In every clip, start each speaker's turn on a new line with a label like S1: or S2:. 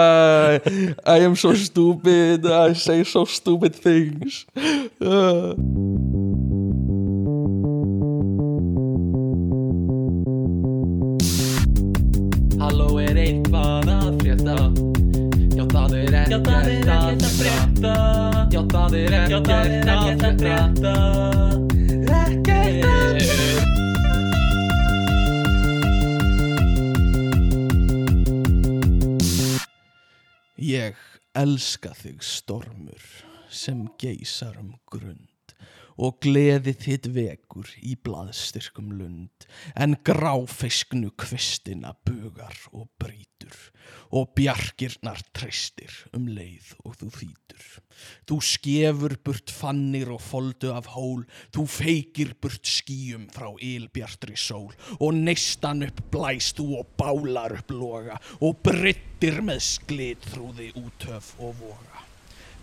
S1: Uh, I am so stupid. I say so stupid things. Uh.
S2: Halló er eitthvað að frétta Já það er ekkert að frétta Já það er ekkert að frétta Ekkert að frétta
S1: Ég elska þig stormur sem geysar um grund og gleði þitt vekur í blaðstyrkum lund en gráfeisknu kvistina bugar og brýtur og bjarkirnar treystir um leið og þú þýtur. Þú skefur burt fannir og foldu af hól þú feikir burt skýjum frá ylbjartri sól og neistan upp blæst þú og bálar upp loga og bryttir með sklið þrúði útöf og voga.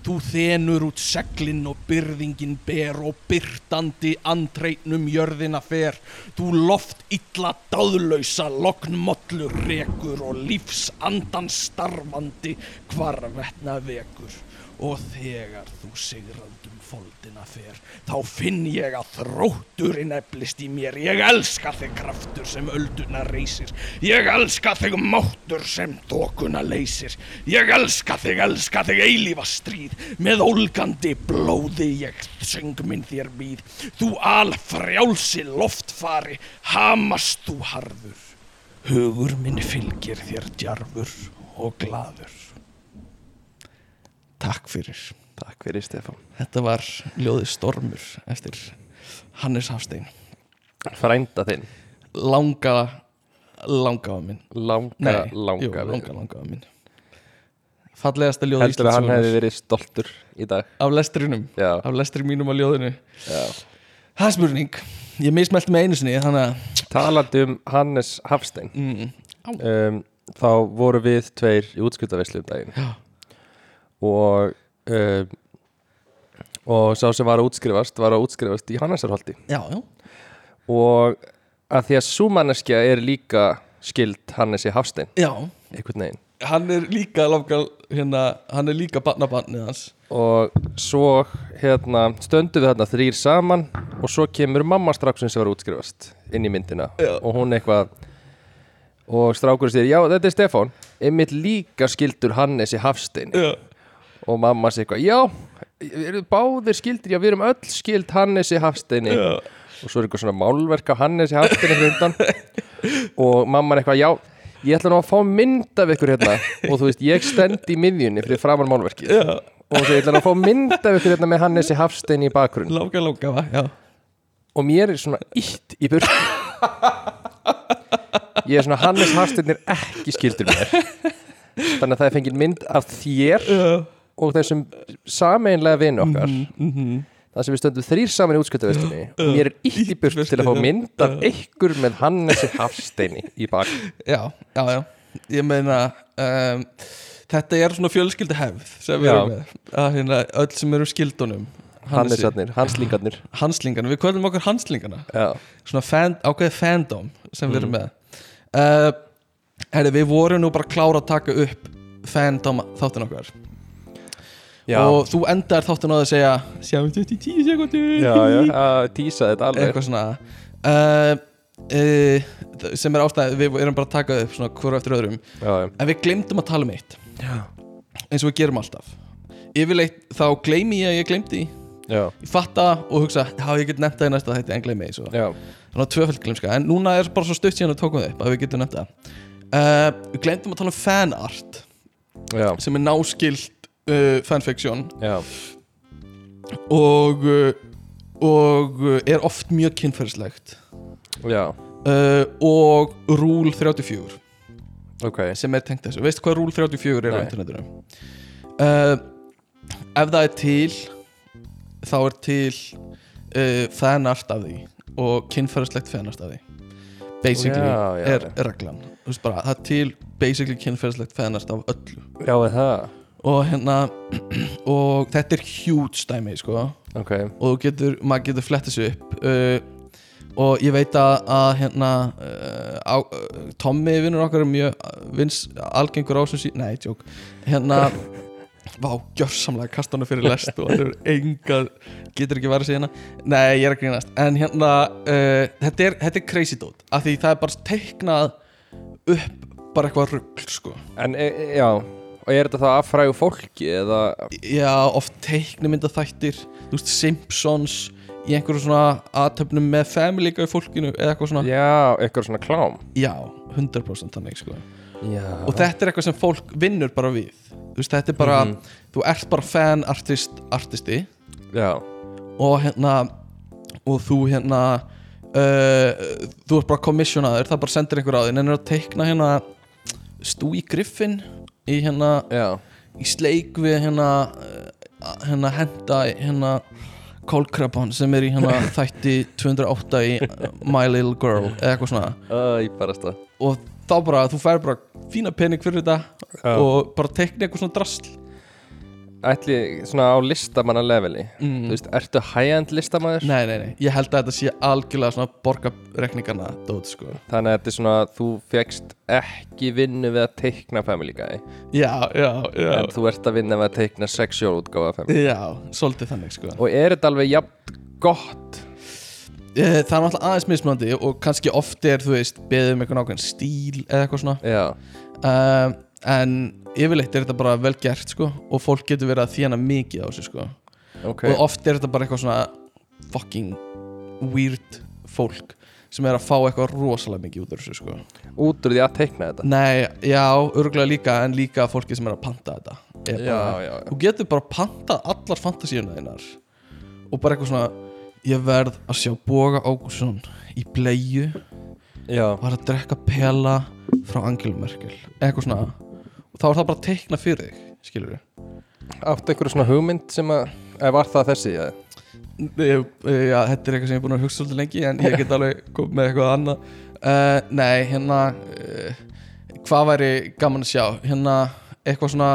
S1: Þú þenur út seglinn og byrðingin ber og byrtandi andreitnum jörðina fer. Þú loft illa dáðlausa lognmollu rekur og lífsandan starfandi hvarvetna vekur. Og þegar þú sigrandum foldina fer, þá finn ég að þrótturinn eflist í mér. Ég elska þig kraftur sem ölduna reysir. Ég elska þig máttur sem þokuna leysir. Ég elska þig, elska þig eilífa stríð. Með ólgandi blóði ég söng minn þér míð. Þú alfrjálsi loftfari, hamast þú harður. Hugur minn fylgir þér djarfur og glaður. Takk fyrir.
S3: Takk fyrir Stefán
S1: Þetta var ljóðið Stormur eftir Hannes Hafstein
S3: Frænda þinn
S1: Langa, langaða minn
S3: Langa,
S1: Nei, jú,
S3: langa
S1: langa, langaða minn Fallegasta ljóð
S3: Heldur að hann
S1: Íslandssögunnar.
S3: hefði verið stoltur í dag
S1: Af lestrinum,
S3: Já.
S1: af lestri mínum á ljóðinu
S3: Já.
S1: Það er spurning Ég mismælti með einu sinni, þannig að
S3: Talandi um Hannes Hafstein
S1: mm,
S3: um, Þá voru við tveir í útskiptaveislu um daginn
S1: Já.
S3: Og um, Og sá sem var að útskrifast Var að útskrifast í Hannesarholti
S1: Já, já,
S3: Og að því að súmanneskja er líka skild Hannesi Hafstein
S1: já
S3: Einhvern veginn
S1: Hann er líka langa, hérna, hann er líka barnabarnið hans
S3: og svo hérna, stöndum við þarna þrýr saman og svo kemur mamma stráksinn sem var að útskrifast inn í myndina
S1: Já.
S3: og hún eitthvað og strákurinn sér, já þetta er Stefán einmitt líka skildur Hannesi Hafstein
S1: Já,
S3: og mamma sér eitthvað, já, við erum báðir skildir já, við erum öll skild Hannesi Hafsteini
S1: Já.
S3: og svo er eitthvað svona málverk á Hannesi Hafsteini fyrir undan og mamma er eitthvað, já, ég ætla nú að fá mynd af ykkur hérna og þú veist, ég stend í miðjunni fyrir framan málverkið
S1: já,
S3: og þau ætla að fá mynd af ykkur hérna með Hannesi Hafstein í bakgrunn
S1: langa, langa, va? já
S3: og mér er svona ítt í burt ég er svona Hannes Hafstein er ekki skildur mér þannig að það er fengið mynd af þér
S1: Já,
S3: og þessum sameinlega vin okkar
S1: Mhm,
S3: þar sem við stöndum þrýr saman í útskjöldavestinni og mér er ítt í burt til að fá mynd af ykkur með Hannesi Hafsteini í bakgrunn
S1: já, já, já. ég meina um, þetta er svona fjölskyldi hefð sem við
S3: Já.
S1: erum með að hérna, öll sem eru skildunum Hannesi-
S3: Hannesarnir, Hanslingarnir
S1: hanslingana, við kvöldum okkur hanslingana
S3: já,
S1: svona fan, ákveðið fandom sem við erum
S3: Mm.
S1: með uh, herri, við vorum nú bara klára að taka upp fandom þáttin okkar
S3: já,
S1: og þú endar þáttin á því að segja sjáum þetta í tíu sekundur
S3: já, já að tísa þetta alveg
S1: eitthvað svona uh, uh, sem er ástæði, við erum bara að taka upp svona hverju eftir öðrum
S3: já, já.
S1: En við glemdum að tala um eitt Eins og við gerum alltaf Yfirleitt þá gleymi ég að ég gleymdi því.
S3: já,
S1: Ég fatta og hugsa, já ég get nefnt það í næsta þetta en gleymi því svo
S3: já,
S1: Þannig að tvöfald glemska En núna er bara svo stutt síðan að tókum það upp að við getum nefnt það uh, Við glemdum að tala um fanart
S3: já,
S1: sem er náskilt uh, fanfiction
S3: já.
S1: og, uh, og uh, er oft mjög kynferðislegt
S3: Já,
S1: uh, og rúl 34
S3: ok
S1: sem er tengt þessu veistu hvað Rúl 34 er á
S3: Nei.
S1: internetinu uh, ef það er til þá er til uh, fanart af því og kynferðislegt fanart af því basically
S3: Já, já,
S1: er reglan Þú veist bara, það er til basically kynferðislegt fanart af öllu
S3: Já, er það
S1: og hérna og þetta er huge dæmi sko
S3: Ok,
S1: og þú getur, maður getur flett þessu upp uh,
S4: og ég veit að, að hérna uh, á, uh, Tommy vinnur okkar er mjög uh, vins algengur á sem síðan, nei, tjók hérna, vá, gjörsamlega kasta hana fyrir lest og það er enga getur ekki verið síðan nei, ég er að grínast, en hérna uh, þetta, er, þetta er crazy dot, af því það er bara teiknað upp bara eitthvað rugl, sko
S3: En e, e, já, og er þetta það affræðu fólki eða
S4: já, oft teiknumynda þættir þú veist, Simpsons í einhverju svona aðtöfnum með family guy fólkinu eða eitthvað svona
S3: Já, eitthvað svona klám
S4: já, 100% þannig sko
S3: Já
S4: og þetta er eitthvað sem fólk vinnur bara við þú veist, þetta er bara,
S3: Mhm.
S4: þú ert bara fan artist, artisti
S3: Já,
S4: og hérna og þú hérna uh, þú ert bara kommissionaður, það bara sendir einhver á þinn en er að teikna hérna Stewie Griffin í hérna
S3: já,
S4: í sleik við hérna uh, hérna henda hérna kólkrapan sem er í hérna þætti 208 í uh, My Little Girl eða eitthvað svona
S3: uh, ég barast það
S4: og þá bara þú fær bara fína pening fyrir þetta
S3: Já.
S4: og bara teikna eitthvað svona drasl
S3: Ætli svona á listamanna leveli
S4: Mm.
S3: Þú veist, ertu high-end listamæður?
S4: nei nei nei, ég held að þetta sé algjörlega svona borgarrekningarna dót sko
S3: Þannig að þetta er svona, þú fegst ekki vinnu við að teikna Family Guy
S4: já, já, já
S3: En þú ert að vinna við að teikna sexual útgáfa Family
S4: já, svolítið þannig sko
S3: Og er þetta alveg jafn gott?
S4: Eh, það er náttúrulega aðeins mismandi og kannski oft er þú veist beðið um eitthvað nákvæm stíl eða eitthvað svona
S3: Já,
S4: uh, en yfirleitt er þetta bara vel gert sko og fólk getur verið að þjána mikið á þessu sko
S3: ok
S4: og oft er þetta bara eitthvað svona fucking weird fólk sem er að fá eitthvað rosalega mikið út af þessu sko
S3: Út úr því að teikna þetta
S4: Nei, já, örgulega líka en líka fólki sem er að panta þetta er bara,
S3: Já, já, já.
S4: Þú getur bara pantað allar fantasíuna þeinar og bara eitthvað svona ég verð að sjá Boga Ágússon í bleju
S3: Já,
S4: var að drekka pela frá Angela Merkel eitthvað svona og þá er það bara teikna fyrir þig, skilur við
S3: áttu einhverju svona hugmynd sem að eða Var það þessi? Ja.
S4: Já, þetta er eitthvað sem ég er búin að hugsa svolítið lengi en ég get alveg komið með eitthvað annað uh, Nei, hérna uh, hvað væri gaman að sjá hérna eitthvað svona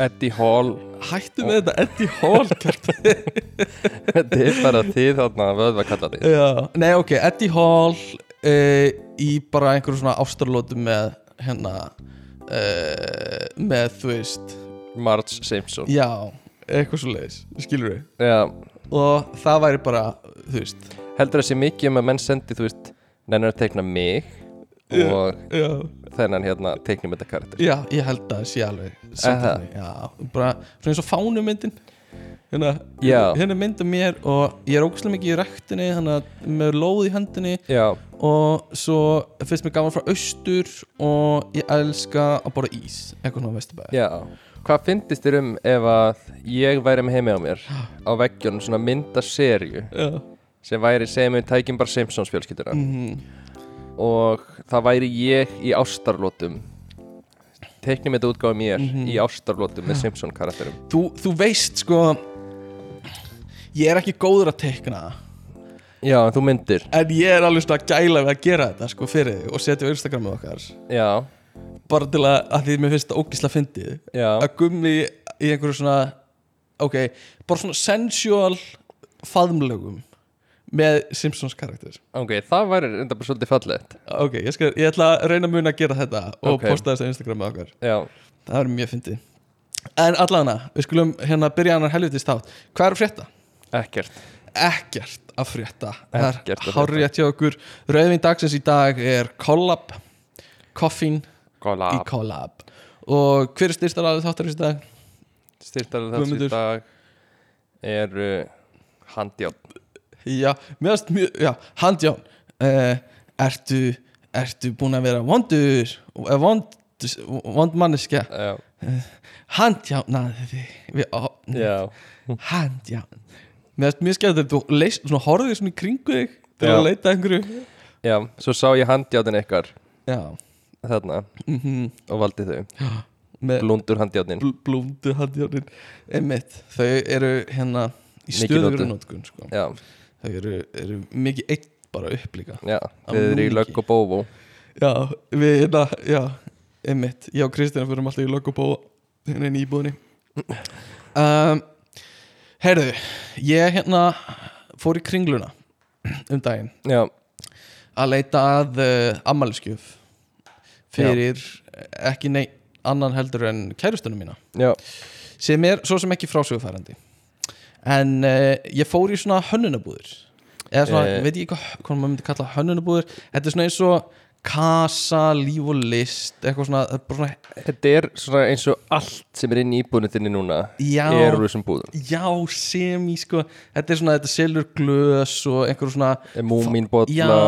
S3: Eddie Hall
S4: hættu með þetta Eddie Hall Kjartan.
S3: Þetta er bara þið þarna vöðvakallandi
S4: Já, Nei, ok, Eddie Hall uh, í bara einhverju svona ástarlótu með hérna uh, með þú veist
S3: Marge Simpson
S4: já, eitthvað svo leiðis, skilur við
S3: Já,
S4: og það væri bara, þú veist
S3: heldur það sé mikið um að menn sendi þú veist, nennar að teikna mig og
S4: já,
S3: þennan hérna teiknum þetta karakter
S4: já ég held að það sé alveg samt
S3: Aha.
S4: þannig, já, bara svona eins og fánumyndin hérna,
S3: Já.
S4: hérna mynda mér og ég er ógustlega mikið í rektinni þannig að með lóð í hendinni
S3: Já,
S4: og svo finnst mér gaman frá austur og ég elska að borða ís eitthvað svona vesturbæði
S3: já Hvað fyndist þér um ef að ég væri með heimi á mér á veggjónum svona mynda serju
S4: já,
S3: sem væri segjum við tækjum bara Simpsons fjölskylduna
S4: Mhm.
S3: og það væri ég í ástarlótum teiknum þetta útgáðu mér
S4: Mhm.
S3: í ástarlótum með Simpson karakterum
S4: þú, þú veist sko ég er ekki góður að tekna það
S3: Já, en þú myndir
S4: En ég er alveg svona að gæla við að gera þetta sko fyrir þig og setja á Instagramið okkar
S3: Já,
S4: bara til að, að því mér finnst þetta ógislega fyndið
S3: já,
S4: að gummi í einhverju svona ok, bara svona sensual faðmlögum með Simpsons karakter
S3: ok, það væri enda bara svolítið fallegt
S4: ok, ég, skal, ég ætla að reyna mun að gera þetta og
S3: Ok.
S4: posta þess á Instagramið okkar
S3: Já,
S4: það verður mjög fyndið en allavega, við skulum hérna byrja annar helvitist þátt hvað er að frétta?
S3: ekkert
S4: ekkert að frétta
S3: Ekkert að
S4: það er
S3: frétta.
S4: hárrétt hjá okkur rauðvin dagsins í dag er Collab Coffin í
S3: Góla,
S4: Collab og hver er styrstar aðeins þáttarins í dag?
S3: styrtalega þessu
S4: Guðmundur.
S3: í dag er uh, handjátt
S4: Já, mjögast mjög, já, handjón uh, ertu, ertu búin að vera vondur eh, vond, vond manneskja
S3: Já,
S4: handjánaði þig við opnum
S3: já,
S4: handján mjögast mjög skemmt að þú leist, svona horfið svona í kringu þig til
S3: Já.
S4: að leita að einhverju
S3: já, svo sá ég handjáttin ykkar
S4: já,
S3: þarna
S4: mhm
S3: og valdi þau
S4: með
S3: Blúndur handjáttin
S4: bl blúndu handjánin einmitt, þau eru hérna í
S3: Mikið
S4: stöðugri
S3: notuð.
S4: nótkun sko.
S3: Já,
S4: þau eru, eru mikið eitt bara upp líka
S3: já,
S4: Á
S3: þið eru í
S4: núningi.
S3: lögg og bóvó
S4: já, við hérna, já einmitt, ég og Kristina fyrir alltaf í loggobó hérna inn í íbúðinni um, heyrðu ég hérna fór í kringluna um daginn
S3: já,
S4: að leita að uh, ammæliskjöf fyrir eh, ekki nei, annan heldur en kærustunum mína
S3: já,
S4: sem er svo sem ekki frásögufærandi en uh, ég fór í svona hönnunabúður eða svona,
S3: Eh.
S4: ég veit ég hvað, hvað maður myndi kalla hönnunabúður þetta er svona eins og kasa, líf og list eitthvað svona, það er bara svona
S3: þetta er svona eins og allt sem er inn í íbúðnutinni núna
S4: Já.
S3: er úr þessum búðum
S4: já, sem í sko þetta er svona, þetta selur glös og einhver svona, Já.
S3: múminbólla,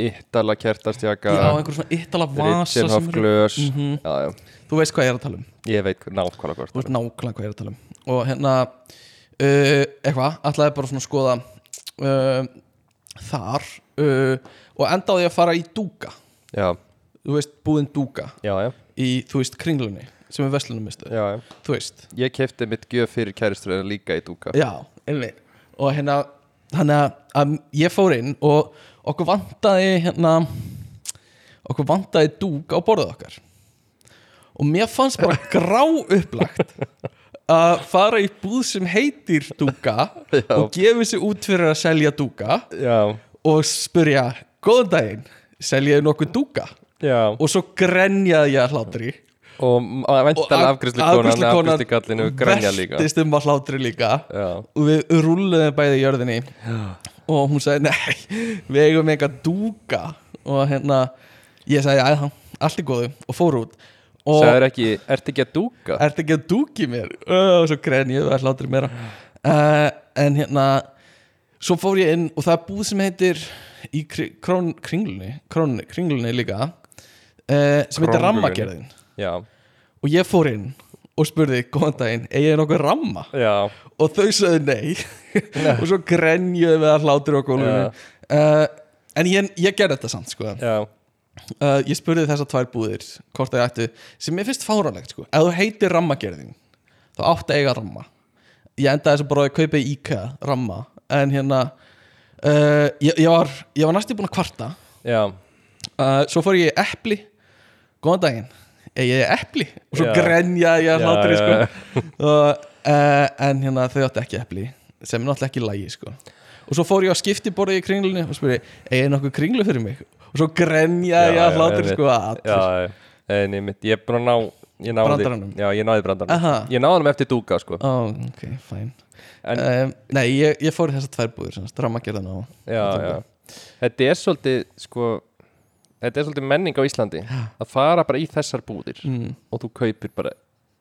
S3: yttala
S4: já,
S3: kertastjaka
S4: einhver svona yttala vasa
S3: Ritzenhoff
S4: sem eru- Mhm.
S3: glös já, já,
S4: þú veist hvað ég er að tala um
S3: ég veit nákvæmlega hvort
S4: þú veist nákvæmlega hvað ég er að tala um og hérna uh, eitthvað, ætlaði bara svona að skoða uh, þar uh, og endaði ég að fara í Dúka
S3: já,
S4: þú veist, búðin Dúka
S3: já, já,
S4: í, þú veist, kringlunni sem er veslunum mistu,
S3: já, já.
S4: þú veist
S3: ég kefti mitt gjöf fyrir kæristurinn líka í dúka
S4: já, einmitt og hérna, þannig að, að ég fór inn og okkur vantaði hérna okkur vantaði Dúka á borðið okkar og mér fannst bara grá upplagt að fara í búð sem heitir Dúka
S3: Já.
S4: og gefa sér út fyrir að selja Dúka
S3: já,
S4: og spyrja, góðan daginn seljaðu nokkuð Dúka
S3: já.
S4: og svo grenjaði ég að hlátri
S3: og væntan afgriðslu konan afgriðslu kallinu grænja líka
S4: veltist um að hlátri líka
S3: já,
S4: og við rúluðum bæði í jörðinni og hún sagði nei við eigum eitthvað dúka og hérna ég sagði að allt er góðu og fór út og
S3: sagður ekki, ertu ekki að dúka
S4: ertu ekki að dúki mér Ö, og svo grein ég að hlátri mér uh, en hérna svo fór ég inn og það er búð sem heitir í kri- krón, kringlunni krón, kringlunni líka uh, sem heitir
S3: Krónlunni.
S4: rammagerðin
S3: já,
S4: og ég fór inn og spurði góðan daginn, eigið þið nokkuð ramma?
S3: já,
S4: og þau sögðu nei og svo grenjuðu við að hlátur á gólfinu
S3: Ja.
S4: uh, en ég, ég gerði þetta samt sko.
S3: já
S4: uh, ég spurði þessar tvær búðir hvort það ættu, sem mér finnst fáránlegt sko. ef þú heitir rammagerðin þá áttu að eiga ramma ég endaði þess að bara að kaupa í IKEA ramma en hérna uh, ég, ég var, ég var næstu búin að kvarta
S3: já,
S4: uh, svo fór ég í epli góðan daginn ég er epli og svo
S3: Já.
S4: grenjaði ég að
S3: Já,
S4: hlátri
S3: já,
S4: sko.
S3: já.
S4: og, uh, en hérna þau áttu ekki epli sem er náttúrulega ekki lægi sko. og svo fór ég á skiptiborðið í kringlunni og spurði, er nokuð kringlu fyrir mig og svo grenjaði ég
S3: Já,
S4: að
S3: já,
S4: hlátri
S3: einmitt.
S4: sko, að allir.
S3: já, já. En ég, mitt, ég er búin að ná ég náði,
S4: Brandaranum.
S3: já, ég náði brandaranum
S4: Aha.
S3: ég náði hann eftir dúka sko
S4: Ó, ok, fæn
S3: En-
S4: um, Nei, ég, ég fór í þessar tvær búður Dramagerðan á
S3: já, já. þetta er svolítið sko þetta er svolítið menning á Íslandi að fara bara í þessar búðir
S4: Mm.
S3: og þú kaupir bara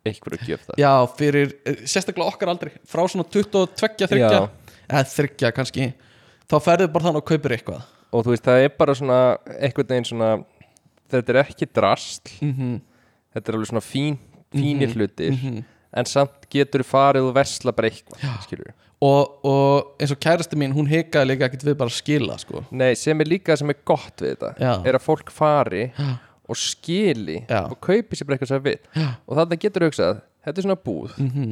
S3: einhverju gjöf þar
S4: Já, fyrir, eh, sérstaklega okkar aldrei frá svona 22, 30
S3: Já.
S4: eða 30 kannski þá ferðu bara þannig og kaupir eitthvað
S3: og þú veist það er bara svona einhvern veginn svona þetta er ekki drasl
S4: Mhm.
S3: þetta er alveg svona fín, fínir hlutir en samt getur farið og versla bara eitthvað skilur
S4: og, og eins og kærasti mín, hún hikaði líka ekkert við bara að skila sko.
S3: Nei, sem er líka sem er gott við þetta
S4: Já.
S3: er að fólk fari og skili
S4: Já.
S3: og kaupi sér bara eitthvað sem það vill og þannig getur hugsað, þetta er svona búð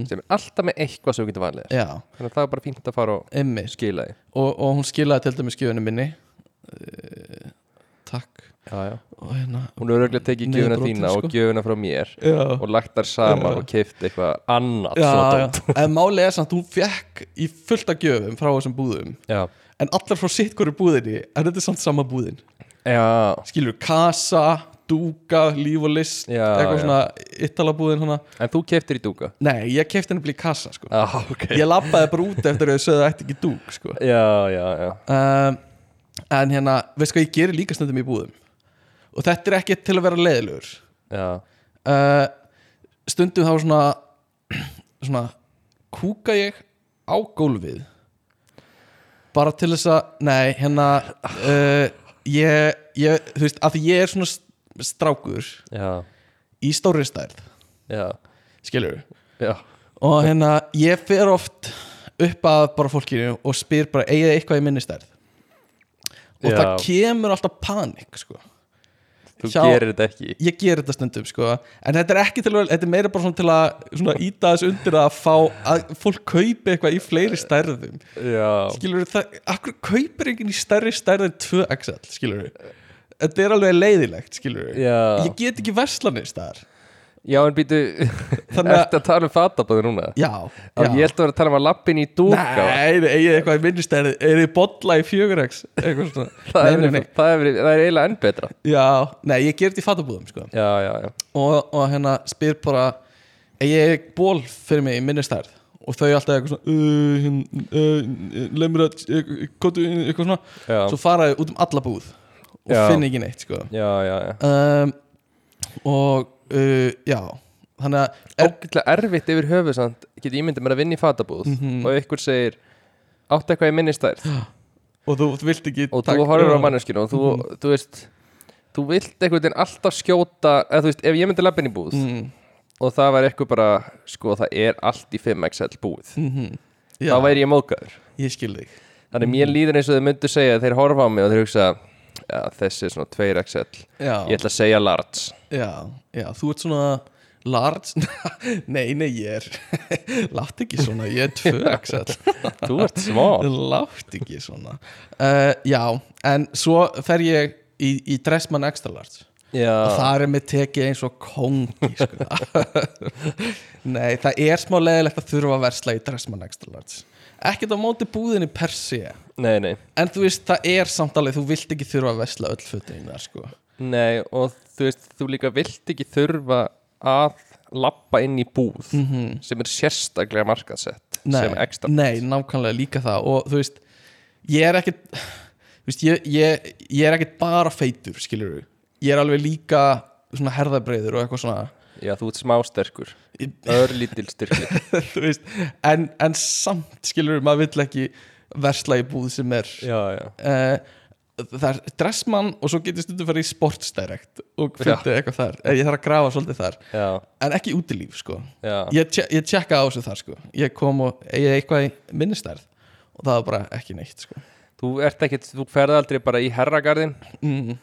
S3: sem er alltaf með eitthvað sem þú getur vanlega
S4: Mhm. já,
S3: þannig að það er bara fínt að fara og
S4: emmi
S3: skila því
S4: og, og hún skilaði til dæmis skjöfunni minni uh, takk
S3: já, já.
S4: og hérna
S3: hún er auðvitað tekið
S4: Niður
S3: gjöfuna
S4: brotin,
S3: þína
S4: sko.
S3: og gjöfuna frá mér
S4: já,
S3: og lagt þar saman og keift eitthvað annað
S4: já,
S3: svona
S4: já.
S3: dót.
S4: en máli er samt, hún fekk í fullta gjöfum frá þessum búðum
S3: já.
S4: en allar frá sitt hverju búðinni en þetta er samt sama búðin
S3: Já,
S4: skilur, kasa, dúka, líf og list
S3: Já,
S4: eitthvað
S3: já.
S4: svona ittalabúðin hana.
S3: en þú keftir í dúka
S4: nei, ég kefti henni að bli kassa sko.
S3: Já, ok
S4: ég labbaði bara út eftir að þau sögðu ætti ekki dúk sko.
S3: Já, já, já
S4: um, En hérna, veist hvað ég gerir líka stundum í búðum Og þetta er ekki til að vera leiðilegur
S3: Já,
S4: uh, Stundum þá svona Svona Kúka ég á gólfið Bara til þess að Nei, hérna uh, ég, ég, þú veist, að því ég er svona st- Strákur
S3: já,
S4: í stórri stærð
S3: já,
S4: Skilur
S3: já
S4: Og hérna, ég fer oft upp að bara fólkinu og spyr bara eigið þið eitthvað í minni stærð og
S3: Já.
S4: það kemur alltaf panik sko.
S3: Þú
S4: Sjá-
S3: gerir þetta ekki
S4: ég ger þetta stundum sko. en þetta er ekki til að, þetta er meira bara svona til að svona íta þessu undir að fá að fólk kaupi eitthvað í fleiri stærðum
S3: Já,
S4: skilur það, akkur kaupir enginn í stærri stærð en 2xl, skilur þetta er alveg leiðilegt, skilur
S3: Já.
S4: ég get ekki verslanist þar
S3: Já, en býtu,
S4: Þannig að-
S3: ertu að tala um fatabóði núna?
S4: já, já.
S3: Að Ég held að vera að tala um að lappin í dúka
S4: Nei, nei, eigið eitthvað í minnist er, er þið bolla í fjögureks eitthvað svona
S3: Það er,
S4: nei, nei, nei.
S3: það, er, það er eiginlega enn betra
S4: Já, nei, ég ger þetta í fattabúðum sko.
S3: Já, já, já
S4: og, og hérna spyr bara eigið ból fyrir mig í minni stærð og þau alltaf eitthvað svona uh, hin, uh, lemur að gotu, eitthvað svona
S3: Já,
S4: svo fara þau út um alla búð og
S3: Já.
S4: finna ekki neitt sko.
S3: já, já, já.
S4: um, og uh, já þannig að er,
S3: Ógætlega erfitt yfir höfuð samt Get ég myndið mér að vinna í fatabúð
S4: Mhm.
S3: Og ykkur segir Áttu eitthvað í minni stærð
S4: og þú, þú vilt ekki
S3: Og
S4: taka-
S3: þú horfir á manneskinu Og þú,
S4: Mhm.
S3: þú veist Þú vilt einhvern veginn alltaf skjóta eða, þú veist, Ef ég myndi lappin í búð
S4: mm,
S3: Og það var eitthvað bara Sko, það er allt í 5XL búið
S4: mm -hmm. já,
S3: Þá væri ég mókaður
S4: ég skil þig
S3: Þannig mér líður eins og þau myndu segja Þeir horfa á mig og þeir hugsa ja, Þessi er svona 2XL
S4: já,
S3: Ég ætla að segja large
S4: já, já, þú ert svona large, nei, nei, ég er látt ekki svona, ég er tvö axel
S3: Þú ert smá
S4: Látt ekki svona uh, Já, en svo fer ég í, í Dressmann Extra Large og
S3: Já,
S4: þar er mér tekið eins og kongi sko. Nei, það er smá leðilegt að þurfa að versla í Dressmann Extra Large Ekkert á móti búðinni per se
S3: nei, nei
S4: En þú veist, það er samt alveg, þú vilt ekki þurfa að versla öll fötin þar sko
S3: Nei, og þú veist, þú líka vilt ekki þurfa að lappa inn í búð sem er sérstaklega markaðsett sem er ekstra
S4: Nei, nákvæmlega líka það og þú veist, ég er ekkit þú veist, ég, ég, ég er ekkit bara feitur, skilur við ég er alveg líka svona herðabreiður og eitthvað svona
S3: Já, þú ert smá sterkur
S4: Ég-
S3: Örlítil styrkli
S4: þú veist, en, en samt skilur við, maður vill ekki versla í búð sem er
S3: Já, já
S4: uh, það er dressmann og svo getur stundum farið í sportsdirekt og
S3: Já.
S4: fundið eitthvað þar, Eh, ég þarf að grafa svolítið þar
S3: Já,
S4: en ekki útilíf, sko
S3: já,
S4: ég, tje, ég tjekka á þessu þar, sko ég kom og ég eitthvað í minnistærð og það var bara ekki neitt, sko
S3: þú ert ekkit, þú ferð aldrei bara í herragarðin
S4: mm.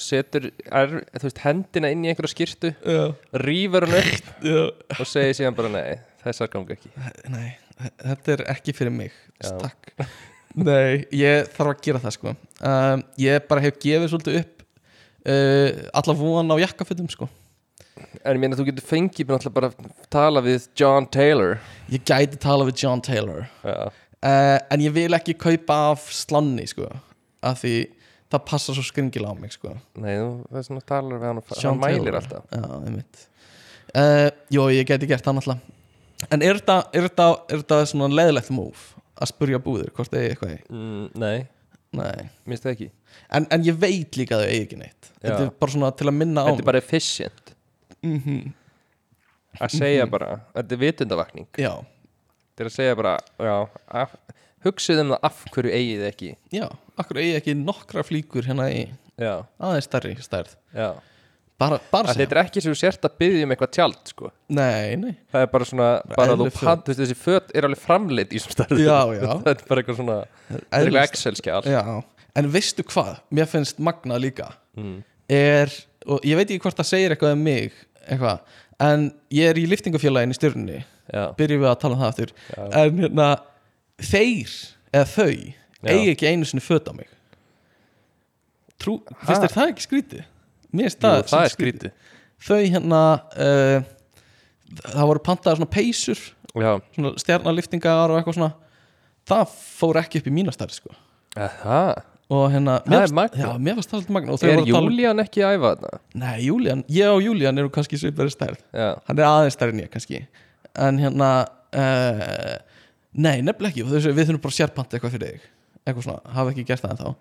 S3: setur, er, þú veist, hendina inn í einhverja skýrtu,
S4: já,
S3: rýfur hann upp
S4: já.
S3: og segir síðan bara nei, þessar gangi ekki
S4: Nei, þe- þetta er ekki fyrir mig
S3: Já.
S4: Takk Nei, ég þarf að gera það sko um, Ég bara hef gefið svolítið upp uh, Alla von á jakkafutum sko
S3: En ég meina þú getur fengið mér náttúrulega bara að tala við John Taylor
S4: Ég gæti tala við John Taylor
S3: Já,
S4: uh, En ég vil ekki kaupa af slanni sko Af því það passar svo skringilega á mig sko
S3: nei, þú, það er svona talar við hann og
S4: John
S3: hann mælir
S4: Taylor.
S3: alltaf
S4: Já, einmitt uh, Jó, ég gæti gert það náttúrulega En er þetta, er þetta, er þetta svona leiðilegt move Að spurja búðir hvort þið er eitthvað í
S3: mm, Nei,
S4: Nei
S3: minnst það ekki
S4: en, en ég veit líka að þau eigi ekki neitt þetta er bara svona til að minna á
S3: Þetta
S4: mig
S3: er bara efficient Mhm. Að segja bara, þetta er vitundavakning
S4: já,
S3: Þetta er að segja bara, já af, Hugsið um það af hverju eigið þið ekki
S4: já, akkur eigi ekki nokkra flíkur hérna í
S3: Já,
S4: aðeins stærri stærð
S3: já
S4: bara, bara
S3: Að
S4: sem,
S3: Þetta er ekki sem þú sért að byggja um eitthvað tjald sko.
S4: nei, nei
S3: Það er bara svona, bara þú
S4: eðlileg föt.
S3: pant þú veist, Þessi föt er alveg framleitt í sem starfið
S4: Já, já.
S3: Þetta er bara eitthvað svona, þetta er
S4: Eðlileg
S3: eitthvað Excel-skjál
S4: já. en veistu hvað, mér finnst magna líka
S3: Mm.
S4: er, og ég veit ekki hvort það segir eitthvað um mig eitthvað, en ég er í liftingafélaginu í stjörnunni
S3: Já,
S4: byrjum við að tala um það aftur en hérna, þeir eða þau,
S3: Já.
S4: eigi ekki einu sinni föt á mig Trú, finnst þér það ekki skrítið? Mér
S3: Jú,
S4: finnst það,
S3: það
S4: svolítið
S3: er skrítið
S4: þau hérna uh, það voru pantaðar svona peysur
S3: Já,
S4: svona stjarnaliftingar og eitthvað svona það fór ekki upp í mínastæri sko
S3: það
S4: og hérna,
S3: Það
S4: mér
S3: er
S4: fannst-
S3: magnað.
S4: já, mér fannst það alltaf magna og þau
S3: Er
S4: voru að tala um-
S3: Júlían ekki að æfa þarna?
S4: nei, Júlían, ég og Júlían eru kannski svipari stærð
S3: Já,
S4: hann er aðeins stærri en ég kannski en hérna uh, nei, nefnilega ekki, þessu, við þurfum bara að sérpanta eitthvað fyrir þig, eitthvað svona, hafa ekki gert það en þá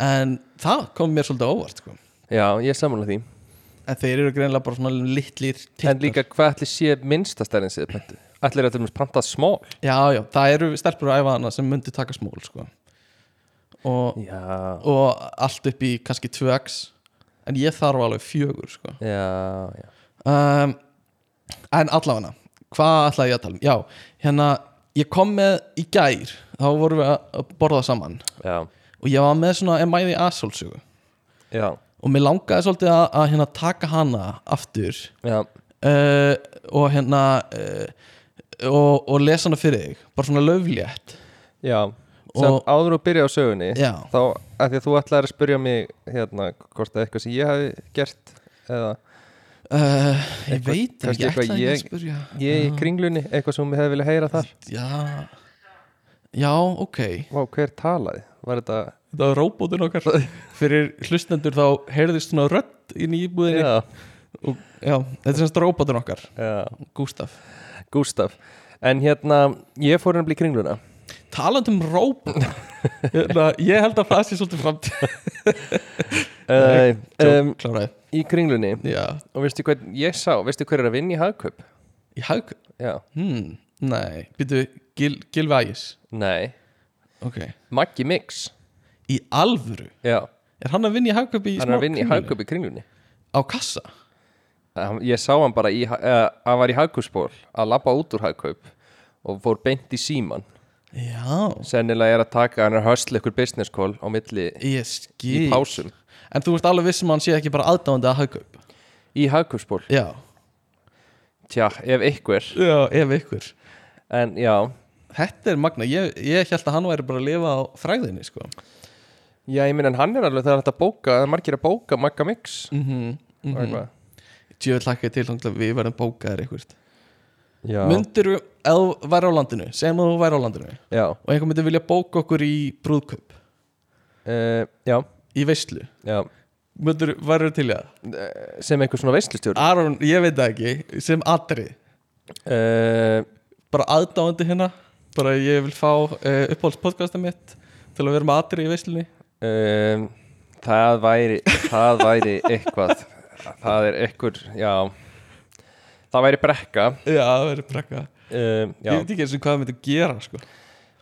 S4: en það kom mér svolítið á óvart sko.
S3: já ég samanlega því
S4: en þeir eru greinilega bara svona litlir tittar.
S3: En líka hvað ætli sé minnsta stærðin séð pöntu? Ætli er að til dæmis pantað smól?
S4: já, já, það eru stelpur að æfa hana sem myndi taka smól sko. og,
S3: Já,
S4: og allt upp í kannski 2x en ég þarf alveg fjögur sko.
S3: já, já
S4: um, En allavega Hvað ætlaði ég að tala um? Já, hérna, ég kom með í gær Þá vorum við að borða saman
S3: Já,
S4: Og ég var með svona emæði asólsugu
S3: já,
S4: Og mér langaði svolítið að, að hérna, taka hana aftur
S3: já,
S4: uh, Og hérna uh, og, og lesa hana fyrir þig Bara svona löflétt
S3: já. Sem
S4: Og-
S3: áður og byrja á sögunni
S4: Já,
S3: Þá, að því að þú ætlaðir að spurja mig hérna, hvort það er eitthvað sem ég hafi gert eða
S4: uh, ég
S3: Eitthvað-
S4: veit
S3: kannski
S4: ekki, ég
S3: eitthvað
S4: ætlaði ekki að
S3: ég-
S4: spyrja
S3: Ég í kringlunni, eitthvað sem við hefði viljað heyra þar
S4: já, já, ok
S3: Vá, hver talaði? Var þetta
S4: þetta var róbótin okkar fyrir hlustendur þá heyrðist svona rödd inn í íbúðinni já,
S3: Já,
S4: þetta er semst róbótin okkar
S3: já,
S4: Gústaf
S3: Gústaf En hérna, ég fór henni í kringluna
S4: talandi um róbót hérna, ég held að það sé svolítið framtíð
S3: uh, um,
S4: kláraði,
S3: Í kringlunni
S4: já,
S3: Og veistu hvað ég sá, veistu hver er að vinna í hagkaup?
S4: í hag
S3: Já,
S4: hmm, nei, býtu gil, Gilvi Ægis
S3: nei
S4: ok,
S3: Maggi Mix
S4: í alvöru
S3: Já,
S4: er hann að vinna í hagkaup í
S3: hann er
S4: smá
S3: að vinna í
S4: kringlunni?
S3: hagkaup í kringlunni
S4: á kassa
S3: Hann- Ég sá hann bara í, ha- eh, hann var í hagkaupspól að labba út úr hagkaup og fór beint í síman
S4: já,
S3: Sennilega er að taka, hann er að hösla ykkur business call á milli
S4: ég
S3: í
S4: skil
S3: pásum
S4: en þú ert alveg viss um að hann sé ekki bara aðdáðandi að hagkaup
S3: í hagkaupspól,
S4: já,
S3: tja, ef einhver
S4: já, ef ykkur
S3: en já,
S4: Þetta er magna, ég, ég held að hann væri bara að lifa á fræðinni sko
S3: já ég minn en hann er alveg það er hægt að bóka, það er margir að bóka Magga Mix
S4: mm -hmm.
S3: og eitthvað.
S4: Tjöfell lakkaði til þangað við verðum bókaðir eitthvað
S3: já,
S4: Myndirðu, ef þú væri á landinu, segjum að þú væri á landinu
S3: já,
S4: og einhver myndi vilja bóka okkur í brúðkaup,
S3: uh, já,
S4: í veislu
S3: já.
S4: Myndirðu, væri til í það?
S3: Eh, sem einhver svona veistlustjóri
S4: Aron, ég veit það ekki, sem atri
S3: uh,
S4: bara aðdáandi hérna bara ég vil fá uh, uppáhaldspodcasta mitt til að vera með atri í veislunni
S3: um, það væri það væri eitthvað það er einhver, já það væri brekka
S4: Já, það verður brekka
S3: um, já,
S4: Ég veit ekki eins og hvað það myndi gera sko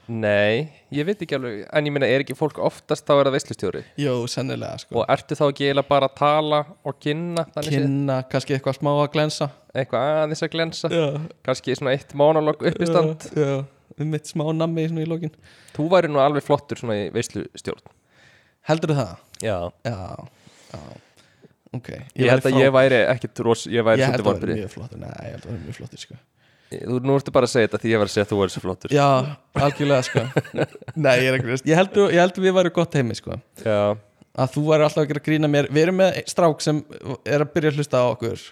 S3: nei ég veit ekki alveg, en ég minna er ekki fólk oftast þá er það veistlustjóri
S4: Jó, sennilega sko
S3: og ertu þá ekki eiginlega bara að tala og kynna, þannig séð,
S4: Kynna, kannski eitthvað smá að glensa
S3: eitthvað aðeins að glensa
S4: Já,
S3: kannski svona eitt monolog uppistand
S4: Já, já, um mitt smá nammi svona í lokin
S3: þú væri nú alveg flottur svona í veislustjórn
S4: Heldur það?
S3: já
S4: Já, já Ok
S3: ég held að ég væri ekkit ros ég væri
S4: Ég
S3: svolítið
S4: held að vera
S3: vonbrið
S4: mjög flottur Nei, ég held að vera mjög flottur sko
S3: þú nú ertu bara að segja þetta því ég var að segja að þú væri svo flottur
S4: Já, algjörlega sko Nei, ég er ekki veist Ég held, ég held að við væri gott heimi sko
S3: já
S4: Að þú væri alltaf að gera grína mér Við erum með strák sem er að byrja að hlusta á okkur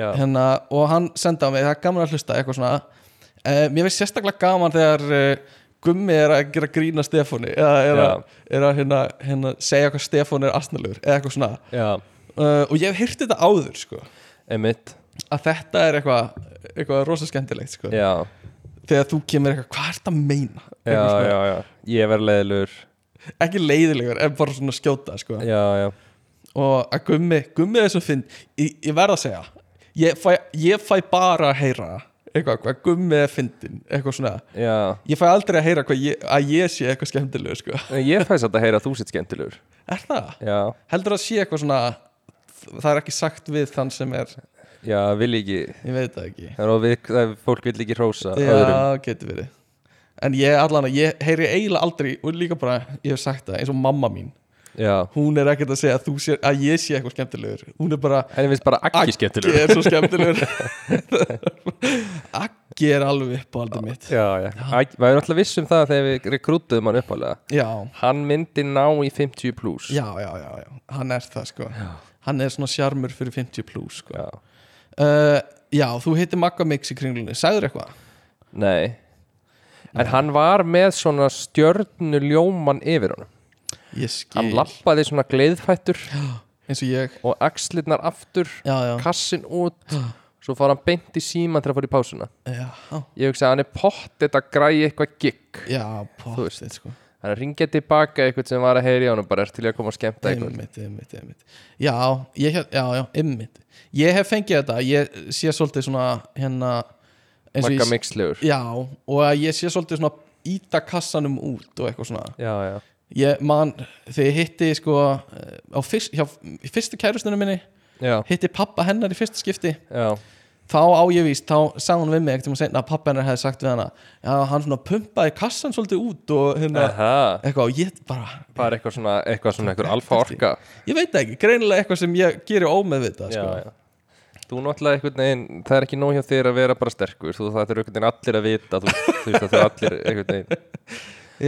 S3: já
S4: hérna, og hann senda á mig, það er gaman að hlusta eitthvað svona uh, mér veist sérstaklega gaman þegar uh, Gummi er að gera grína Stefáni eða er að, er að hérna, hérna, segja hvað Stefán er asnalur eða eitthvað svona
S3: já
S4: uh, og ég hef hýrt þetta áður sko,
S3: emitt
S4: að þetta er eitthvað eitthvað rosa skemmtilegt sko.
S3: já
S4: þegar þú kemur eitthvað, hvað ert að meina
S3: já
S4: Eitthvað svona,
S3: já já ég verði leiðilur
S4: ekki leiðilegur, en bara svona skjóta sko.
S3: já já
S4: og að Gummi, Gummi er svo finn ég, ég verð að segja ég fæ, ég fæ bara að heyra eitthvað, hvað Gummi er fyndin eitthvað svona,
S3: já
S4: Ég fæ aldrei að heyra hvað ég, að ég sé eitthvað skemmtilegu sko.
S3: En ég fæs að heyra að þú sitt skemmtilegur
S4: Er það?
S3: já
S4: Heldur að sé eitthvað svona það er ekki sagt við þann sem er
S3: já vil ekki
S4: ég veit það ekki
S3: það er of við, það er- fólk vil ekki hrósa öðrum
S4: Já, getur verið En ég allan að ég heyri eiginlega aldrei og líka bara, ég hef sagt það, eins og mamma mín
S3: já
S4: hún er ekkert að segja að, þú sé, að ég sé eitthvað skemmtilegur hún er bara,
S3: henni finnst bara
S4: Aggi
S3: ekki skemmtilegur
S4: er svo skemmtilegur Aggi er alveg uppáhaldið mitt
S3: já já Aggi- maður er alltaf viss um það þegar við rekrútuðum hann uppálega
S4: Já,
S3: Hann myndi ná í 50 pluss
S4: já, já, já, já hann er það sko hann er svona sjarmur fyrir 50 plus sko.
S3: Já.
S4: uh, Já, þú heitir Magga Mix í kringlunni Sæður eitthvað?
S3: Nei En hann var með svona stjörnuljóman yfir honum
S4: Ég
S3: Hann
S4: skil
S3: lappaði svona gleiðfættur
S4: Eins og ég
S3: Og axlirnar aftur
S4: Já, já,
S3: Kassin út Svo fór hann beint í síman til að fór í pásuna
S4: já,
S3: Ég hugsaði hann er pott þetta græði eitthvað gikk
S4: já Pottið sko
S3: Hann ringið tilbaka eitthvað sem var að heyri á hann Bara er til í að koma að skemmta eitthvað
S4: Einmitt, einmitt, einmitt Já, ég, hef- já, já, einmitt Ég hef fengið þetta, ég sé svolítið svona hérna eins og ég-
S3: Magga mixlegur
S4: Já, og að ég sé svolítið svona íta kassanum út og eitthvað svona
S3: Já, já,
S4: Ég man, þegar ég hitti sko eh, á fyrst, hjá, í fyrstu kærustunum minni
S3: já,
S4: hitti pappa hennar í fyrsta skipti
S3: já, þá
S4: þá á ég víst, þá sagði hún við mig ekkert um að segna að pappa hennar hefði sagt við hana já, hann svona pumpaði kassan svolítið út og hérna,
S3: Aha,
S4: eitthvað, og ég bara
S3: bara eitthvað svona, eitthvað svona, eitthvað alfa orka
S4: ég veit það ekki, greinilega eitthvað sem ég gerir ómeðvita sko.
S3: já, já. Þú náttúrulega einhvern veginn, það er ekki nóg hjá þér að vera bara sterkur, þú það er einhvern veginn allir að vita, þú, þú veist að það er allir einhvern veginn,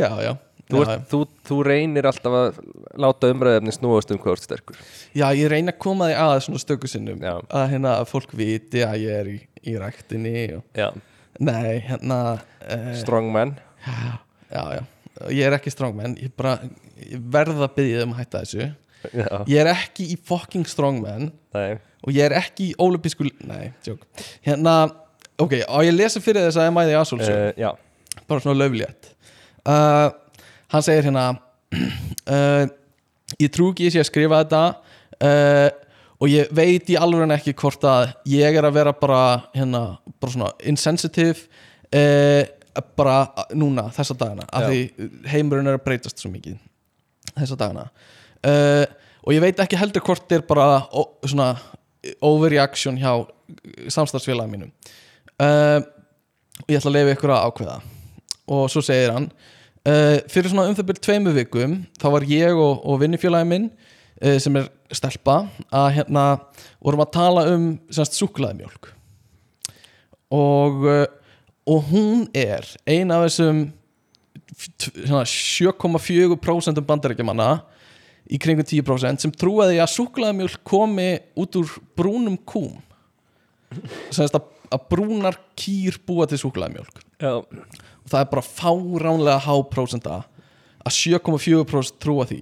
S4: já, já,
S3: Þú,
S4: Já,
S3: ert, þú, þú reynir alltaf að láta umræðefni snúast um hvað þú ert sterkur
S4: Já, ég reyna að koma því að svona stöku sinnum
S3: Já.
S4: að hérna að fólk viti að ég er í, í ræktinni og...
S3: Já.
S4: Nei, hérna uh,
S3: Strongman
S4: Já, já, ég er ekki strongman Ég bara ég verð að byggja um að hætta þessu
S3: Já,
S4: Ég er ekki í fucking strongman
S3: nei,
S4: og ég er ekki í ólubísku Nei, tjók Hérna, ok, á ég að lesa fyrir þess að ég mæði Asúlsson
S3: uh, já.
S4: bara svona löflétt uh, hann segir hérna uh, ég trú ekki ég sé að skrifa þetta uh, og ég veit í alveg ekki hvort að ég er að vera bara hérna, bara svona insensitive uh, bara núna þessa dagana, af
S3: Já.
S4: því heimurinn er að breytast svo mikið þessa dagana uh, og ég veit ekki heldur hvort er bara ó, svona overreaction hjá samstarfsfélagum mínum uh, og ég ætla að leifa ykkur að ákveða og svo segir hann uh, fyrir svona um það byrjum tveimu vikum þá var ég og, og vinnifélagi minn uh, sem er stelpa að hérna vorum að tala um semst súklaðimjólk og uh, og hún er ein af þessum t- svona 7,4% bandaríkjamanna í kringum 10% sem trúaði að súklaðamjólk komi út úr brúnum kúm sem þess að, að brúnar kýr búa til súklaðamjólk
S3: Já.
S4: og það er bara fáránlega há prósenta að 7,4% trúa því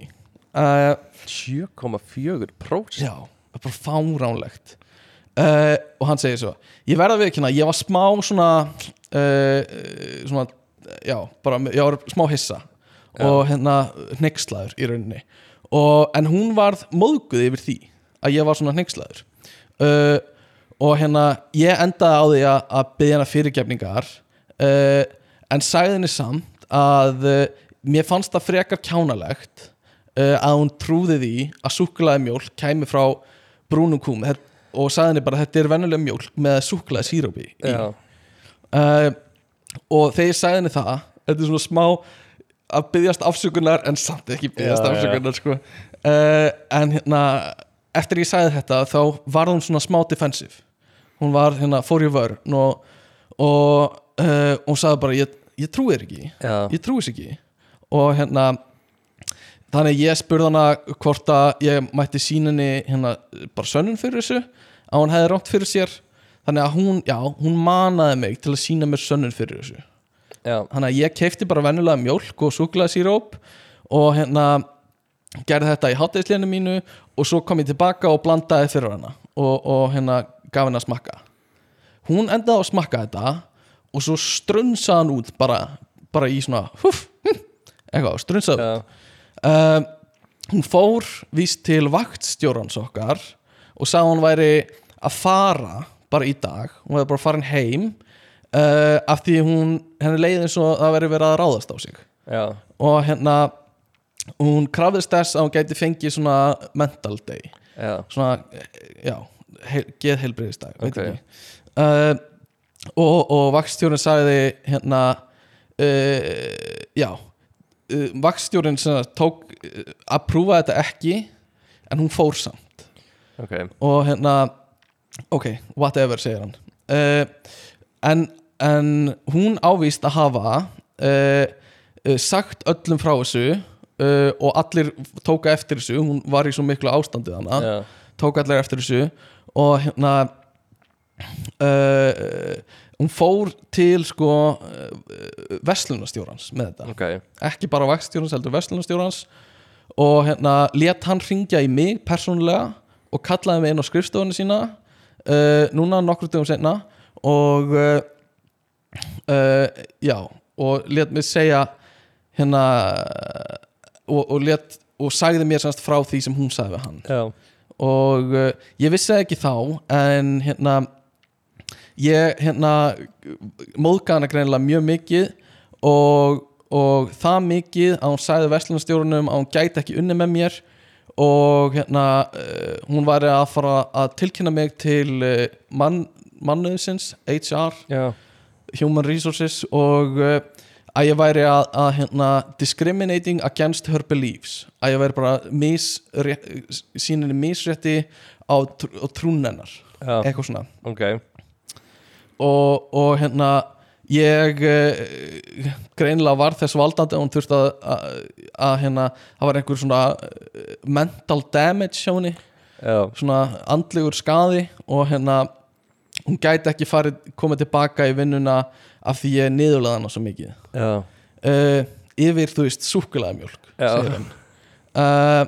S4: uh,
S3: 7,4%
S4: já, það er bara fáránlegt uh, og hann segir svo ég verða við ekki hérna, ég var smá svona uh, svona já, bara, með- ég var smá hissa og hérna hneykslaður í rauninni og, en hún varð móðguð yfir því að ég var svona hneykslaður uh, og hérna ég endaði á því að, að byggja hana fyrirgefningar uh, en sagði henni samt að uh, mér fannst það frekar kjánalegt uh, að hún trúði því að súkkulaði mjólk kæmi frá brúnum kúm Þetta- og sagði henni bara þetta er vennuleg mjólk með súkkulaði sírópi í
S3: Já.
S4: uh, og þegar ég sagði henni það þetta er svona smá að byggjast afsökunar en samt ekki byggjast
S3: Já, já.
S4: afsökunar sko. uh, en hérna eftir ég sagði þetta þá var hún svona smá defensive hún var hérna fór í vörn og, og uh, hún sagði bara ég, ég trúi þér ekki
S3: Já.
S4: ég trúi þess ekki og hérna þannig að ég spurði hana hvort að ég mætti síninni hérna bara sönnun fyrir þessu að hún hefði rámt fyrir sér þannig að hún, já, hún manaði mig til að sína mér sönnun fyrir þessu
S3: Já.
S4: þannig að ég keifti bara venjulega mjólk og súklaði síróp og hérna gerði þetta í hátæðislénu mínu og svo kom ég tilbaka og blandaði fyrir hana og, og hérna gaf henni að smakka hún endaði á að smakka þetta og svo strunsaði hann út bara, bara í svona húf, hm, eitthvað, strunsaði
S3: Já.
S4: uh, hún fór víst til vaktstjórans okkar og sagði að hún væri að fara bara í dag, hún væri bara farin heim uh, af því hún henni leiði eins og það væri verið að ráðast á sig
S3: Já.
S4: og hérna hún krafðist þess að hún gæti fengið svona mental day
S3: Já.
S4: svona, eh, já, heil, geð heilbreyðisdag
S3: Ok.
S4: uh, og, og vakstjórin sagði hérna uh, já uh, vakstjórin sem sagt tók uh, að prúfa þetta ekki en hún fór samt
S3: Ok.
S4: og hérna ok, whatever segir hann uh, en, en hún ávíst að hafa uh, uh, sagt öllum frá þessu uh, og allir tóka eftir þessu hún var í svo miklu ástandið hana
S3: Já.
S4: tók allir eftir þessu og hérna uh, hún fór til sko uh, verslunastjórans með þetta
S3: Ok.
S4: ekki bara vakstjórans heldur verslunastjórans og hérna let hann ringja í mig persónulega og kallaði mig inn á skrifstofunni sína uh, núna nokkur dögum senna og uh, uh, já og let mig segja hérna og, og let og sagði mér semst frá því sem hún sagði við hann
S3: Já.
S4: og uh, ég vissi það ekki þá en hérna ég hérna móðka hana greinilega mjög mikið og, og það mikið að hún sagði verslunastjórunum að hún gæti ekki unni með mér og hérna uh, hún væri að fara að tilkynna mig til uh, mann, mannöðsins HR
S3: Já.
S4: Human Resources og uh, að ég væri að, að hérna, discriminating against her beliefs að ég væri bara mis, síninni misrétti á, tr á trúnennar
S3: Já.
S4: eitthvað svona
S3: Ok.
S4: og, og hérna ég uh, greinlega var þess valdandi að hún þurfti að, að, að hérna, það var einhver svona uh, mental damage hjá henni
S3: já,
S4: svona andlegur skaði og hérna hún gæti ekki farið, komið tilbaka í vinnuna af því ég niðurlega hana svo mikið
S3: já,
S4: uh, yfir, þú veist, súkulæðumjólk
S3: Já.
S4: segir hann uh,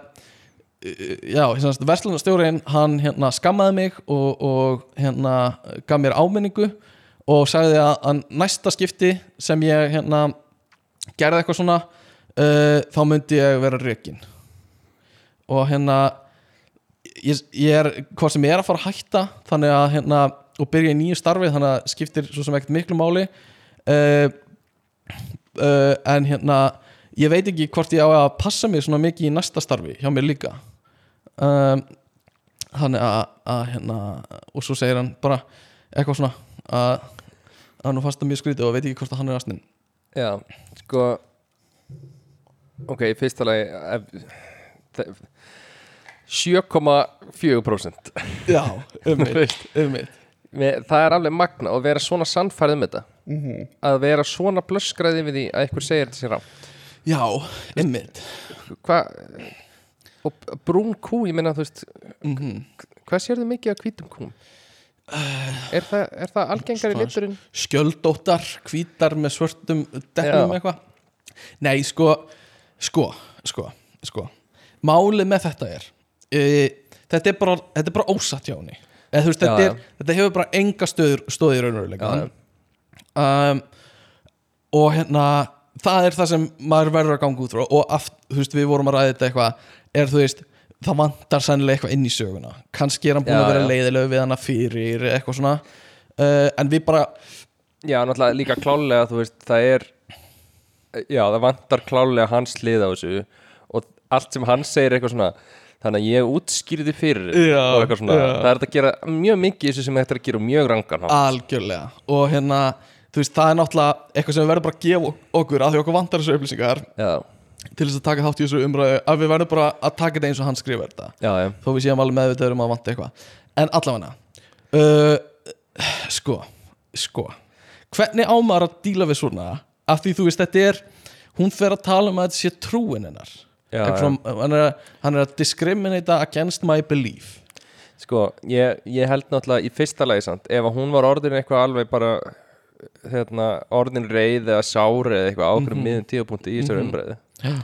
S4: já, hérna, verslunarstjórin hann hérna skammaði mig og, og hérna gaf mér áminningu og sagði að, að næsta skipti sem ég hérna gerði eitthvað svona uh, þá myndi ég vera rökin og hérna ég, ég er, hvað sem ég er að fara að hætta þannig að hérna, og byrja í nýju starfi þannig að skiptir svo sem ekkert miklu máli uh, uh, en hérna ég veit ekki hvort ég á að passa mig svona mikið í næsta starfi hjá mér líka um, þannig að, að hérna, og svo segir hann bara eitthvað svona að að nú fannst það mjög skrítið og veit ekki hvort að hann er astinn
S3: já sko ok, í fyrsta lagi ef- þe- 7,4%
S4: já, um
S3: Veist. Með- það er alveg magna og vera svona sannfærið með þetta að vera svona blöskraði við því að einhver segir þetta sér á
S4: já, um mitt
S3: hvað og brún kú, ég meina þú veist hvað sér þið mikið af hvítum kúm? er, það, er það algengari
S4: Svona-
S3: liturinn?
S4: skjöldóttar, hvítar með svörtum dekknum
S3: Já.
S4: eitthvað nei, sko, sko, sko, sko málið með þetta er e, þetta er bara, þetta er bara ósatt hjá henni Eð, veist,
S3: Já,
S4: þetta,
S3: já.
S4: er, þetta hefur bara enga stöður, stöður raunveruleika
S3: Já,
S4: um, og hérna það er það sem maður verður að ganga út frá og aft, þú veist, við vorum að ræða þetta eitthvað er þú veist, það vantar sennilega eitthvað inn í söguna kannski er hann búin
S3: Já,
S4: að vera
S3: já.
S4: leiðilegu við hana fyrir eitthvað svona uh, en við bara,
S3: já, náttúrulega líka klálega þú veist, það er já, það vantar klálega hans lið á þessu og allt sem hann segir er eitthvað svona þannig að ég útskýrði fyrir þér
S4: Já,
S3: og eitthvað svona,
S4: já. Ah.
S3: það er hægt að gera mjög mikið í þessu sem þetta er að gera á mjög rangan hátt.
S4: algjörlega og hérna, þú veist, það er náttúrulega eitthvað sem við verðum bara að gefa okkur að því okkur vantar þessu upplýsingar
S3: já,
S4: til þess að taka þátt í þessu umræðu að við verðum bara að taka þetta eins og hann skrifa þetta
S3: já, já,
S4: þó við séum alveg meðvitaður um að vanta eitthvað en allavega uh, sko, sko hvernig ámar að díla við svona af því þú veist þetta er hún fer að tala um að þetta sé trúin hennar
S3: Já,
S4: Eitthvað
S3: já.
S4: svona, hann, er, að- hann er að discriminata against my belief
S3: Sko, ég, ég held náttúrulega í fyrsta lagi samt, ef að hún var orðin eitthvað alveg bara hérna, orðin reið eða sári eða eitthvað ákveðum mm
S4: Mhm.
S3: -hmm. miðum tíðapunkti í þessari umræðu
S4: Já.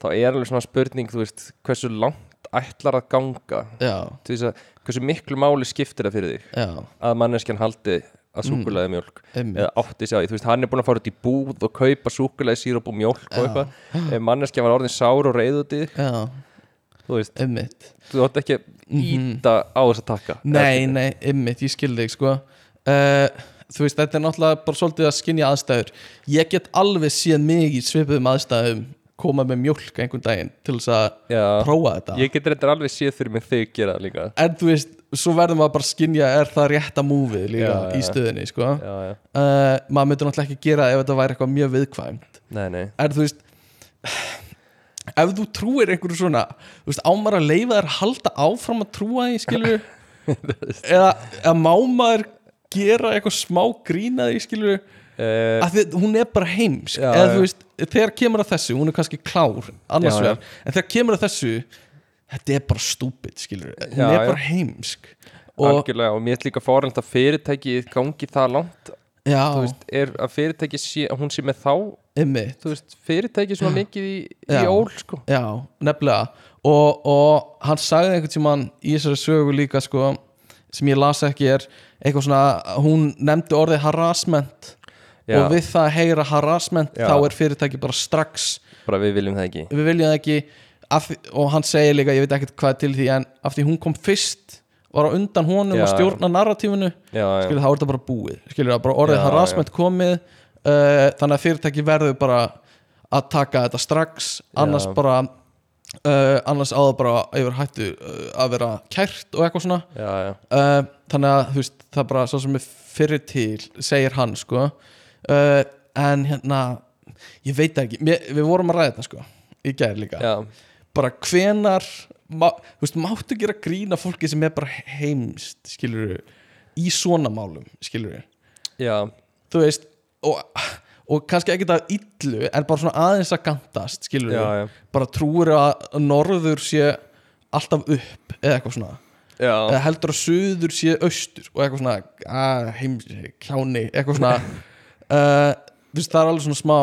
S3: þá er alveg svona spurning, þú veist hversu langt ætlar að ganga
S4: já,
S3: til þess að hversu miklu máli skiptir það fyrir þig
S4: já,
S3: að manneskjan haldi að súkulæði mjólk
S4: Mm. Einmitt.
S3: eða átti sig á því, þú veist, hann er búin að fara út í búð og kaupa súkulæði síróp og mjólk og eitthvað, ef manneskjan var orðin sár og reið út í þig,
S4: já,
S3: þú veist
S4: ummitt
S3: þú átt ekki að íta á þess að taka
S4: Mhm. nei, nei, ummitt, ég skildi þig sko uh, þú veist, þetta er náttúrulega bara svolítið að skinja aðstæður ég get alveg séð mig í svipuðum aðstæðum koma með mjólk einhvern daginn til þess að
S3: Já.
S4: prófa þetta
S3: Ég get reyndar alveg séð fyrir mig þig gera það líka
S4: en þú veist, svo verður maður bara að skinja er það rétta múfið líka
S3: Já, já.
S4: í stöðinni sko.
S3: Já, já,
S4: uh, maður myndur náttúrulega ekki gera það ef þetta væri eitthvað mjög viðkvæmt
S3: nei, nei
S4: en þú veist ef þú trúir einhverju svona þú veist, ámar að leifa þær að halda áfram að trúa því skilur eða, eða má maður gera eitthvað smá grína því skilur
S3: uh,
S4: að þið, hún er bara heimsk
S3: Já,
S4: eða
S3: já.
S4: þú veist, þegar kemur að þessu hún er kannski klár, annars
S3: Já, já.
S4: vegar en þegar kemur að þessu þetta er bara stúpid, skilur hún
S3: Já,
S4: er
S3: já.
S4: bara heimsk og,
S3: Algjörlega, og mér er líka fórhald að fyrirtæki gangi það langt
S4: já,
S3: Þú veist, er að fyrirtæki sé, að hún sé með þá
S4: einmitt
S3: Þú veist, fyrirtæki svona mikið í, í
S4: Já.
S3: ól, sko
S4: já, nefnilega og, og hann sagði einhvern tímann í þessari sögu líka sko, sem ég las ekki er eitthvað svona, hún nefndi orðið harassment
S3: Já.
S4: og við það að heyra harassment
S3: Já.
S4: þá er fyrirtæki bara strax
S3: Bara við viljum það ekki
S4: við viljum það ekki af, því- og hann segir líka, ég veit ekkert hvað er til því en af því hún kom fyrst var á undan honum
S3: Já.
S4: að stjórna narratífinu
S3: Já, já,
S4: skilur, þá er þetta bara búið skilur, það er bara orðið
S3: Já,
S4: harassment komið uh, þannig að fyrirtæki verður bara að taka þetta strax annars
S3: Já.
S4: bara uh, annars á það bara yfir hættu uh, að vera kært og eitthvað svona
S3: já, já,
S4: uh, þannig að þú veist það er bara svo sem er fyrir til segir hann sko uh, en hérna ég veit það ekki, Mér, við vorum að ræða þetta sko í gær líka,
S3: já.
S4: bara hvenar má, þú veist, máttu gera grína fólki sem er bara heimst, skilur í svona málum, skilur
S3: já.
S4: þú veist, og, og kannski ekkert að illu en bara svona aðeins að gantast skilur
S3: Já, já.
S4: bara trúir að norður sé alltaf upp eða eitthvað svona
S3: já,
S4: eða heldur að suður sé austur og eitthvað svona að, heims, kjáni, eitthvað svona uh, viðst, það er alveg svona smá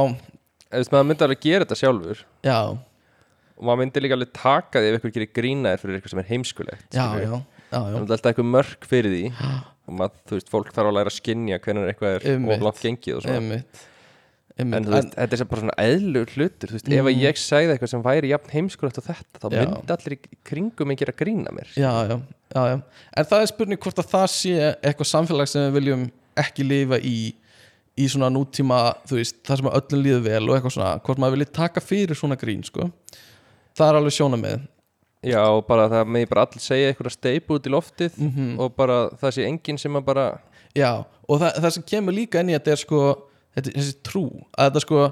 S3: Þú veist, maður myndi alveg gera þetta sjálfur
S4: já,
S3: og maður myndi líka alveg taka því ef ykkur gerir grínaðir fyrir eitthvað sem er heimskulegt
S4: já,
S3: skilurðu.
S4: já, já,
S3: Það
S4: já.
S3: er náttúrulega alltaf eitthvað mörk fyrir því og maður, þú veist, fólk þarf að læra að skinja hvernig eitthvað er
S4: Einmitt.
S3: of langt gengið og svona
S4: einmitt,
S3: en
S4: einmitt.
S3: þú veist, þetta er sem bara svona eðlur hlutur þú veist, ef að ég segði eitthvað sem væri jafn heimskulegt og þetta, þá
S4: Mm. Já.
S3: myndi allir í kringum mig gera grína mér
S4: já, já, já, já. en það er spurning hvort að það sé eitthvað samfélag sem við viljum ekki lifa í í svona nútíma, þú veist, það sem að öllum líður vel og eitthvað svona, hvort maður vilji taka fyrir svona grín, sko það er alveg sjóna með
S3: Já, og bara það með bara allir segja eitthvað að steipa út í loftið
S4: Mhm.
S3: og bara það sé enginn sem að bara
S4: Já, og það, það sem kemur líka inn í þetta er sko, þetta, þessi trú að þetta sko,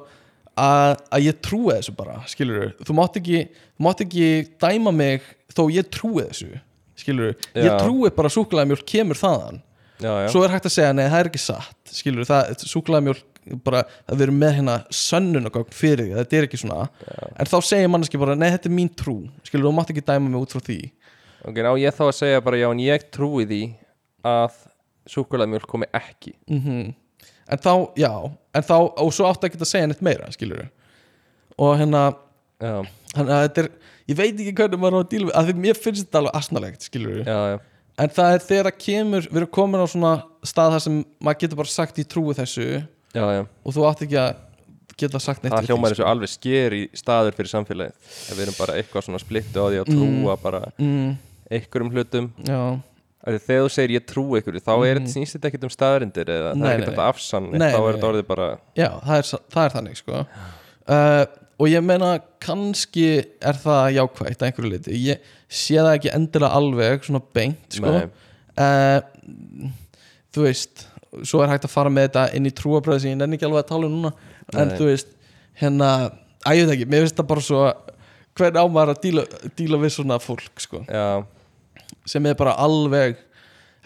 S4: að, að ég trúi þessu bara, skilur þú mátt ekki, þú mátt ekki dæma mig þó ég trúi þessu, skilur
S3: Já.
S4: ég trúi bara súkulæðamjólk kemur þaðan
S3: Já, já,
S4: svo er hægt að segja, nei, það er ekki satt skilur, það, súkulæðamjólk bara að við erum með hérna sönnunagögn fyrir því, þetta er ekki svona en þá segir manneski bara, nei, þetta er mín trú skilur, þú mátt ekki dæma mig út frá því
S3: ok, ná ég þá að segja bara já, en ég trúi því að súkulæðmjólk komi ekki
S4: Mhm. en þá, já, en þá og svo áttu ekki að segja neitt meira, skilur og hérna,
S3: Já,
S4: þannig að þetta er ég veit ekki hvernig maður á að díla við, að því mér finnst þetta alveg asnalegt, skilur
S3: já, já,
S4: en það er þegar að kemur, við erum komin á svona stað þar sem maður getur bara sagt í trúi þessu
S3: já, já.
S4: og þú átt ekki að geta sagt neitt
S3: það
S4: við
S3: hljómar
S4: því, sko.
S3: þessu alveg sker í staður fyrir samfélagið ef við erum bara eitthvað svona splittu á því að trúa bara
S4: mm,
S3: einhverjum hlutum
S4: já,
S3: Af því þegar þú segir ég trúi ykkur þá er þetta snýst þetta ekkert um staðarindir eða það
S4: Mm. Nei,
S3: er ekkert
S4: nei.
S3: þetta afsann þá
S4: Nei,
S3: er
S4: nei,
S3: þetta orðið bara
S4: já það, er, sa- það er þannig, sko uh, og ég meina kannski er það jákvægt að einhverju liti, ég sé það ekki endilega alveg svona beint, sko
S3: nei,
S4: Eh, þú veist svo er hægt að fara með þetta inn í trúabröð sem ég nenni ekki alveg að tala um núna en
S3: Nei.
S4: þú veist, hérna að ég veit ekki, mér finnst það bara svo hvern á maður að díla, díla við svona fólk sko,
S3: já,
S4: sem er bara alveg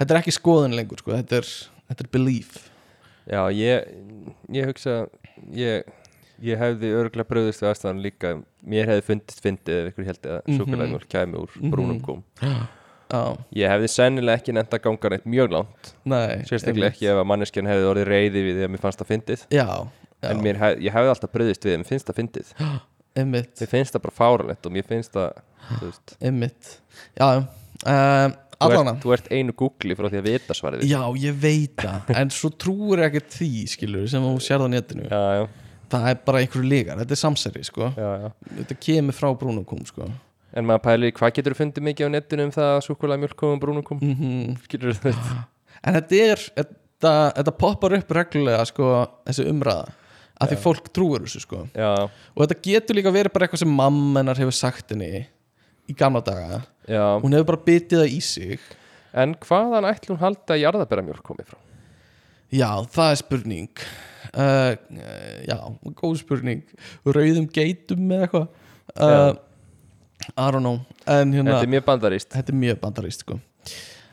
S4: þetta er ekki skoðun lengur sko, þetta er, þetta er belief
S3: já, ég ég hugsa ég, ég hefði örgulega bröðist við aðstæðan líka mér hefði fundist fyndið ef ykkur held að mm
S4: Mhm.
S3: -hmm. kæmi úr brúnum kom
S4: á,
S3: ég hefði sennilega ekki nefnt að ganga neitt mjög langt
S4: nei
S3: sérstaklega
S4: einmitt.
S3: ekki ef að manneskjan hefði orðið reyði við því að mér fannst það fyndið
S4: já, já,
S3: en mér, hef, ég hefði alltaf bröðist við, mér finnst það fyndið
S4: einmitt
S3: mér finnst það bara fáralegt og mér finnst það þú veist
S4: einmitt, já, uh,
S3: Þú
S4: allana
S3: ert, þú ert einu googli frá því að vita svarið
S4: já, ég veit það, en svo trúur ekki því, skilur, sem þú sér það á netinu
S3: já, já,
S4: það er bara einhverju lígar, þetta er samsæri sko.
S3: já, já.
S4: þetta kemur frá brúnukum sko.
S3: En maður pælir, hvað getur þú fundið mikið á netinu um það að súkulega mjölk komum brúnum kom?
S4: mm -hmm.
S3: Skilur þú þetta?
S4: en þetta er þetta, þetta poppar upp reglulega sko, þessi umræða að því fólk trúur þessu sko.
S3: Já,
S4: og þetta getur líka verið bara eitthvað sem mamma hennar hefur sagt henni í gamla daga
S3: já.
S4: hún hefur bara bitið það í sig
S3: En hvaðan ætli hún halda að jarðabera mjölk komið frá?
S4: já, það er spurning uh, uh, já, góð spurning rauðum geitum eða eitthvað uh, I don't know en hérna
S3: Þetta er mjög bandarist.
S4: þetta er mjög bandarist sko.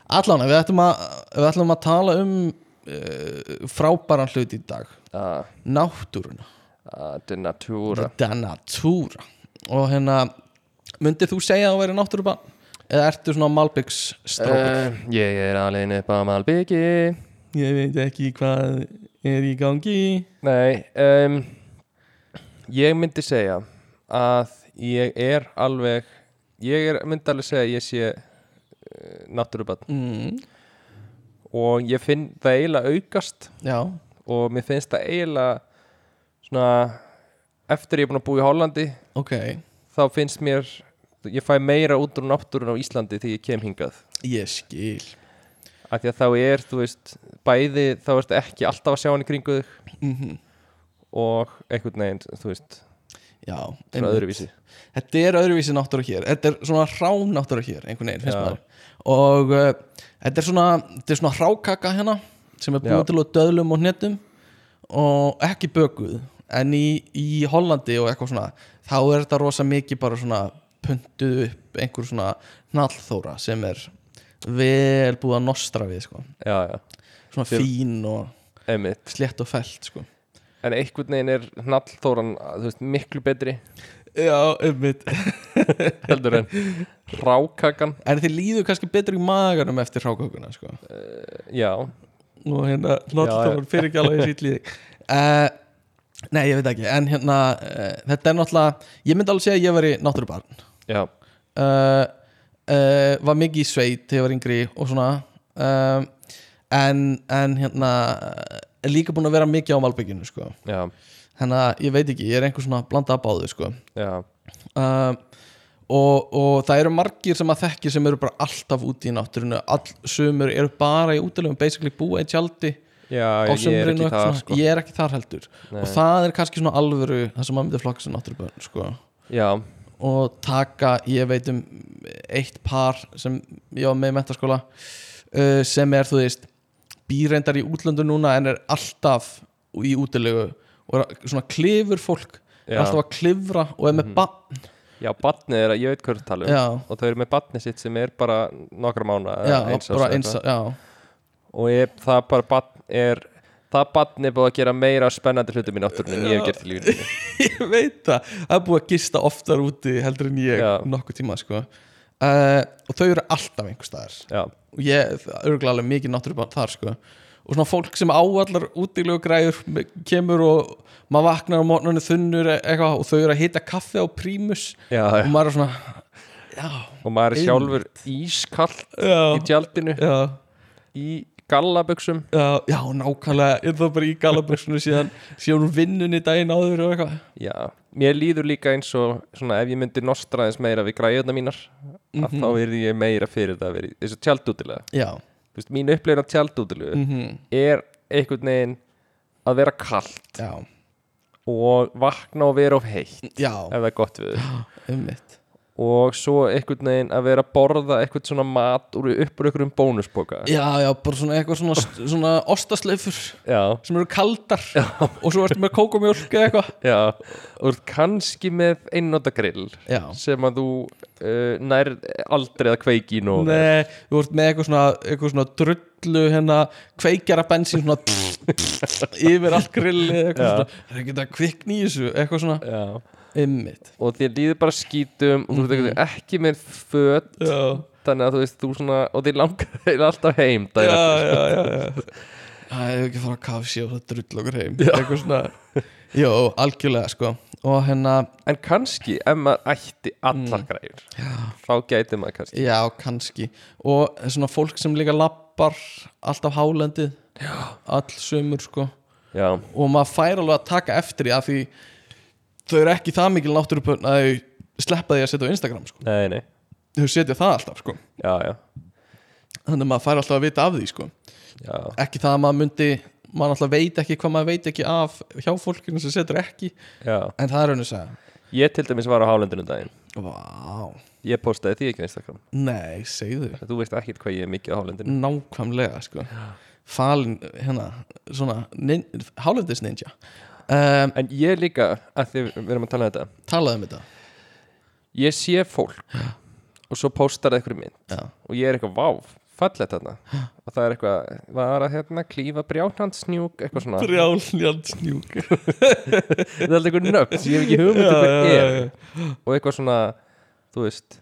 S4: allan, við ætlum að, við ætlum að tala um uh, frábæran hlut í dag
S3: Ah,
S4: náttúruna,
S3: ah, Þetta er natúra.
S4: þetta er natúra og hérna myndið þú segja að þú væri náttúrubann eða ertu svona Malbyggs strókur
S3: Uh, ég er alveg upp á Malbyggi.
S4: ég veit ekki hvað er í gangi
S3: Nei, um, ég myndi segja að ég er alveg, ég er, myndi alveg segja að ég sé uh, natúrubann
S4: mm,
S3: og ég finn það eiginlega aukast
S4: já,
S3: og mér finnst það eiginlega svona eftir ég er búin að búa í Hollandi
S4: ok
S3: þá finnst mér ég fæ meira út úr náttúrun á Íslandi þegar ég kem hingað
S4: ég skil
S3: af því að þá er, þú veist, bæði þá ertu ekki alltaf að sjá hann í kringu þig
S4: mm
S3: og einhvern veginn, þú veist,
S4: já,
S3: svona
S4: einmitt.
S3: öðruvísi
S4: þetta er öðruvísi náttúra hér þetta er svona rá náttúra hér einhvern veginn, finnst
S3: Já.
S4: maður og uh, þetta er svona, þetta er svona rákaka hérna sem er búin
S3: Já.
S4: til að döðlum og hnetum og ekki bökuð en í, í Hollandi og eitthvað svona þá er þetta rosa mikið bara svona puntuð upp einhver svona nallþóra sem er vel búið að nostra við sko.
S3: Já, já,
S4: svona
S3: Þeir-
S4: fín og
S3: einmitt
S4: slétt og fælt sko.
S3: en einhvern veginn er hnallþóran þú veist, miklu betri
S4: Já, einmitt
S3: heldur en rákakan
S4: En þið líður kannski betur í maganum eftir hrákökuna sko.
S3: já,
S4: og hérna,
S3: Já, já.
S4: náttúrulega fyrir ekki alveg sýtt líði uh, Nei, ég veit ekki en hérna, uh, þetta er náttúrulega ég myndi alveg segja að ég veri náttúrubarn
S3: já,
S4: uh, uh, var mikið í sveit þegar ég var yngri og svona um, en, en hérna er líka búin að vera mikið á malbygginu sko.
S3: já,
S4: þannig að ég veit ekki, ég er einhver svona blanda að báðu sko.
S3: já
S4: um, og, og það eru margir sem að þekki sem eru bara alltaf úti í náttúrinu all sumur eru bara í útilegum basically búa í tjaldi
S3: já,
S4: á
S3: ég er
S4: sumrinu
S3: ekki
S4: og
S3: það
S4: eitthvað
S3: sko.
S4: svona. ég er ekki þar heldur og það er kannski svona alvöru það sem maður myndi flokka sem náttúrubönn sko.
S3: já,
S4: og taka, ég veit um eitt par sem ég var með í mentaskóla uh, sem er, þú veist býrendar í útlöndu núna en er alltaf í útilegu og er svona klifur fólk er
S3: Já. Mhm.
S4: alltaf að klifra og er með mm
S3: já, batnið er að ég veit hvað þú ert að tala um
S4: já,
S3: og þau eru með batnið sitt sem er bara nokkra mánu
S4: já, bara eins já,
S3: og ég, það bara batn er það batn er búið að gera meira spennandi hlutum í náttúrunni en ég hef gert í lífinu mínu.
S4: ég veit það, það er búið að gista oftar úti heldur en ég
S3: Já.
S4: nokkuð tíma sko. uh, og þau eru alltaf einhvers staðar
S3: já,
S4: og ég örgulega alveg mikið náttúrulega þar sko og svona fólk sem á allar útilegu græður me- kemur og maður vaknar á morgunni þunnur e- eitthvað og þau eru að hita kaffi á prímus
S3: já,
S4: og maður er svona já,
S3: og maður er
S4: Einmitt.
S3: sjálfur ískall í
S4: já,
S3: tjaldinu
S4: já,
S3: í gallaböksum
S4: já, já nákvæmlega er það bara í galaböksinu síðan síðan úr vinnunni daginn áður og eitthvað
S3: Já, mér líður líka eins og svona, ef ég myndi nostra aðeins meira við græðuna mínar
S4: Mhm.
S3: að þá er ég meira fyrir það að vera í þessu tjaldútilega
S4: já,
S3: Þú veist, mín upplifun af tjaldútilegu
S4: Mm. Mhm.
S3: er einhvern veginn að vera kallt
S4: já,
S3: og vakna og vera of heitt
S4: já,
S3: ef það er gott við
S4: ummitt
S3: og svo einhvern veginn að vera að borða einhvern svona mat úr uppur einhverjum bónusboka
S4: já, já, bara svona eitthvað svona, svona ostasleifur
S3: Já,
S4: sem eru kaldar já. og svo ertu með kókumjólk eða eitthvað
S3: já, og þú ert kannski með einnóta grill
S4: já,
S3: sem að þú uh, nær aldrei að kveiki í nóg vel.
S4: Nei, þú ert með eitthvað svona, eitthvað svona drullu hérna, kveikjara bensín svona yfir allt grilli eitthvað
S3: Já.
S4: svona, það er ekki þetta kvikni í þessu eitthvað svona,
S3: Já
S4: ymmit
S3: og þér líður bara skítum og þú veist einhvern veginn ekki með föt
S4: Mhm. Já,
S3: þannig að þú veist þú svona og þér langar þeir alltaf heim
S4: já,
S3: daginn eftir.
S4: já, já, já. Það hefur ekki að fara að kafsi og það drull okkur heim eitthvað svona, jú, algjörlega sko, og hérna
S3: en kannski ef maður ætti
S4: Mm.
S3: allar græður þá gæti maður kannski
S4: já, kannski, og svona fólk sem líka lappar alltaf hálendið, all sumur sko
S3: já,
S4: og maður fær alveg að taka eftir því að því þau eru ekki það mikil náttúrupörn að þau sleppa því að setja á Instagram sko.
S3: nei, nei,
S4: þau setja það alltaf sko.
S3: já, já,
S4: þannig að maður fær alltaf að vita af því sko.
S3: já
S4: ekki það að maður myndi maður alltaf veit ekki hvað maður veit ekki af hjá fólkinu sem setur ekki
S3: Já,
S4: en það er raun að segja
S3: ég til dæmis var á hálendinu um daginn
S4: Vá,
S3: Ég postaði því ekki á Instagram
S4: nei, segðu
S3: Þú veist ekkert hvað ég er mikið á hálendinu
S4: nákvæmlega sko. falin, hérna svona, nin, hálendis ninja um,
S3: En ég líka, að því við erum að tala um þetta
S4: talaðu um þetta
S3: Ég sé fólk og svo postar það einhverju mynd
S4: Já.
S3: og ég er eitthvað váf, fallet þarna og það er eitthvað, var að hérna klífa brjálhandsnjúk, eitthvað svona
S4: brjálhjansnjúk
S3: það er alltaf einhver nöfn sem ég hef ekki hugmynd um hvað er og eitthvað svona, þú veist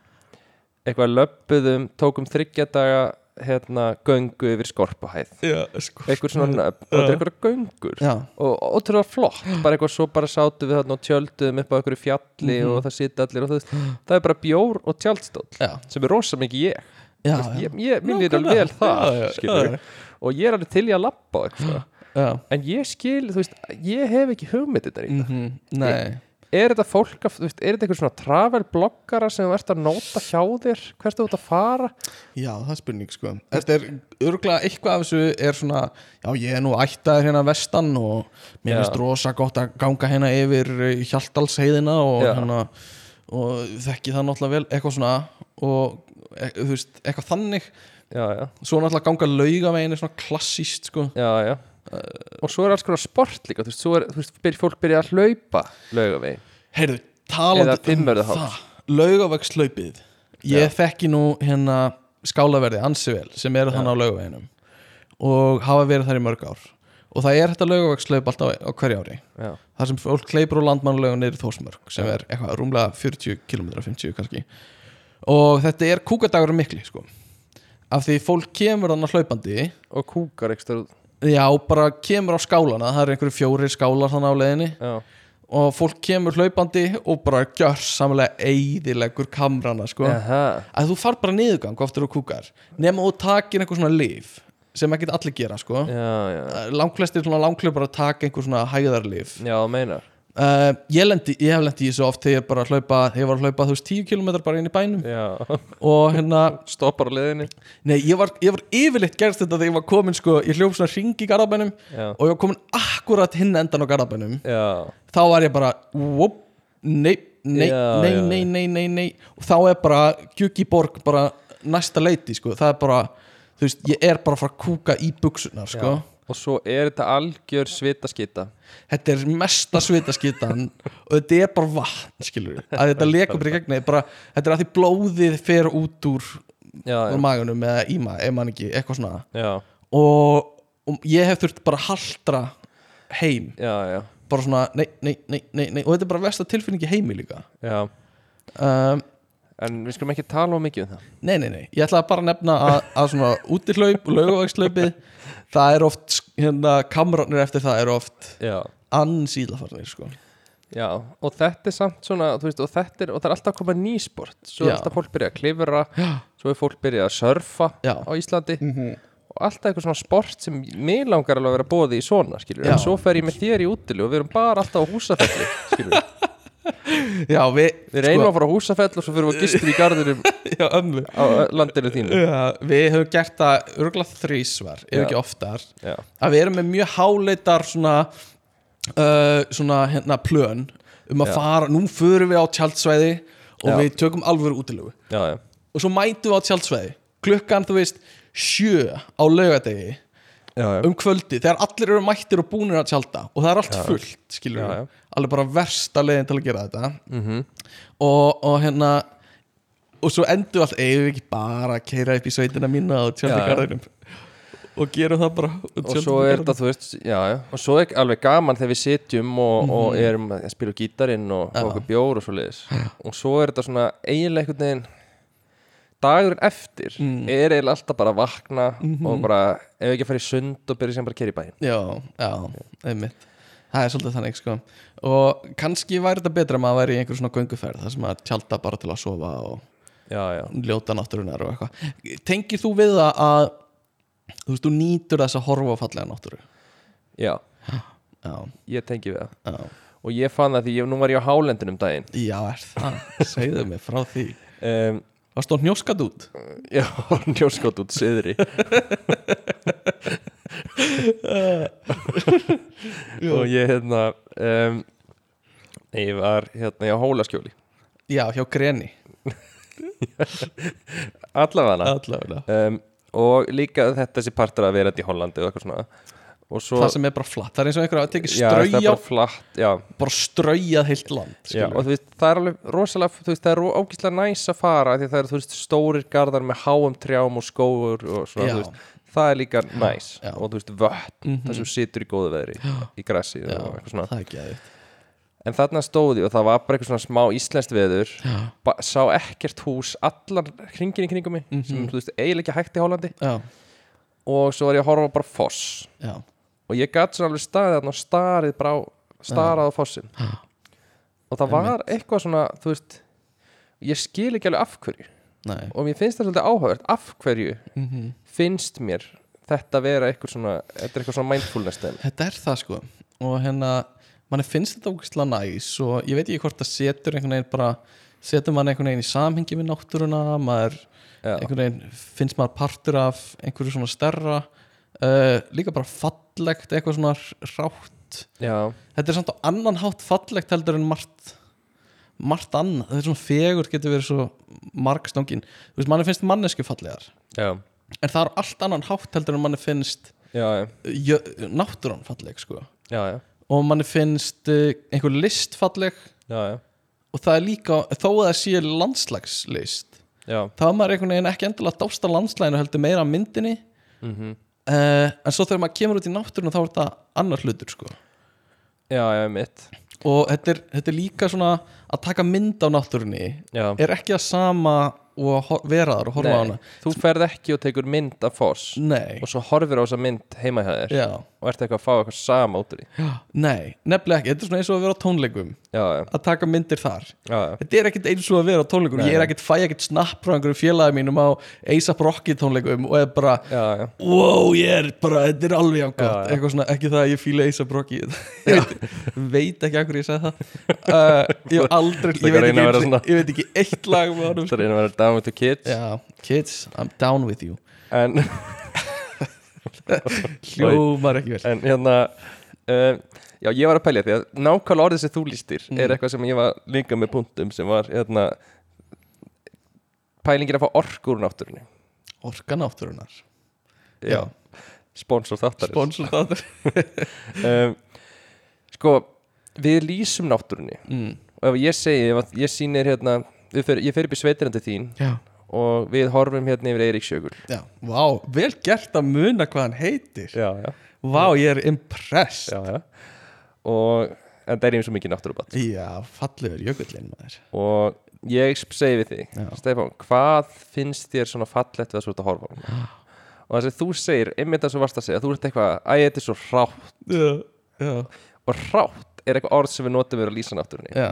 S3: eitthvað löppuðum tókum þryggja daga hérna göngu yfir skorpuhæð
S4: já, sko
S3: eitthvað svona nöfn, og þetta er eitthvað göngur
S4: já,
S3: og ótrúlega flott, bara eitthvað svo bara sátum við þarna og tjöldum upp á einhverju fjalli
S4: Mhm.
S3: og það sita allir og það, það er bara bjór og tjaldstóll
S4: já,
S3: sem er rosa mikið ég
S4: já,
S3: Þú veist,
S4: já.
S3: ég, ég minn er alveg
S4: Nákvæmlega.
S3: vel það
S4: Já, já, já,
S3: skilurðu. og ég er alveg til í að labba og eitthvað.
S4: já.
S3: en ég skil, þú veist, ég hef ekki hugmynd þetta í
S4: Mhm, Nei,
S3: er þetta fólk, að- þú veist, er þetta einhver svona travel bloggara sem þú ert að nota hjá þér hvert þú ert að fara
S4: já það er spurning sko Þetta er örgulega eitthvað af þessu er svona Já ég er nú ættaður hérna vestan og
S3: Já.
S4: mér finnst rosa gott að ganga hérna yfir eh, Hjaltalsheiðina og
S3: Já.
S4: hérna og þekki það náttúrulega vel eitthvað svona og e, þú veist, eitthvað þannig
S3: já, já,
S4: svo náttúrulega ganga laugavegin er svona klassíst sko
S3: já, já
S4: Uh,
S3: og svo er alls konar sport líka þú veist, svo er, þú veist byrj, fólk byrja að hlaupa laugavegin
S4: Heyrðu, talandi um
S3: Eða Fimmvörðuháls.
S4: Laugavegslaupið Ég
S3: Já.
S4: þekki nú hérna skálaverði ansi vel sem eru þannig á laugaveginum og hafa verið þar í mörg ár og það er þetta laugavægslaup alltaf á hverju ári
S3: já,
S4: þar sem fólk kleipur úr landmannlauga niður í Þórsmörg sem er eitthvað rúmlega 40 km 50 kannski og þetta er kúkadagur mikli sko af því fólk kemur þannig hlaupandi
S3: og kúkar ekstra út
S4: já bara kemur á skálana það eru einhverju fjórir skálar þannig á leiðinni
S3: já,
S4: og fólk kemur hlaupandi og bara gjör samlega eiðilegur kamrana sko
S3: Aha,
S4: að þú far bara niðurgang oftur og kúkar nema þú takir einhver svona líf sem ekki allir gera sko
S3: já, já
S4: langflestir svona langklöpar að taka einhver svona hæðarlif
S3: já, þú meinar
S4: uh, ég, lendi, ég hef lendi í þessu oft þegar ég bara hlaupa, þegar ég var að hlaupa þú veist 10 km bara inn í bænum
S3: já,
S4: og hérna,
S3: stoppar á leiðinni
S4: nei ég var, ég var yfirleitt gerst þetta þegar ég var komin sko, ég hljóf svona ring í garðabænum
S3: já,
S4: og ég var komin akkurat hinn endan á garðabænum
S3: já,
S4: þá var ég bara, whoop, nei Nei,
S3: Já,
S4: nei,
S3: já.
S4: nei, nei, nei, nei og þá er bara Gjökiborg bara næsta leiti, sko, það er bara þú veist, ég er bara að fara að kúka í buksunar, sko
S3: já. og svo er þetta algjör svitaskita
S4: þetta er mesta svitaskítan og þetta er bara vatn skilur að þetta lekur bara í gegn bara, þetta er að því blóðið fer út úr,
S3: já, já,
S4: úr maganum eða íma, ef mann ekki, eitthvað svona
S3: já,
S4: og, og ég hef þurft bara að haltra heim,
S3: já, já,
S4: bara svona nei, nei, nei, nei, nei, og þetta er bara versta tilfinningi heimi líka
S3: já.
S4: um,
S3: en við skulum ekki tala of mikið um það
S4: Nei, nei, nei, ég ætlaði bara að nefna að, að svona útihlaup, laugavægslaupið það er oft, hérna, kamranir eftir það er oft
S3: já,
S4: ansýðlafarnir, sko
S3: já, og þetta er samt svona þú veist, og þetta er, og það er alltaf að koma nýsport svo er
S4: Já.
S3: alltaf fólk byrjað að klifra svo er fólk byrjað að surfa
S4: Já.
S3: á Íslandi
S4: Mhm.
S3: og alltaf eitthvað svona sport sem mér langar alveg að vera bóði í svona skilur,
S4: Já.
S3: en svo fer ég með þér í útilu og við erum bara alltaf á húsafelli skilur,
S4: Já, við,
S3: við reynum að fara á húsafelli og svo fyrir við að gistur í garðurum
S4: Já, ömmu
S3: á landinu þínu
S4: Já, við höfum gert það örgulega þrísvar, ef
S3: Já.
S4: ekki oftar
S3: já,
S4: að við erum með mjög háleitar svona, uh, svona hérna, plön um að
S3: Já.
S4: fara, nú förum við á tjaldsvæði og
S3: Já.
S4: við tökum alvöru útilegu
S3: já, já,
S4: og svo mætum við á tjaldsvæði klukkan, þú veist, sjö á laugardegi
S3: já, já.
S4: um kvöldi þegar allir eru mættir og búnir að tjalda og það er allt fullt, skilur
S3: Já, Mhm. já.
S4: við alveg bara versta leiðin til að gera þetta og, og hérna og svo endur allt eigum við ekki bara að keira upp í sveitina mína og
S3: Já,
S4: tjalda
S3: já.
S4: garðinum og gerum það bara
S3: og svo er þetta, þú veist, já, já og svo er alveg gaman þegar við sitjum og, og erum að spila á gítarinn og
S4: Já.
S3: fá okkur bjór og svo leiðis og svo er þetta svona eiginlega einhvern veginn dagurinn eftir er eiginlega alltaf bara að vakna og bara, ef ekki að fara í sund og byrja sem bara að kera í bæinn
S4: já, já, einmitt það er svolítið þannig sko og kannski væri þetta betra að maður væri í einhver svona gönguferð þar sem maður tjalda bara til að sofa og
S3: já, já,
S4: ljóta náttúrunar og eitthvað tengir þú við það að þú veist, þú nýtur þess að horfa á fallega náttúru
S3: já,
S4: já,
S3: ég tengi við það
S4: já,
S3: og ég fann það því, ég, nú var ég á hálendinu um daginn
S4: já er það segðu mig frá því
S3: um,
S4: varst þú hnjóskat út?
S3: já, njóskot út syðri og ég hérna um, ég var hérna ég á hólaskjóli
S4: já, hjá Greni
S3: allavega
S4: allavega
S3: um, og líka þetta sé partur að vera þetta í Hollandi og eitthvað svona og svo
S4: það sem er bara flatt, það er eins og einhver að tekið
S3: Já, það er
S4: strauja,
S3: bara flatt, já,
S4: bara straujað heilt land
S3: já, og þú veist, það er alveg rosalega, þú veist, það er ógíslega næs að fara af því að það eru, þú veist, stórir garðar með háum trjám og skóur og svona,
S4: Já.
S3: þú veist, það er líka næs
S4: Já. Mhm.
S3: og þú veist, vötn, það sem situr í góðu veðri í grassi og eitthvað svona
S4: það er ekki aðeins
S3: en þarna stóði og það var bara eitthvað svona smá íslenskt veður ba- sá ekkert hús allan hringin í kringum mig
S4: Mhm.
S3: sem, þú veist, eiginlega ekki hægt í Hollandi
S4: já,
S3: og svo var ég að horfa á bara foss
S4: já,
S3: og ég gat svona alveg staðið þarna og starið bara á, starað á fossin og það var eitthvað svona þú veist, ég skil ekki alveg af hverju
S4: nei
S3: og mér finnst það svolítið áhugavert af hverju
S4: Mhm.
S3: finnst mér þetta vera eitthvað svona, þetta er eitthvað svona mindfulness dæmi.
S4: þetta er það sko og hérna, manni finnst þetta ógustlega næs og ég veit ekki hvort það setur einhvern veginn bara setur mann einhvern veginn í samhengi við náttúruna maður,
S3: Já.
S4: einhvern veginn finnst maður partur af einhverju svona stærra uh, líka bara fallegt eitthvað svona rátt
S3: já,
S4: þetta er samt á annan hátt fallegt heldur en margt margt annað, þetta er svona fegur getur verið svo margstangin, þú veist, manni finnst mannesku fallegar,
S3: já,
S4: en það er á allt annan hátt heldur en manni finnst uh,
S3: já,
S4: jö, náttúran falleg, sko
S3: já, já,
S4: og manni finnst uh, einhver list falleg
S3: já, já,
S4: og það er líka, þó að það sé landslagslist
S3: já.
S4: þá er maður einhvern veginn ekki endilega að dásta landslæginu heldur meira að myndinni
S3: Mhm.
S4: uh, en svo þegar maður kemur út í náttúruna þá er þetta annar hlutur sko
S3: já, já, mitt
S4: og þetta er, þetta er líka svona að taka mynd á náttúrunni
S3: já.
S4: er ekki að sama og að hor- vera þar og horfa á
S3: Nei,
S4: hana
S3: þú ferð ekki og tekur mynd af foss
S4: nei,
S3: og svo horfir á þessa mynd heima hjá þér
S4: já,
S3: og ert eitthvað að fá eitthvað sama út úr því
S4: nei nefnilega ekki, þetta er svona eins og að vera á tónleikum
S3: já, já,
S4: að taka myndir þar
S3: já, já.
S4: Þetta er ekkert eins og að vera á tónleikum
S3: Nei.
S4: Ég er ekkert fæ ekkert snapp frá einhverjum félagi mínum á A$AP Rocky tónleikum og er bara,
S3: já, já.
S4: wow, ég er bara þetta er alveg jafn gott,
S3: Já, já.
S4: eitthvað svona ekki það að ég fíla A$AP Rocky ég veit, veit ekki af hverju ég segi það uh, Ég hef aldrei,
S3: Þetta
S4: ég veit,
S3: reyna
S4: ekki,
S3: að vera
S4: einu sinni-
S3: svona.
S4: ég veit ekki eitt lag með honum sko.
S3: það er einu að vera down with the kids
S4: Já, kids, I'm down with you
S3: en,
S4: Hljómar ekki vel
S3: en hérna uh, já, ég var að pælja því að nákvæmlega orðið sem þú lístir er eitthvað sem ég var líka með punktum sem var hérna pælingir að fá orku úr náttúrunni
S4: Orka náttúrunar
S3: Já. sponsor þáttarins
S4: Sponsor þáttur
S3: um, sko, við lýsum náttúrunni
S4: mm.
S3: og ef ég segi, ef að ég sýnir hérna við fer, ég fer upp í sveitirandi þín
S4: Já,
S3: og við horfum hérna yfir Eiríksjökul
S4: já, vá, vel gert að muna hvað hann heitir
S3: já, já,
S4: Vá, ég er impress
S3: já, já. og en það er eins og mikið náttúrubatt
S4: Já, fallegur jökullin maður
S3: og ég sp- segi við þig
S4: Já.
S3: Stefán, hvað finnst þér svona fallett við að svo þetta horfa á hana? og það sem þú segir, einmitt að svo varst að segja þú ert eitthvað, æ, þetta er svo rátt
S4: Já, já,
S3: og rátt er eitthvað orð sem við notum við að lýsa náttúrunni
S4: já.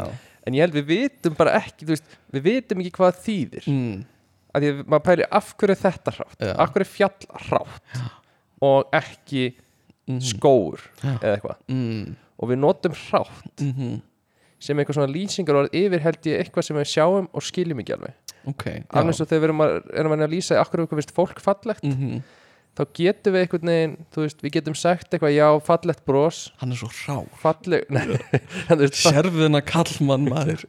S3: en ég held við vitum bara ekki þú veist, við vitum ekki hvað það þýðir
S4: Mm.
S3: að því að maður pæli af hverju er þetta hrátt
S4: Já.
S3: af hverju er fjall hrátt og ekki
S4: Mhm.
S3: skóur eða eitthvað
S4: Mm.
S3: og við notum hrátt
S4: Mm
S3: sem eitthvað svona lýsingar orð yfir held ég eitthvað sem við sjáum og skiljum ekki alveg
S4: Ok, já
S3: alveg eins og þegar við erum að, erum að lýsa af hverju eitthvað finnst fólk fallegt
S4: mm
S3: þá getum við einhvern veginn, þú veist, við getum sagt eitthvað já, fallegt bros
S4: Hann er svo rá
S3: falleg, nei, en þú veist,
S4: Sérfiðna kallmann maður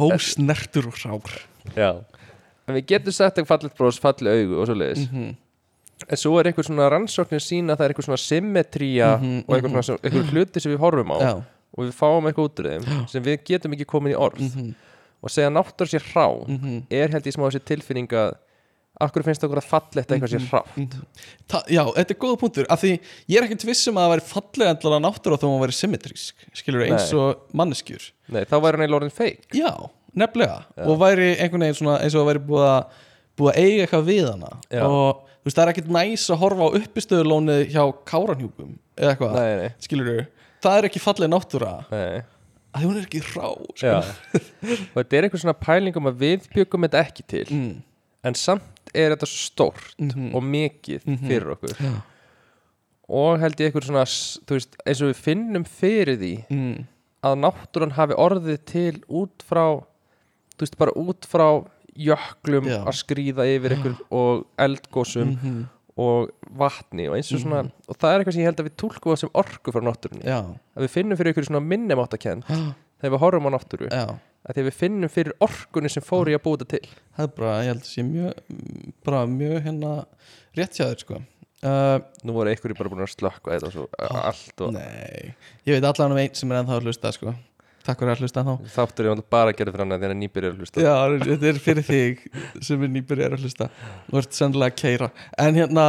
S4: Ósnertur og rár
S3: Já En við getum sagt eitthvað fallet brós, falli augu og svo
S4: Mm.
S3: leiðis
S4: Mhm.
S3: En svo er eitthvað svona rannsóknir sína að Það er eitthvað svona symmetría Og eitthvað, svona, sem- eitthvað hluti sem við horfum á
S4: Mhm, Já,
S3: Og við fáum eitthvað út úr þeim Sem við getum ekki komin í orð
S4: Mhm.
S3: Og segja náttúr sér hrá
S4: Mm.
S3: Er held ég smá þessi tilfinning að Akkur finnst okkur að fallegt eitthvað
S4: Mhm.
S3: sér hrá
S4: Mm. Ta já, þetta er góða punktur af Því ég er ekkert viss um að það væri fallega endlan að náttúra þó að hún væri symmetrísk Skilur eins
S3: Nei.
S4: og manneskjur
S3: Nei, þá væri hann í lorðin feik
S4: Já, nefnilega Og væri einhvern veginn svona eins og það væri búið að búið að eiga eitthvað við hana
S3: Já.
S4: og þú veist, það er ekkert næs að horfa á uppistöðulónið hjá káranhjúkum eða eitthvað,
S3: Nei, nei,
S4: skilur það er ekki falleg náttúra
S3: nei
S4: að því hún er ekki rá sko.
S3: Já. Og þetta er eitthvað svona pælingum að við byggum þetta ekki til
S4: mm. Mhm.
S3: en samt er þetta svo stórt og mikið fyrir okkur og held ég eitthvað svona s- þú veist, eins og við finnum fyrir því
S4: Mm.
S3: að náttúran hafi orðið til út frá þú veist, bara út frá jöklum
S4: Já. Mm.
S3: að skríða yfir ykkur og eldgósum
S4: mhm.
S3: og vatni og eins og svona og það er eitthvað sem ég held að við tólkum það sem orku frá náttúrunni
S4: Já.
S3: að við finnum fyrir ykkur svona minnumáttakend þegar við horfum á náttúru
S4: Já.
S3: að því að við finnum fyrir orkunni sem fór í að búta til
S4: það er bara, ég held að sé mjög mm, bara mjög hérna rétt hjá þér sko uh,
S3: Nú voru einhverju bara búin að slökka þetta svo allt og
S4: nei, ég veit allan um einn sem er ennþá að hlusta sko, takk fyrir að hlusta ennþá
S3: þáttur ég bara að gera fyrir hann að þeirra nýbyrjar að hlusta.
S4: Já, þetta er fyrir þig sem er nýbyrjar að hlusta Þú ert sennilega að keira En hérna,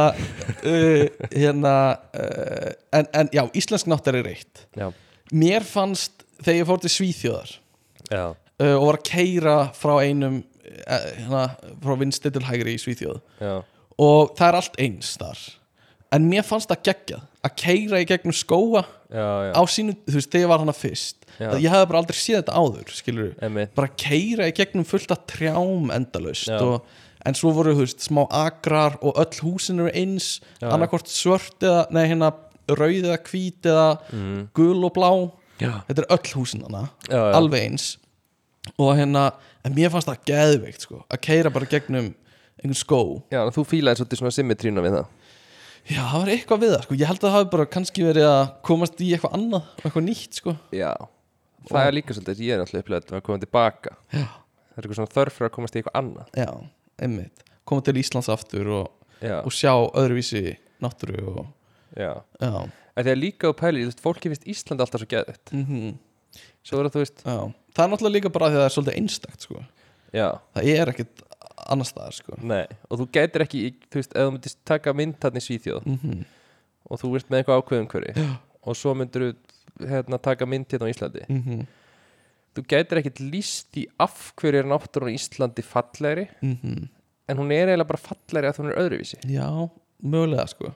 S4: uh, hérna uh, en, en já, íslensk náttar er reitt
S3: Já.
S4: Mér fannst þegar ég fór til Svíþjóðar
S3: Já.
S4: uh, og var að keira frá einum uh, hérna, frá vinstri til hægri í Svíþjóð
S3: Já.
S4: og það er allt eins þar en mér fannst það geggjað að keira í gegnum skóa
S3: Já, já.
S4: á sínu, þú veist, þegar ég var hana fyrst
S3: Já.
S4: ég hefði bara aldrei séð þetta áður, skilur
S3: Emmi.
S4: bara keira í gegnum fullt af trjám endalaust
S3: Já.
S4: og, en svo voru þú veist, smá agrar og öll húsin eru eins
S3: Já, já.
S4: annarkvort svört eða, nei hérna rauð eða hvít eða gul og blá
S3: Mhm. Já.
S4: þetta er öll húsin hana,
S3: Já, já.
S4: alveg eins og hérna, en mér fannst það geðveikt sko, að keira bara gegnum einhvern skó,
S3: Já, þú fílaði svolítið svona symmetrína við það.
S4: já það var eitthvað við það sko, ég held að það hafi bara kannski verið að komast í eitthvað annað, eitthvað nýtt sko
S3: Já. Það er líka svolítið, ég er alltaf upplegað að koma tilbaka.
S4: já,
S3: Það er eitthvað svona þörf fyrir að komast í eitthvað annað.
S4: já, einmitt koma til Íslands aftur og,
S3: Já.
S4: og sjá öðruvísi náttúru og
S3: Já.
S4: Já,
S3: En þegar líka þú pælir, í, þú veist, fólki finnst Ísland alltaf svo geðvitt.
S4: mm
S3: Svo er það, þú veist,
S4: já Það er náttúrulega líka bara því að það er svolítið einstakt sko.
S3: já.
S4: Það er ekkit annars staðar sko
S3: Nei, og þú gætir ekki, í- þú veist, ef þú myndist taka mynd þarna í Svíþjóð
S4: Mhm.
S3: og þú ert með eitthvað ákveðum hverju og svo myndir þú hérna, taka mynd hérna á Íslandi
S4: Mhm.
S3: þú gætir ekkit líst í af hverju er náttúrun á Íslandi fallegri
S4: Mhm.
S3: en hún er eiginlega bara fallegri að hún er öðruvísi
S4: Já, mögulega sko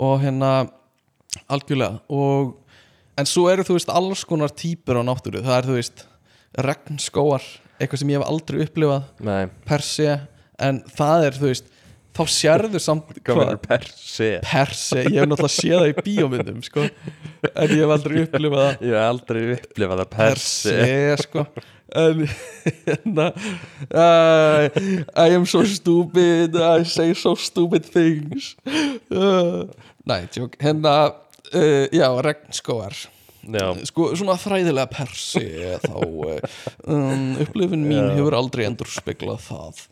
S4: og hérna algjörlega og en svo eru þú veist alls konar típur á náttúru það er þú veist regnskóar eitthvað sem ég hef aldrei upplifað
S3: Nei,
S4: per se en það er þú veist þá sérðu samt
S3: hvað er persi?
S4: per se, ég hef náttúrulega séð það í bíómyndum sko en ég hef aldrei upplifað það
S3: Ég hef aldrei upplifað að
S4: per se sko en hérna uh, I am so stupid I say so stupid things uh, nei, tjók hérna, uh, já, regnskóar
S3: Já,
S4: sko, svona þræðilega persi þá uh, um, upplifin mín hefur aldrei endur speglað það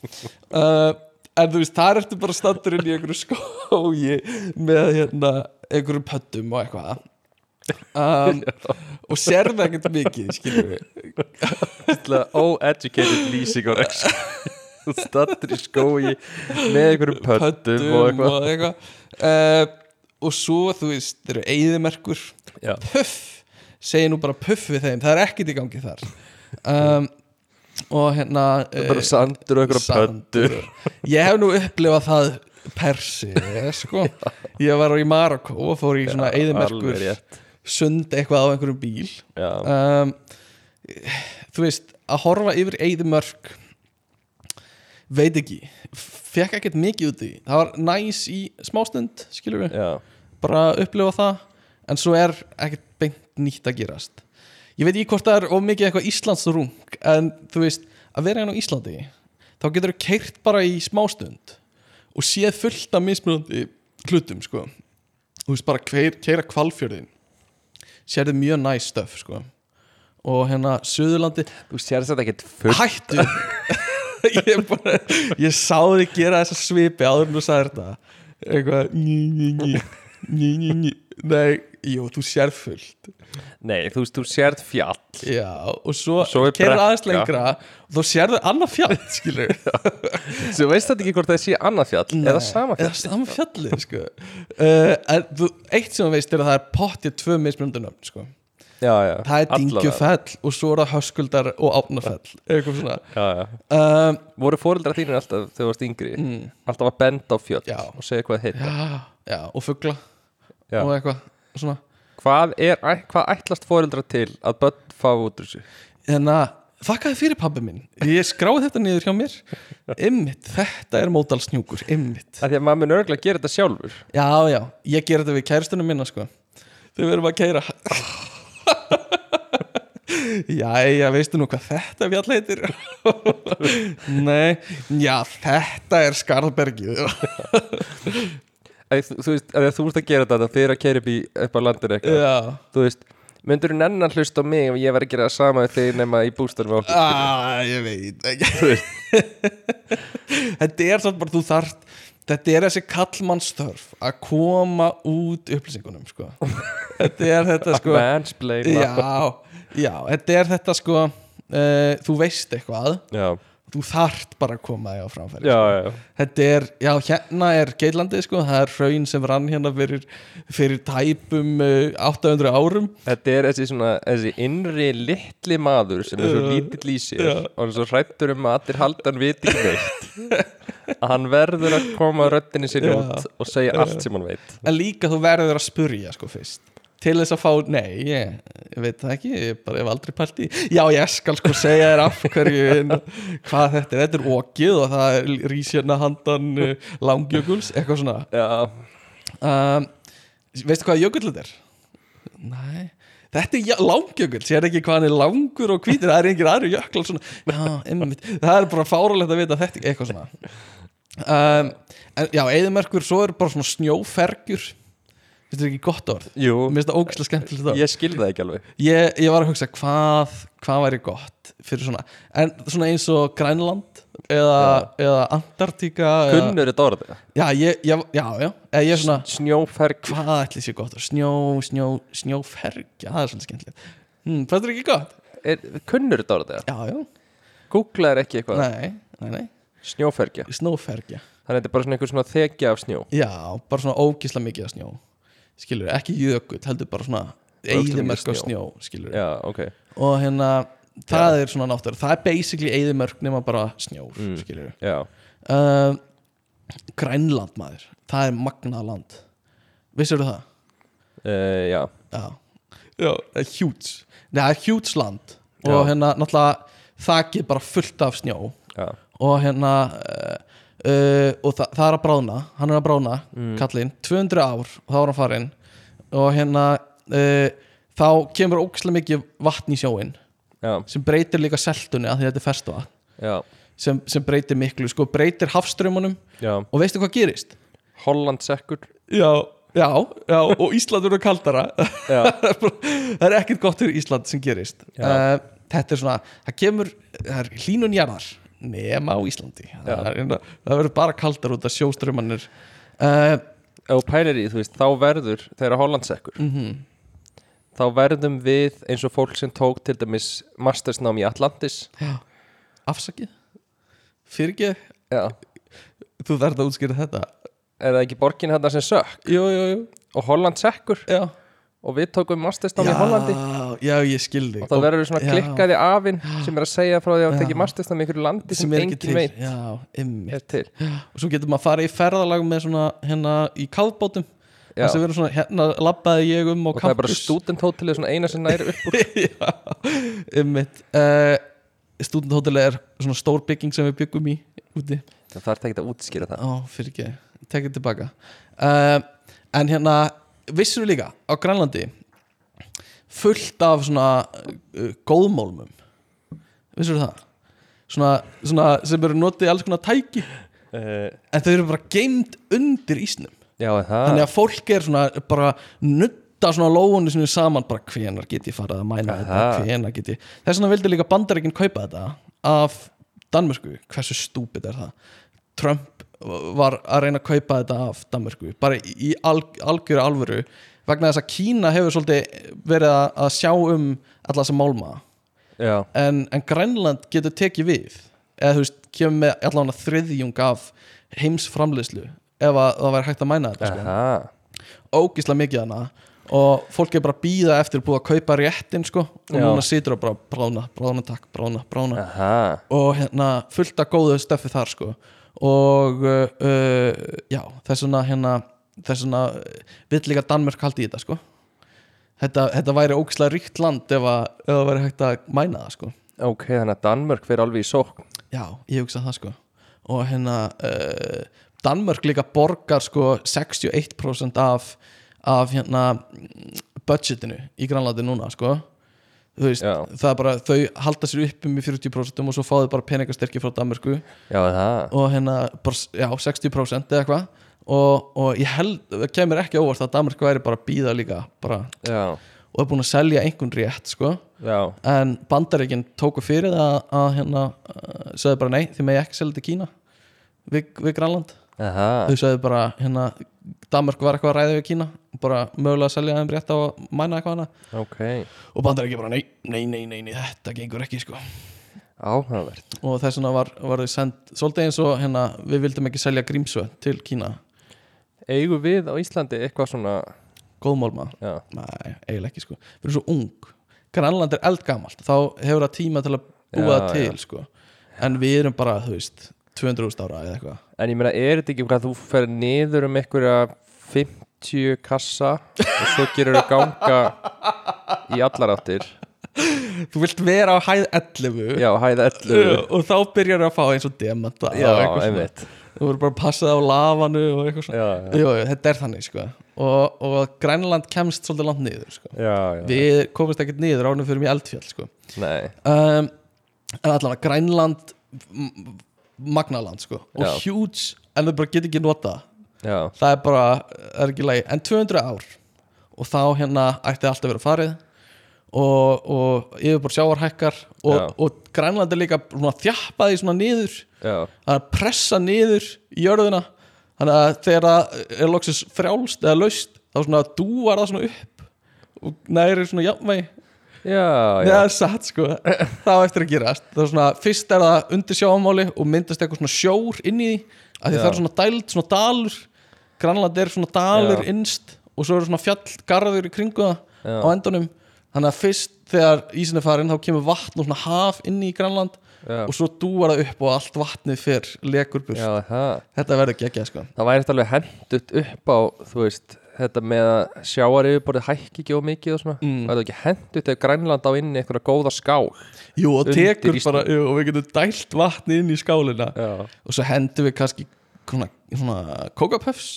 S4: uh, en þú veist, þar ertu bara standurinn í einhverju skói með hérna, einhverjum pöttum og eitthvað um, og sérðu ekkert mikið skilur við
S3: ætla óeducated lýsing á reksku Þú stattur í skói með einhverjum pöttum
S4: pöttum
S3: og eitthvað
S4: og eitthvað uh, og svo, þú veist, eru eyðimerkur
S3: Já,
S4: puff segi nú bara puff við þeim, það er ekkert í gangi þar um, og hérna
S3: bara
S4: eh,
S3: sandur og einhverja pöttu
S4: Sandur. Ég hef nú upplifað það persi, sko Ég var í Marokko og fór í svona
S3: alveg
S4: eðimerkur
S3: rétt.
S4: sund eitthvað á einhverjum bíl
S3: Já,
S4: um, Þú veist, að horfa yfir eðimörk veit ekki fekk ekkert mikið út í því. það var næs í smástund, skilur við
S3: já,
S4: bara upplifa það en svo er ekkert beint nýtt að gerast ég veit ekki hvort það er of mikið eitthvað Íslands rung en þú veist að vera hérna á Íslandi þá getur þú keirt bara í smástund og séð fullt af mismunandi hlutum sko þú veist bara keir, keira kvalfjörðin sér þið mjög næst stöf sko og hérna Suðurlandi
S3: þú sér þetta ekkert fullt
S4: hættu ég, bara, ég sá þið gera þessa svipi áður en þú sagði þetta eitthvað ný, ný, ný, ný, ný, ný. nei, jú, þú sér fullt
S3: Nei, þú veist, þú sérð fjall
S4: já, og svo,
S3: Svo er
S4: keyrir aðeins
S3: brekka.
S4: lengra og þá sérðu annað fjall, skilur
S3: Þú veist þetta ekki hvort það sé annað fjall eða sama fjall
S4: eða sama fjallið, sko uh, en þú, eitt sem þú veist er að það er pottið tvö mismjöndunum, sko
S3: Já, já,
S4: það er
S3: allavega.
S4: dingjufell og svo er það höskuldar og átnafell, eitthvað svona
S3: Já, já,
S4: um,
S3: voru fóreldra þínir alltaf þegar þú varst yngri Alltaf að benda á fjöll
S4: Já.
S3: og segja hvað heit
S4: já, mm. já, og fugla
S3: Já.
S4: og eitthvað, svona
S3: hvað, er, hvað ætlast fóreldra til að börn fá út úr þessu?
S4: þannig að þakkaði Hérna, fyrir pabbi minn ég skráði þetta niður hjá mér ymmit, þetta er mótalsnjúkur ymmit,
S3: Af Því að maður mun örgulega að gera þetta sjálfur
S4: já já, ég ger þetta við kæristunum minna sko þau verðum að kæra Jæja, veistu nú hvað þetta fjall heitir? Nei, já, þetta er Skarðbergið
S3: Æ, þú, þú veist, að þú veist að gera þetta fyrir að keira upp, í- upp á landinu eitthvað
S4: Já,
S3: þú veist, myndur þú nennan hlust á mig ef ég var að gera það sama við þig nema í bústarfi á
S4: ah, ég veit ekki Þetta er samt bara, þú þart Þetta er þessi kallmannstörf að koma út upplýsingunum sko. Þetta er þetta sko
S3: mansplain
S4: Já, já, þetta er þetta sko uh, Þú veist eitthvað
S3: já,
S4: Þú þart bara að koma því á framfæri
S3: já,
S4: sko.
S3: já.
S4: Þetta er, já, hérna er Geirlandið sko, það er hraun sem rann hérna fyrir, fyrir tæpum uh, 800 árum
S3: Þetta er þessi, svona, þessi innri litli maður sem er svo lítill í sér
S4: já.
S3: og hann er svo hrættur um að allir haldan viti ekki veitt að hann verður að koma röddinni sinni
S4: Já.
S3: út og segja allt sem hann veit
S4: En líka þú verður að spurja sko fyrst Til þess að fá, nei, ég, ég veit það ekki Ég bara hef aldrei pælt í Já, ég skal sko segja þér af hverju en, Hvað þetta er, þetta er ógið Og það er rísjörna handan uh, Langjökuls, eitthvað svona
S3: Já,
S4: um, Veistu hvað jökull þetta er? Nei Þetta er ja- langjökull, sér ekki hvað hann er langur og hvítur, það er engin aðri jöklar svona, já, einmitt, það er bara fáralegt að vita þetta, eitthvað svona um, en, Já, eðimerkur, svo er bara svona snjófergjur Þetta er ekki gott orð
S3: jú,
S4: Mér finnst það ógæslega skemmtilegt orð ég,
S3: ég skil það ekki alveg
S4: ég var að hugsa hvað, hvað væri gott fyrir svona, en svona eins og Grænland eða, eða Antartíka eða,
S3: Kunnur þetta orðið
S4: Já, ég, ég, já, já, eða ég er svona
S3: Snjóferg
S4: hvað ætli sé gott og snjó, snjó, snjóferg já, það er svolítið skemmtilegt hmm, fannst þér ekki gott?
S3: er, Kunnur þetta orðið
S4: já, já,
S3: Google er ekki eitthvað
S4: nei, nei, nei
S3: snjófergja
S4: snjófergja
S3: þannig að þetta er bara svona einhver svona þekja af snjó
S4: já, bara svona ógisla mikið af snjó skilur, ekki jökull, heldur bara svona
S3: Ógeðslega mikið
S4: eyðimörk
S3: snjó.
S4: af snjó, skilur
S3: já, ok,
S4: og hérna, það er svona náttúrulega það er basically eyðimörk nema bara snjór
S3: Mm.
S4: skilur
S3: já,
S4: uh, Grænland maður, það er magnað land vissirðu það?
S3: uh, já
S4: Já, já það er hjúts Nei, það er hjúts land og
S3: Já.
S4: hérna náttúrulega þakið bara fullt af snjó
S3: já,
S4: og hérna uh, uh, og það, það er að bráðna, hann er að bráðna kallinn, 200 ár og þá er hann farinn og hérna uh, þá kemur ókslega mikið vatn í sjóin
S3: já,
S4: sem breytir líka seltunni að því að þetta er ferstvatn
S3: já,
S4: sem, sem breytir miklu, sko breytir hafströmmunum
S3: já.
S4: og veistu hvað gerist?
S3: Holland sekkur
S4: Já, já, já og Ísland verður kaldara
S3: já,
S4: það er ekkert gott fyrir Ísland sem gerist uh,
S3: Já.
S4: þetta er svona, það kemur það er hlínun jarðar nema á Íslandi það, er, hérna, það verður bara kaldar út af sjóströmmanir uh,
S3: ef þú pælir í, því, þú veist, þá verður þegar Holland sekkur
S4: mhm,
S3: þá verðum við eins og fólk sem tók til dæmis mastersnám í Atlantis
S4: já, afsakið fyrir ekki,
S3: já,
S4: þú verður að útskýra þetta
S3: er það ekki borgin hérna sem sökk
S4: jú, jú, jú,
S3: og Holland sekkur
S4: já
S3: og við tókum mastersnám
S4: já,
S3: í Hollandi
S4: já, ég skildi
S3: og það verður svona
S4: já.
S3: klikkaði afinn sem er að segja frá því að
S4: Já.
S3: það tekið mastersnám í einhverju landi sem,
S4: sem er ekki
S3: engin
S4: til
S3: veit Hérna.
S4: já, ymmið
S3: er til
S4: og svo getur maður að fara í ferðalag með svona hérna í kafbátum
S3: Já.
S4: þess að vera svona hérna labbaði ég um á
S3: og það er bara student hotelið svona eina sem næri upp úr
S4: um mitt uh, stúdenthótel er svona stór bygging sem við byggum í úti
S3: það þarf ekki að útskýra það
S4: á fyrir ekki, tekið tilbaka uh, en hérna vissur við líka á Grænlandi fullt af svona uh, góðmálmum vissur við það svona, svona sem eru notið í alls konar tæki
S3: uh,
S4: en þau eru bara geimd undir ísnum
S3: já, er það
S4: þannig að fólk er svona bara nutta svona lóunni sinni saman bara hvenar get ég farið að mæna
S3: Aha.
S4: þetta hvenar get ég, þess vegna vildi líka bandaríkin kaupa þetta af Danmörku hversu stúpid er það Trump var að reyna að kaupa þetta af Danmörku, bara í í alg, algjöru alvöru, vegna þess að Kína hefur svolítið verið að að sjá um alla þessa málma
S3: já,
S4: en, en Grænland getur tekið við eða þú veist, kemur með allan að þriðjung af heimsframleiðslu ef að það væri hægt að mæna þetta sko
S3: aha,
S4: ógisla mikið hana og fólk er bara að býða eftir búið að kaupa réttin sko og
S3: Já.
S4: núna situr það bara brána, brána takk, brána, brána
S3: aha
S4: og hérna fullt að góðu stöffi þar sko og uh, uh, já, þess vegna hérna þess vegna uh, vill líka Danmörk haldi í þetta sko þetta, þetta væri ógisla ríkt land ef, að, ef það væri hægt að mæna það sko
S3: ok, þannig að Danmörk fyrir alveg í sókn
S4: já, ég hugsa það sko og hérna uh, Danmörk líka borgar sko 61% af, af hérna mm, budgetinu í Grænlandi núna sko þú veist,
S3: Já.
S4: það er bara þau halda sér upp um í 40% og svo fá þau bara peningastyrki frá Danmörku
S3: já, er það
S4: og hérna, bara, já, 60% eða eitthvað og, og ég held, það kemur ekki á óvart að Danmörk væri bara að býða líka bara,
S3: já,
S4: og er búin að selja einhvern rétt sko
S3: já,
S4: en bandaríkinn tóku fyrir það að, að hérna, uh, sögðu bara nei, þið megi ekki selja til Kína við, við Grænland
S3: aha
S4: þau sögðu bara, hérna, Danmörk var eitthvað að ræða við Kína bara mögulega að selja þeim rétt á að mæna eitthvað hana
S3: ok,
S4: og bandaríkinn bara nei, nei, nei, nei, nei, þetta gengur ekki sko
S3: áhugavert
S4: og þess vegna var, var þau send svolítið eins og hérna, við vildum ekki selja grímsvö til Kína,
S3: eigum við á Íslandi eitthvað svona
S4: góðmálma
S3: já,
S4: nei, eiginlega ekki sko, við erum svo ung Grænland er eldgamalt, þá hefur það tíma til að búa
S3: Já,
S4: það til sko en við erum bara, þú veist, 200.000 ára eða eitthvað
S3: en ég meina, er þetta ekki hvað þú fer niður um einhverja 50 kassa og svo gerur þú ganga í allar áttir
S4: þú vilt vera á hæð 11
S3: já, hæða 11
S4: og þá byrjar að fá eins og demanta
S3: já,
S4: og eitthvað svona.
S3: einmitt
S4: þú verður bara að passa það á lafanu og eitthvað svona
S3: já, já,
S4: jú, jú, þetta er þannig sko og, og Grænland kemst svolítið langt niður sko.
S3: já, já.
S4: við komumst ekkert niður ánum fyrir mér eldfjall sko.
S3: nei
S4: um, en allavega Grænland m- magnaland sko og
S3: Já.
S4: huge, en þau bara get ekki nota það.
S3: já,
S4: það er bara, það er ekki lægi en 200 ár og þá hérna ætti allt að vera farið og, og yfirbor sjáarhækkar
S3: Já.
S4: og, og Grænland er líka svona þjappaði svona niður
S3: já,
S4: það er að pressa niður í jörðina þannig að þegar það er loksins frjálst eða laust þá svona dúar það svona upp og næri svona jafnvegi
S3: já,
S4: Já,
S3: já,
S4: það er satt sko Það á eftir að gerast Það er svona, fyrst er það undir sjáamáli og myndast eitthvað svona sjór inn í því að því
S3: Já.
S4: það er svona dæld, svona dalur Granland er svona dalur
S3: Já.
S4: innst og svo eru svona fjallgarður í kringu það
S3: Já.
S4: á endunum Þannig að fyrst þegar ísin er farin þá kemur vatn og svona haf inn í Granland
S3: já,
S4: og svo dúar það upp og allt vatnið fer lekur burt
S3: já það
S4: Þetta verður geggjað sko
S3: það væri þetta alveg hendut upp á þú veist, þetta með að sjáar yfirborðið hækki ekki og mikið og svona mm. það er ekki hendut ef grænland á inni einhverja góða skál
S4: Jú og
S3: Undir
S4: tekur
S3: ísnum.
S4: bara, jú, og við getum dælt vatni inn í skálina
S3: já,
S4: og svo hendum við kannski svona, svona kókapöfs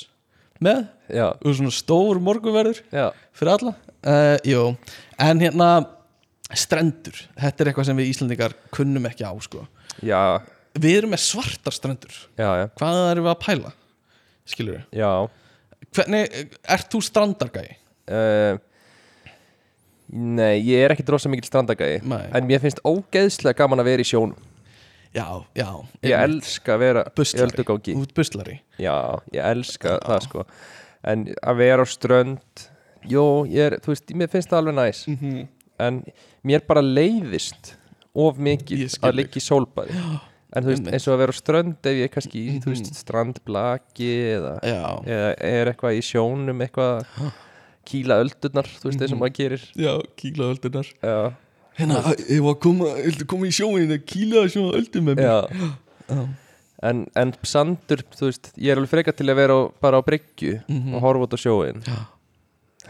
S4: með
S3: já,
S4: og svona stór morgunverður
S3: já,
S4: fyrir alla uh, jú, en hérna strendur, þetta er eitthvað sem við Íslandingar kunnum ekki á sko
S3: já,
S4: við erum með svartar strendur
S3: já, já,
S4: hvað erum við að pæla, skilur við
S3: já.
S4: hvernig, eh, ert þú strandargæi?
S3: Uh, nei, ég er ekki drosa mikil strandagæði
S4: Nei.
S3: en mér finnst ógeðslega gaman að vera í sjónum
S4: já, já,
S3: ég elska að vera í
S4: buslari,
S3: öldugangi
S4: út buslari
S3: Já, ég elska það sko En að vera á strönd Jó, ég er, þú veist, mér finnst það alveg næs
S4: Mhm.
S3: En mér bara leiðist Of
S4: Ég
S3: mikið
S4: skil
S3: að liggja í sólbæði En þú veist,
S4: einmitt. Mhm.
S3: eins og að vera á strönd Ef ég er kannski í, þú veist, strandblaki Eða,
S4: já,
S3: eða er eitthvað í sjónum Eitthvað kýla öldurnar Þú veist,
S4: Mhm.
S3: þeir sem maður gerir
S4: já, kíla öldunar
S3: Já,
S4: hérna, ég var að koma, viltu koma í sjóin að kíla sjóin öldum með mér
S3: já En, en sandur, þú veist, ég er alveg frekar til að vera á, bara á bryggju og horfa út á sjóin
S4: Mhm. Já.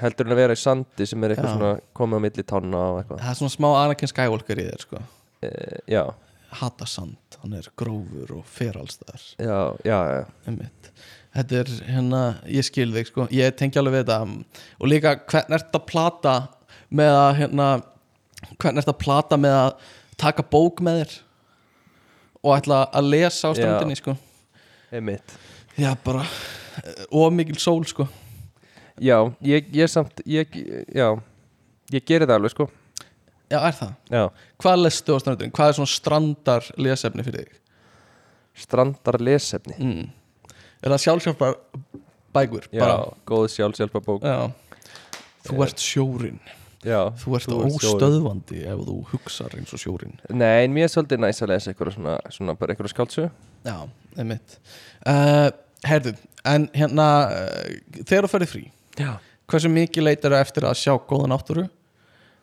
S3: heldur en að vera í sandi sem er eitthvað
S4: Já.
S3: svona komið á milli tanna og eitthvað
S4: það er svona smá Anakin Skywalker í þér sko
S3: e, já,
S4: hata sand, hann er grófur og fer allstaðar
S3: já, já, já,
S4: einmitt. þetta er hérna, ég skil þig sko ég tengi alveg við þetta og líka hvern ert að plata með að hérna, hvern ert að plata með að taka bók með þér og ætla að lesa á
S3: Já.
S4: strandinni sko
S3: einmitt
S4: já bara, of mikil sól sko
S3: já, ég, ég samt, ég já, ég geri það alveg sko
S4: já er það,
S3: já,
S4: hvað lestu á strandinni hvað er svona strandar lesefni fyrir þig
S3: strandar lesefni
S4: mm. er það sjálfsjálfar bækur
S3: já,
S4: bara,
S3: góð sjálfsjálfa bók
S4: já þú ert sjórin
S3: já,
S4: Þú ert
S3: sjóðin.
S4: óstöðvandi ef þú hugsar eins og sjórin
S3: nei, en mér er svolítið næs að lesa eitthvað svona, svona bara eitthvað skáltsu
S4: Já, einmitt uh, Herðu, en hérna uh, þegar þú ferði frí,
S3: já,
S4: hversu mikið leitar þú eftir að sjá góða náttúru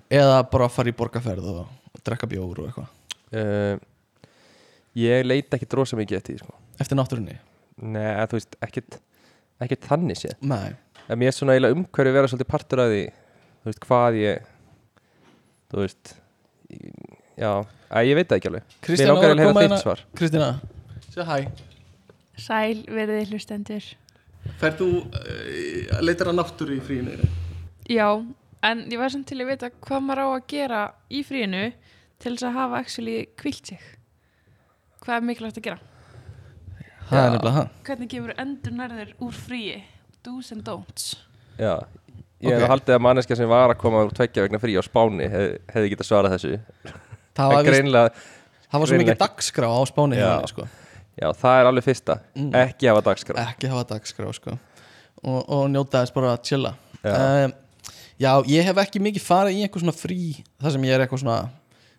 S4: eða bara fara í borgarferð og, og drekka bjóður og eitthvað
S3: uh, ég leita ekki drosa mikið eftir því sko
S4: eftir náttúrunni?
S3: nei, þú veist, ekkert ekkert þannig séð
S4: Nei,
S3: En mér er svona eiginlega umhverju vera svolítið partur af því Þú veist, hvað ég Þú veist í- Já, að ég veit það ekki alveg
S4: Kristján
S3: langar
S4: á að
S3: eiginlega að heyra
S4: koma hérna-
S3: þitt svar.
S4: Kristína, segja hæ
S5: Sæl verðið hlustendur.
S4: Ferð þú, uh, leitar að náttúru í fríinu?
S5: Já, en ég var samt til að vita hvað maður á að gera í fríinu til þess að hafa actually kvilt sig. Hvað er mikilvægt að gera?
S4: Það er nefnilega það
S5: Hvernig gefur endur nærður úr fríi? Do's and don'ts.
S3: Já Ég hefði
S4: Ok.
S3: haldið að manneskja sem var að koma úr tvekja vegna frí á Spáni hef, hefði getað svarað þessu
S4: Það
S3: En
S4: var, vist,
S3: greinlega,
S4: það var svo mikið
S3: greinlega-
S4: dagskrá á spáni
S3: Já. Eh,
S4: hérna, sko. Mm.
S3: já, það er alveg fyrsta Ekki hafa dagskrá
S4: ekki hafa dagskrá sko. og, og njóta þess bara að chilla
S3: Já.
S4: já. já, ég hef ekki mikið farið í eitthvað svona frí þar sem ég er eitthvað svona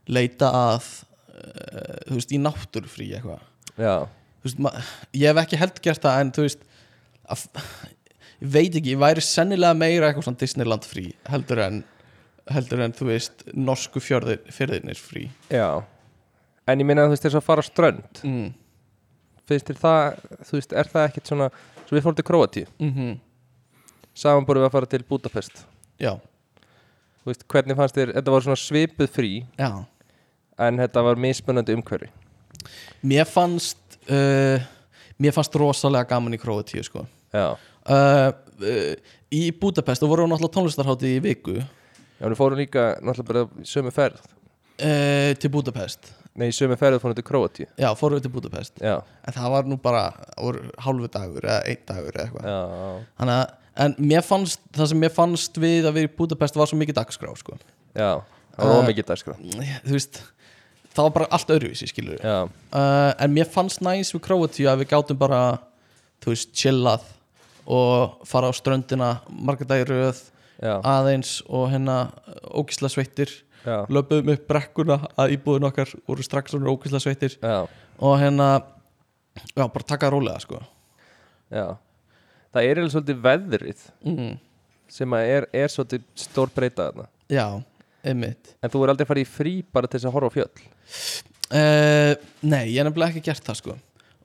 S4: leita að uh, þú veist, í náttúrufrí eitthvað
S3: Já,
S4: Þú veist, ma- ég hef ekki held gert það en þú veist að, ég veit ekki, ég væri sennilega meira eitthvað svona Disneyland frí heldur en heldur en þú veist norsku fjörðir, fjörðirnir frí
S3: já En ég minna að þú veist þess að fara á strönd
S4: mm.
S3: Finnst þér það, þú veist, er það ekkert svona Svo við fórum til Króatíu
S4: Mm
S3: Saman búrum við að fara til Budapest
S4: já,
S3: Þú veist, hvernig fannst þér, þetta var svona svipuð frí
S4: já
S3: en þetta var mismunandi umhverfi
S4: mér fannst uh, mér fannst rosalega gaman í Króatíu sko
S3: já,
S4: uh, uh, í Budapest og voru náttúrulega tónlistarhátti í viku
S3: já við fórum líka náttúrulega bara í sömu ferð
S4: uh, til Budapest
S3: nei, í sömu ferð fórum við til Króatíu
S4: já, fórum við til Budapest
S3: já,
S4: en það var nú bara voru hálfu dagur eða einn dagur eða eitthvað
S3: já,
S4: Þannig að, en mér fannst, það sem mér fannst við að vera í Budapest var svo mikið dagskrá sko.
S3: já það var
S4: Eh.
S3: mikið dagskrá
S4: þú veist það var bara allt öðruvísi skilur uh,
S3: já,
S4: en mér fannst næs við Króatíu að við gátum bara þú veist, chillað og fara á ströndina marga dagir röð
S3: já,
S4: aðeins og hérna ógisla sveittir
S3: já,
S4: löpuðum upp brekkuna að íbúðin okkar voru strax svona ógisla sveittir
S3: já,
S4: og hérna já, bara taka það rólega sko
S3: já það er eða svolítið veðrið
S4: mm.
S3: sem að er, er svolítið stór breyta þarna
S4: já, einmitt
S3: en þú er aldrei farið í frí bara til þess að horfa á fjöll
S4: uh, nei, ég hef nefnilega ekki gert það sko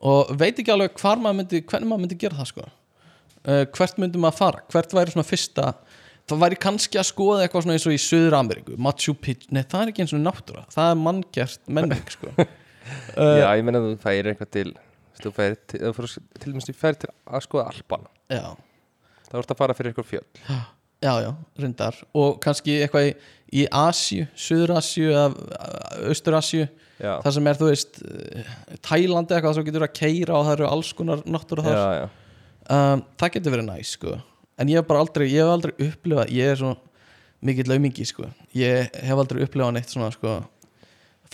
S4: og veit ekki alveg hvar maður myndi hvernig maður myndi gera það sko uh, hvert myndi maður fara, hvert væri svona fyrsta það væri kannski að skoða eitthvað svona eins og í Suður Ameríku, Machu Picchu nei, það er ekki eins og náttúra, það er manngert menning sko
S3: já, ég meina þú færir eitthvað til þú veist, þú færir til, þú færir, til dæmis þú færir til að skoða alpana
S4: já
S3: þá ertu að fara fyrir eitthvað fjöll
S4: Já, já, reyndar og kannski eitthvað í, í Asju, Suður-Asju eða Östur-Asju
S3: já,
S4: þar sem er, þú veist, eh, Tælandi eitthvað sem getur að keira og það eru alls konar náttúra
S3: já,
S4: þar
S3: já,
S4: um, Það getur verið næs, sko en ég hef bara aldrei, ég hef aldrei upplifað ég er svo mikill laumingi, sko ég hef aldrei upplifað neitt svona, sko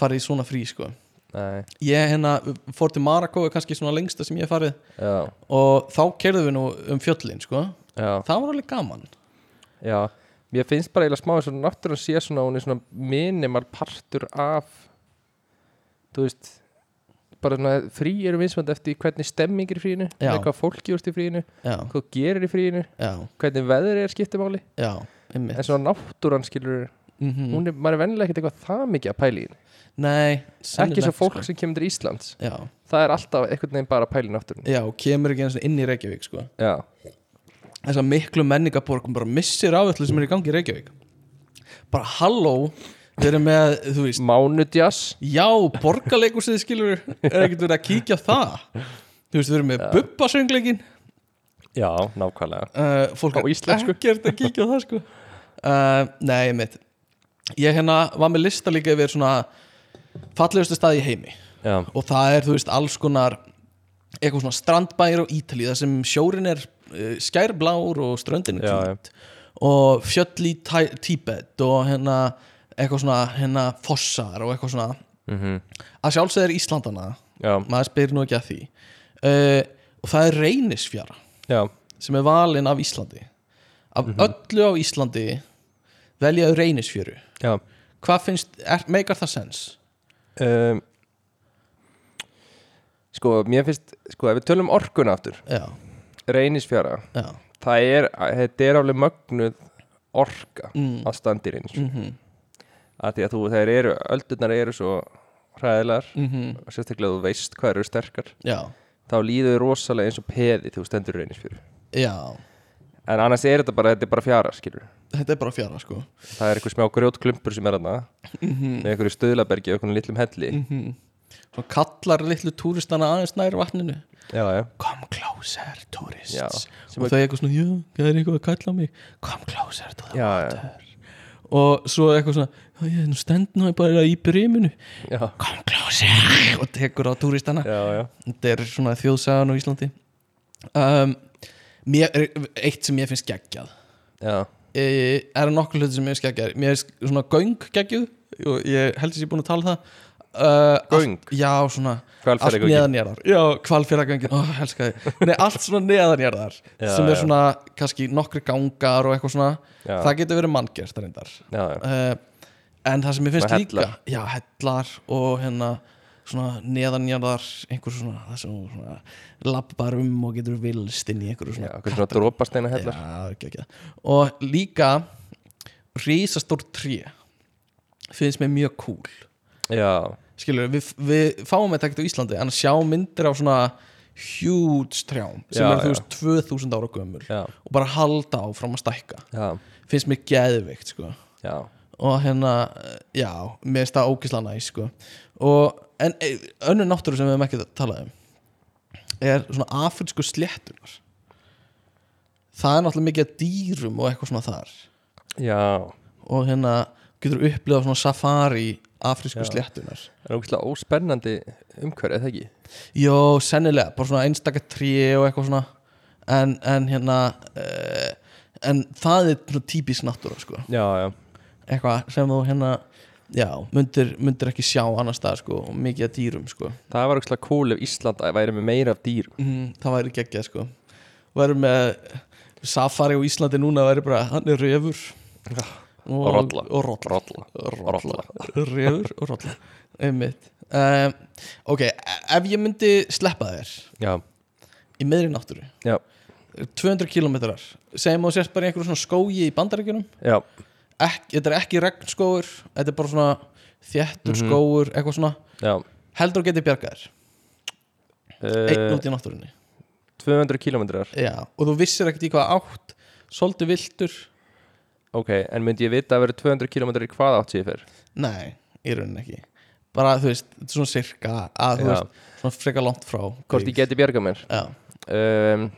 S4: farið í svona frí, sko
S3: nei,
S4: Ég hérna fór til Marakó er kannski svona lengsta sem ég hef farið
S3: já,
S4: og þá keirðum við nú um fjöllin, sko
S3: já
S4: Það var alveg gaman
S3: Já, mér finnst bara eiginlega smá eins og náttúrulega sé svona, hún er svona minimal partur af þú veist bara svona frí eru mismönd eftir hvernig stemming er í fríinu,
S4: Já.
S3: hvað fólki úrst í fríinu
S4: Já,
S3: hvað þú gerir í fríinu,
S4: já,
S3: hvernig veður er skiptumáli,
S4: já, einmitt
S3: en svona náttúran skilur
S4: mm
S3: hún er, maður er vennilega ekkert eitthvað það mikið að pæli í henni,
S4: Nei,
S3: ekki svo
S4: sennilega
S3: fólk
S4: sko.
S3: sem kemur til Íslands,
S4: Já,
S3: það er alltaf einhvern veginn bara að pæli náttúrun,
S4: já, og kemur ekki einu sinni inn í Reykjavík sko.
S3: já,
S4: Þessar miklu menningaborgum bara missir af öllu sem er í gangi í Reykjavík Bara halló Við erum með, þú veist
S3: mánudjas
S4: Já, borgarleikursið skilur Er ekkert verið að kíkja á það Þú veist, við erum með bubbasöngleikin
S3: já, nákvæmlega
S4: uh, Fólk
S3: Á íslensku.
S4: ekkert að kíkja á það sko uh, Nei, mitt Ég hérna var með lista líka yfir svona fallegustu staði í heimi
S3: já,
S4: og það er, þú veist, alls konar eitthvað svona strandbæir á Ítalíu þar sem sjórin er uh, skærblár og ströndin er
S3: Já,
S4: kvít og fjöll í Tæ- Tíbet og hérna eitthvað svona hérna fossar og eitthvað svona
S3: mm
S4: að sjálfsögð er Íslandana,
S3: já,
S4: maður spyr nú ekki að því uh, og það er reynisfjara
S3: já,
S4: sem er valin af Íslandi af
S3: Mhm.
S4: öllu á Íslandi veljaðu reynisfjöru
S3: já
S4: hvað finnst, er, meikar það sens?
S3: um, sko, mér finnst sko, ef við tölum orkun aftur
S4: Já,
S3: reynisfjara,
S4: já,
S3: það er þetta er alveg mögnuð orka
S4: Mm.
S3: að standa í reynisfjara
S4: mhm,
S3: að því að þú, þeir eru, öldurnar eru svo hræðilegar,
S4: mhm
S3: og sérstaklega þú veist hvað eru sterkar,
S4: já,
S3: þá líður þau rosalega eins og peði þegar þú stendur í reynisfjöru
S4: já
S3: en annars er þetta bara, þetta er bara fjara skilur,
S4: þetta er bara fjara sko
S3: það er eitthvað smá grjótklumpur sem er þarna
S4: Mhm.
S3: með einhverju stöðlabergi og einhvern litlum helli
S4: Mm. Svo kallar litlu túristana aðeins nær vatninu
S3: já, já,
S4: Come closer, tourists
S3: já, sem
S4: Og
S3: er,
S4: þau eitthvað svona, já, það er eitthvað að kalla á mig Come closer to
S3: Já,
S4: the
S3: já.
S4: water Og svo eitthvað svona "Já, Ég nú stend nú bara í briminu
S3: já,
S4: Come closer Og tekur á túristana
S3: já, já,
S4: Þetta er svona þjóðsagan á Íslandi um, mér, Eitt sem ég finnst geggjað
S3: já.
S4: e, er nokkur hluti sem ég skeggjar mér er svona göng geggjuð og ég held að ég er búin að tala um það uh,
S3: Göng?
S4: Allt, já, svona allt
S3: Hvalfjarðargöngin.
S4: neðanjarðar já, kvalfjörðagöngin, ó, elska þið nei, allt svona neðanjarðar
S3: Já,
S4: sem er
S3: já.
S4: svona, kannski nokkri gangar og eitthvað svona,
S3: Já.
S4: það getur verið manngjert reyndar
S3: já, já.
S4: uh, en það sem ég finnst
S3: Svona
S4: líka já, hellar og hérna svona neðanjarðar, einhver svona það sem þú svona labbar um og getur vilst inn í
S3: Já,
S4: einhverju svona
S3: eitthvað svona dropasteina hellar
S4: Já, ekki, ekki. Og líka risastór tré finnst mér mjög cool
S3: Já,
S4: skilur, við, við fáum þetta ekkert á Íslandi en að sjá myndir á svona huge trjám sem
S3: Já,
S4: er þú
S3: já.
S4: veist 2000 ára gömul
S3: já,
S4: og bara halda áfram að stækka
S3: já,
S4: finnst mér geðveikt sko
S3: já,
S4: og hérna, eh, já, mér finnst það ógislega næ sko og, en eh, önnur náttúru sem við hefum ekki talað um er svona afrinsku sléttunar það er náttúrulega mikið af dýrum og eitthvað svona þar
S3: já
S4: og hérna getur upplifað svona safari afrísku
S3: Já.
S4: sléttunar
S3: Það er ógæslega óspennandi umhverfið, eða ekki?
S4: Jó, sennilega, bara svona einstakar tré og eitthvað svona en, en hérna uh, en það er svona típisk náttúra sko
S3: Já, já,
S4: eitthvað sem þú hérna já, myndir, myndir ekki sjá annar stað sko, og mikið að dýrum sko.
S3: það var ógæslega cool ef Ísland væri með meira af dýrum
S4: mm, það væri geggjað sko. væri með Safari á Íslandi núna væri bara hann er refur og,
S3: rolla.
S4: og rolla,
S3: Rolla Rolla
S4: refur og rolla einmitt um, ok, ef ég myndi sleppa þér
S3: Já,
S4: í meðri náttúru
S3: já,
S4: 200 kilometrar, segjum að þú sért bara í einhverjum svona skógi í bandarækjunum
S3: já,
S4: Ek, þetta er ekki regnskógur, þetta er bara svona þjættur
S3: Mhm.
S4: skógur, eitthvað svona
S3: já
S4: heldur að geti bjargaðir, einn
S3: uh,
S4: út í náttúrunni
S3: 200 kilometrar
S4: Já, og þú vissir ekkert í hvað átt Svolítið viltur
S3: Ok, en myndi ég vita að vera 200 kilometrar í hvað átt sér fyrr?
S4: Nei, í rauninni ekki Bara, þú veist, þetta er svona sirka að, þú
S3: Já.
S4: veist, Svona frekar langt frá
S3: Hvort ég geti bjarga mér
S4: Já.
S3: um,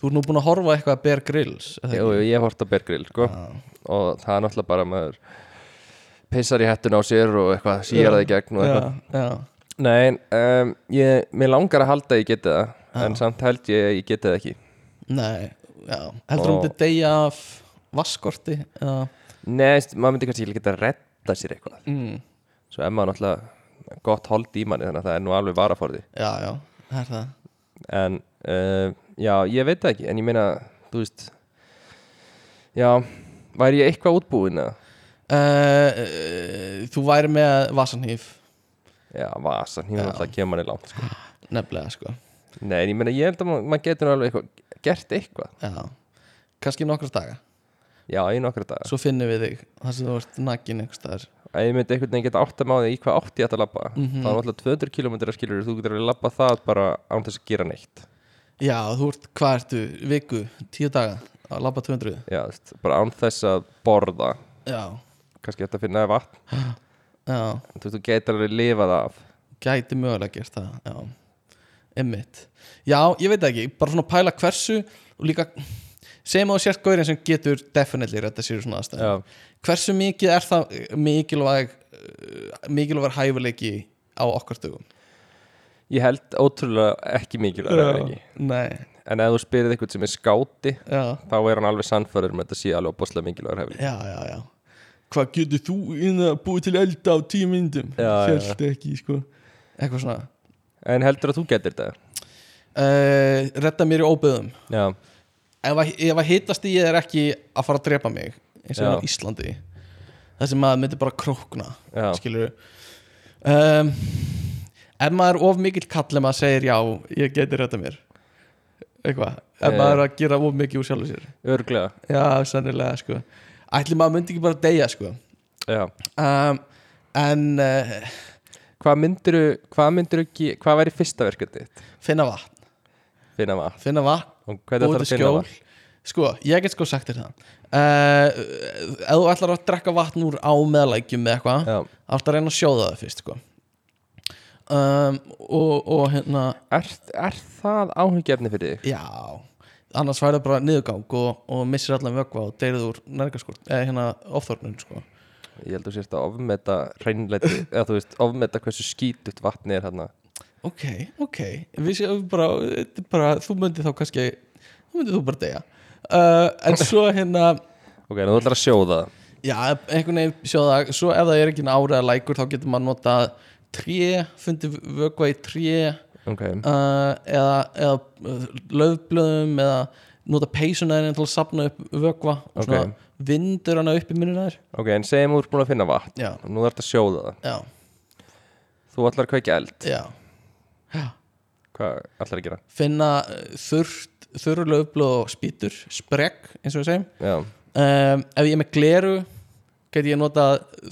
S4: Þú ert nú búin að horfa á eitthvað að Bear Grylls er það
S3: Jú,
S4: ekki?
S3: ég hef hort á bergrill, sko
S4: Já.
S3: og það er náttúrulega bara maður pissar í hettun á sér og eitthvað
S4: Já,
S3: síjar það í gegn og
S4: já,
S3: eitthvað
S4: já.
S3: Nei, um, ég, mér langar að halda að ég geti það
S4: Já.
S3: en samt held ég að ég geti það ekki
S4: Nei, já Heldur hún
S3: Og-
S4: þetta deyja af vaskorti eða...
S3: Nei, veist, maður myndi kannski líka geta að redda sér eitthvað
S4: mm.
S3: svo er maður náttúrulega gott hold í manni þannig að það er nú alveg varaforði
S4: Já, já, það er það
S3: en uh, já, ég veit það ekki en ég meina, þú veist já, væri ég eitthvað útbúin eða?
S4: Uh, uh, þú væri með vasanhýf
S3: já, vasan, ég
S4: Já.
S3: meina alltaf kemur manni langt sko.
S4: nefnilega sko
S3: nei, en ég meina, ég held að ma- maður getur nú alveg eitthvað gert eitthvað,
S4: já. kannski nokkra daga
S3: já, í nokkra daga
S4: svo finnum við þig þar sem þú ert nakin einhvers staðar
S3: að ég myndi einhvern veginn geta átt að máði í hvað átt ég ætti að labba þá er alltaf 200 km að skilur þú getur alveg labba það bara án þess að gera neitt
S4: já, þú ert, hvað ertu, viku, tíu daga að labba 200
S3: já, þú veist, bara án þess að borða
S4: já,
S3: kannski þetta finna þér vatn
S4: já,
S3: þú veist, þú getur alveg lifað af
S4: gæti mögulega gert það já, emmitt já, ég veit það ekki, bara svona pæla hversu og líka, segjum að þú sért gaurinn sem getur definitely rétt að sér svona aðstæð
S3: já,
S4: hversu mikið er það eh, mikilvæg eh, mikilvæg hæfuleiki á okkar dögum
S3: ég held ótrúlega ekki mikilvæg ekki.
S4: nei,
S3: en ef þú spyrir eitthvað sem er skáti
S4: já
S3: þá er hann alveg sannfæður með þetta sé alveg opaslega mikilvæg hefði
S4: já, já, já hvað getur þú inn að búið til elda á tíu myndum
S3: Já, já, já.
S4: Hélt ekki, sko eitthvað svona
S3: en heldur að þú getur þetta
S4: uh, redda mér í óbyðum
S3: já,
S4: ef að, ef að hitast í ég er ekki að fara að drepa mig eins og
S3: Já.
S4: er á Íslandi það sem maður myndi bara krókna
S3: já,
S4: skilur um, ef maður er of mikill kall ef maður segir já, ég geti redda mér eitthvað, ef
S3: Eh.
S4: maður er að gera of mikið úr sjálfu sér
S3: örglega
S4: já, sannilega, sko ætli maður myndi ekki bara deyja, sko
S3: já.
S4: um, en uh,
S3: hvað myndiru, hvað myndiru hvað væri fyrsta verkefni þitt?
S4: finna vatn
S3: finna vatn,
S4: finna vatn,
S3: og hvernig
S4: búið
S3: þarf að
S4: til
S3: finna
S4: skjól
S3: vatn
S4: sko, ég get sko sagt þér það uh, ef þú ætlar að drekka vatn úr á meðlækjum með eitthvað,
S3: já.
S4: átt að reyna að sjóða það fyrst sko um, og, og hérna
S3: er, er það áhugjefni fyrir þig?
S4: já, annars væri það bara niðurgang og, og missir allan vöggva og deyrið úr nærgaskort, eða hérna ofþórnun sko,
S3: ég held að þú sérst að ofmeta reynleiti, eða þú veist, ofmeta hversu skítut vatni er hérna
S4: ok, ok við séum bara, þetta er bara þú myndir þá kannski, þú myndir þú bara deyja uh, en svo hérna
S3: ok, en þú ætlar að sjóða það.
S4: Já, einhvern veginn sjóða Svo ef það er ekki árið að lækur þá getur maður nota tré, fundi vökva í tré
S3: ok,
S4: uh, eða, eða uh, löfblöðum eða nota peysunæðin til að sapna upp vökva og svona
S3: Ok.
S4: vindur hana upp í minnunar
S3: ok, en segjum að þú er búin að finna vatn
S4: Já,
S3: og nú þarf þetta að sjóða það
S4: já,
S3: þú ætlar að kveikja eld,
S4: já
S3: hvað ætlar að gera?
S4: Finna uh, þurrt, þurru löfblöð og spýtur sprekk, eins og við segjum
S3: já,
S4: um, Ef ég er með gleru geti ég nota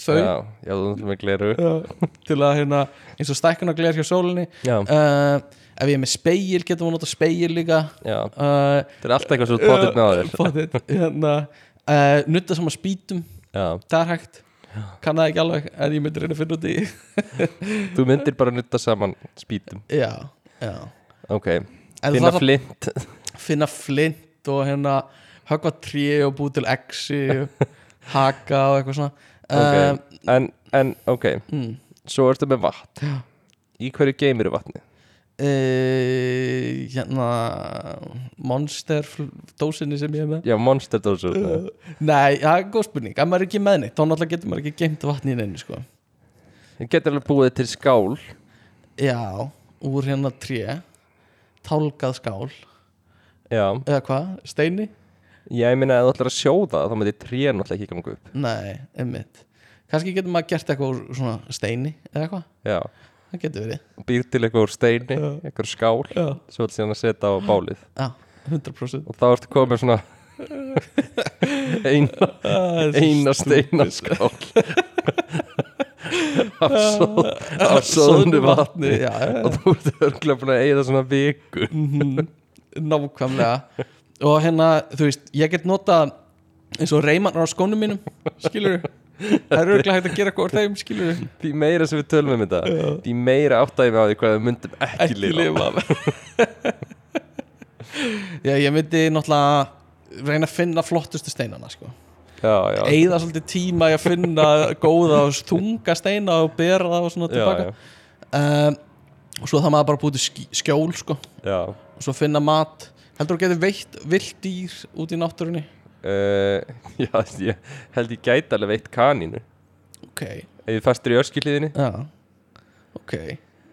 S4: þau
S3: já, já, þú ætlar með gleru
S4: Já, til að hérna, eins og stækkunagler hjá sólinni
S3: já,
S4: uh, ef ég er með speil getum við nota speil líka
S3: já,
S4: uh,
S3: þetta er allt eitthvað svo potið með á þér
S4: pottit, hérna, uh, nutta saman spýtum
S3: já,
S4: það er hægt kann það ekki alveg en ég myndi reyna að finna út í
S3: þú myndir bara að nutta saman spýtum,
S4: já, já.
S3: ok
S4: En
S3: finna
S4: það-
S3: flint,
S4: finna flint og hérna höggva tré og búi til exi haka og eitthvað svona uh,
S3: ok en, en, ok,
S4: mm,
S3: svo ertu með vatn
S4: Já.
S3: í hverju geymir vatni?
S4: uh, hérna monster fl- dósinni sem ég er með
S3: já, monster dósu
S4: Eh. nei, það er góð spurning, ef maður er ekki með neitt þá náttúrulega getur maður ekki geimt vatni í neinu sko.
S3: Ég get alveg búið til skál
S4: Já, úr hérna tré Tálgað skál
S3: Já,
S4: eða hvað, steini?
S3: ég meina að þú ætlar að sjóða þá myndi trén náttúrulega ekki ganga upp
S4: Nei, einmitt kannski getur maður gert eitthvað úr svona steini eða eitthvað,
S3: Já,
S4: það getur verið
S3: býr til eitthvað úr steini, eitthvað skál
S4: Já,
S3: svo ætlar síðan að setja á bálið
S4: 100%
S3: og þá ertu komið svona eina, eina steinaskál af, sóð, Ah, af sóðnu vatni
S4: Já, já,
S3: og þú ert örgulega búin að eigða svona viku
S4: Mhm, nákvæmlega og hérna, þú veist, ég get notað eins og reymannar á skónum mínum skilur það er örgulega hægt að gera eitthvað úr þeim, skilur
S3: því meira sem við tölum um þetta því meira áttæði við á því hvað við myndum ekki, lifa
S4: Já, ég myndi náttúrulega reyna að finna flottustu steinana sko.
S3: já, já,
S4: eigða svolítið tíma í að finna góða og þunga steina og bera það og svona
S3: já,
S4: tilbaka
S3: já,
S4: um, og svo það maður bara búið til skí- skjól sko,
S3: já.
S4: og svo finna mat heldur þú getur veitt vilt dýr út í náttúrunni
S3: Uh, já, ég held ég gæti alveg veitt kanínu
S4: ok,
S3: ef ég fastur í öskilíðinni
S4: já ok,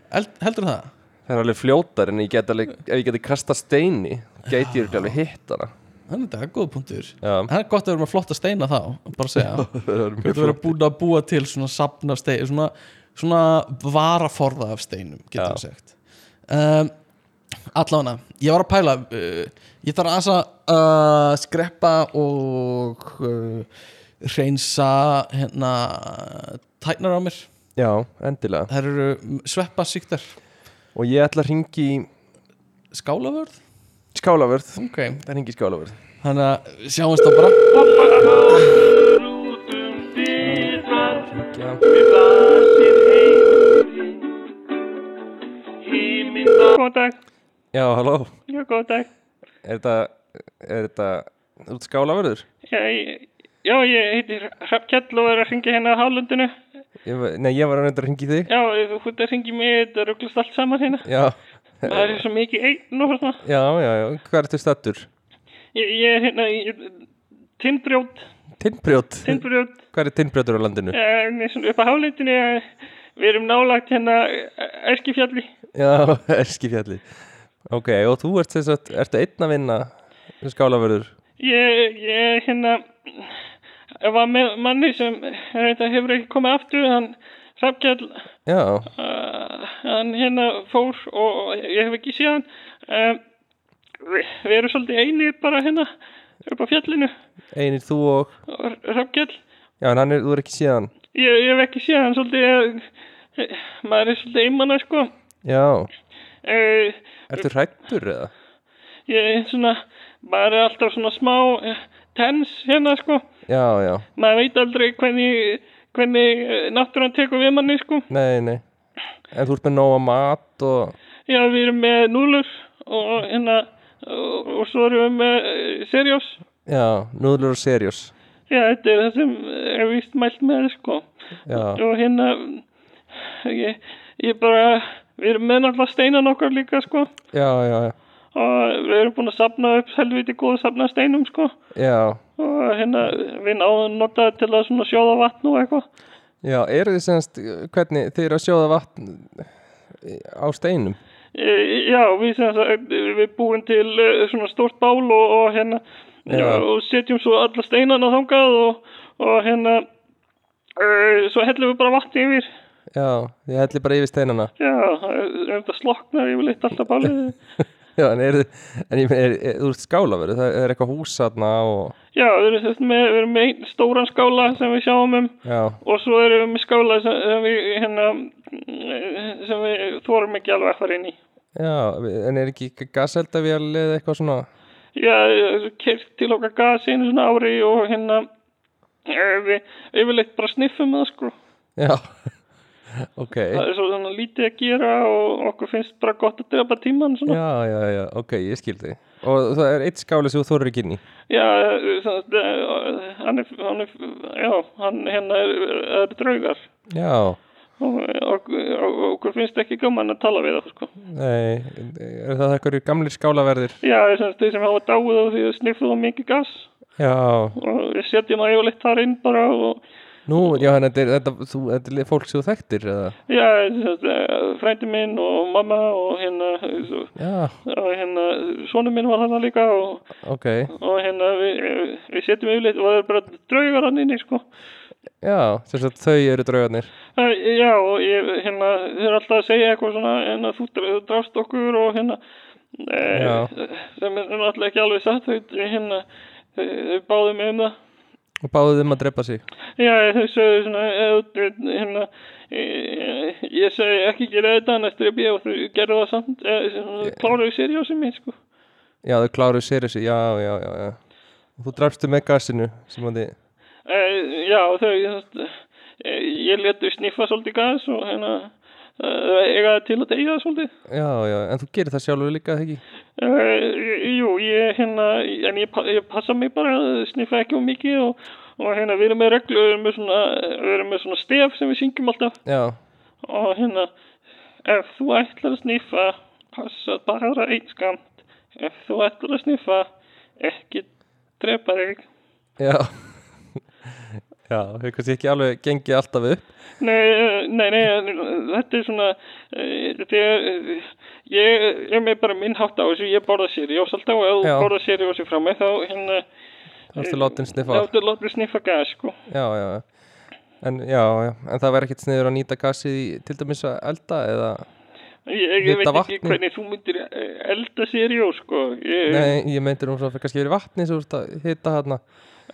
S4: Held, heldur það
S3: það er alveg fljótar en ég get alveg, ef ég geti kasta steini gæti ég örugglega alveg hitt hana
S4: þannig að það er góð punktur
S3: já,
S4: það er gott að við erum að flotta steina þá bara að segja,
S3: það er mjög
S4: getur verið
S3: flott
S4: búin að búa til svona sapna stein, svona, svona varaforða af steinum,
S3: Já.
S4: getur við sagt um, allána ég var að pæla uh, ég þarf aðeins að uh, skreppa og uh, reynsa hérna tæknar á mér,
S3: já, endilega
S4: það eru sveppa síktar,
S3: og ég ætla að ringi í
S4: skálavörð
S3: skálavörð
S4: ok,
S3: það ringi í skálavörð
S4: þannig að sjáumst þá bara
S3: Hringja. já, halló
S6: Já, góð dag.
S3: er þetta, er þetta þú ert skálavörður?
S6: Já, ég, já, ég heiti Hrafn Kjall og er að ringi hérna á hálundinu.
S3: Ég, var- nei, ég var að reynda að ringi í þig
S6: Já, þú ert að ringi mig, þetta rugglast allt saman hérna.
S3: já,
S6: Það er svo mikið einn og hérna.
S3: já, já, já. hvað ertu stattur?
S6: Ég, ég er hérna í tindbrjót,
S3: Tinnbrjót,
S6: tindbrjót,
S3: hvað er tinnbrjótur á landinu?
S6: eh, ég er svona upp á hálundinu. eh, Við erum nálagt hérna eh, Eskifjalli.
S3: Já, Eskifjalli Ok, og þú ert þess að, ertu einn að vinna sem skálavörður?
S6: Ég, ég er hérna, ég var með manni sem þetta hefur ekki komið aftur, hann Hrafn Kjall.
S3: Já,
S6: uh, hann hérna fór og ég hef ekki séð hann um, við, við erum svolítið einir bara hérna upp á fjallinu
S3: einir þú og
S6: og rafgjall
S3: Já, en hann er, þú er ekki síðan
S6: ég, ég hef ekki séð hann svolítið eh, maður er svolítið einmanna sko
S3: Já,
S6: uh,
S3: ertu hrættur eða?
S6: ég er svona maður er alltaf svona smá eh, tens hérna sko
S3: Já, já,
S6: maður veit aldrei hvernig hvernig eh, náttúran tekur við manni sko
S3: nei, nei En þú ert með nóga mat og
S6: já við erum með núlur og hérna og, og svo erum við með uh, serjós
S3: Já, núðlur og serjós
S6: Já, þetta er það sem er vist mælt með, sko.
S3: Já,
S6: Og hérna, ég, ég bara, við erum með náttúrulega steinan okkar líka, sko.
S3: já, já, já,
S6: Og við erum búin að safna upp helviti góð safna steinum, sko.
S3: já.
S6: Og hérna, við náðum að nota það til að svona sjóða vatn og eitthvað.
S3: Já, eru þið semst, hvernig, þið eru að sjóða vatn á steinum?
S6: E, já, við, sem sagt, við búum til eh, svona stórt bál og, og hérna,
S3: Já.
S6: og setjum svo alla steinana þangað og, og hérna, e, svo hellum við bara vatni yfir.
S3: Já, ég helli bara yfir steinana
S6: Já, það er um þetta sloknar yfirleitt alltaf bálið.
S3: Já, en, er, en ég, meina, er, er, þú ert skálaverið, það er eitthvað hús þarna og,
S6: Já, við erum, sem sagt með, við erum með einn stóran skála sem við sjáum um
S3: já,
S6: og svo erum við með skála sem, sem við, hérna, mm, sem við þorum ekki alveg að fara inn í.
S3: já, en er ekki gaseldavél eða eitthvað svona,
S6: Já, kert til okkar gas einu svona ári og hérna, eh, við yfirleitt bara sniffum það sko.
S3: já, ok,
S6: Það er svo svona lítið að gera og okkur finnst bara gott að drepa tíman svona.
S3: já, já, já, ok, ég skil þig. Og það er eitt skáli sem þú þorir ekki inn í,
S6: Já, eh, sem sagt, eh, hann er, hann er, já, hann hérna er, er draugar.
S3: já,
S6: og og- og- og okkur finnst ekki gaman að tala við það sko.
S3: nei, er það eitthvað gamlir skálaverðir?
S6: Já, þess að þeir sem hafa dáið og því að sniffuð á mikið gas
S3: Já,
S6: og við setjum það yfirleitt þar inn bara og
S3: Nú, já, þannig að þetta, er- þetta, þú, þetta er li- fólk sem þú þekktir eða?
S6: Já, eh, frændi minn og mamma og hérna, svo-
S3: Já,
S6: og hérna, sonu minn var hann líka og,
S3: ok,
S6: og hérna, við, við setjum yfirleitt og það er bara draugar hann inni, sko.
S3: já, sem sagt þau eru draugarnir
S6: Það, já, og ég, hérna, þau eru alltaf að segja eitthvað svona, hérna, þú dra- þú drafst okkur og hérna, e,
S3: Já.
S6: sem er náttúrulega ekki alveg satt, þau, hérna, þau, þau báðu mig um það.
S3: og báðu þeim að drepa sig
S6: Já, þau sögðu svona, eða, þú- hérna, ég, ég segi ekki gera þetta, annars dref ég og þau gerðu það samt, eða, svona, kláruðu séri á sem ég, sko.
S3: Já, þau kláruðu sér þessu, já, já, já, já Og þú drafstu með gasinu sem að þið,
S6: E, já, og þau, þess, e, ég letu sniffa svolítið gas og hérna, e, þau eiga til að deyja svolítið.
S3: já, já, en þú gerir það sjálfur líka, þegar ekki?
S6: Uh, jú, ég, hérna, en ég, pa- ég passa mig bara að sniffa ekki um mikið og, og hérna, við erum með reglu, við erum með svona, við erum með svona stef sem við syngjum alltaf
S3: Já,
S6: og hérna, ef þú ætlar að sniffa, passa bara einskamt, ef þú ætlar að sniffa, ekki drepa þig.
S3: já Já, þau kannski ekki alveg gengið alltaf upp
S6: Nei, eh, nei, nei, en þetta er svona, eh, þegar, eh, ég er með bara minn hátt á þessu, ég borða sér, ég ásalt á, ef þú
S3: Já.
S6: borða sér, ég ásalt frá mig, þá hérna,
S3: Þú ertu látin sniffa af.
S6: Eh, Láttu láttu sniffa gas sko
S3: Já, já, já En, já, já, en það verður ekkert sniður að nýta gasið í, til dæmis að elda eða
S6: Ég, ég,
S3: Hita
S6: veit ekki
S3: vatnið.
S6: hvernig þú myndir eh, elda sérjó sko ég,
S3: Nei, ég meintir um svo að kannski verið vatni sem þú ert að hita hérna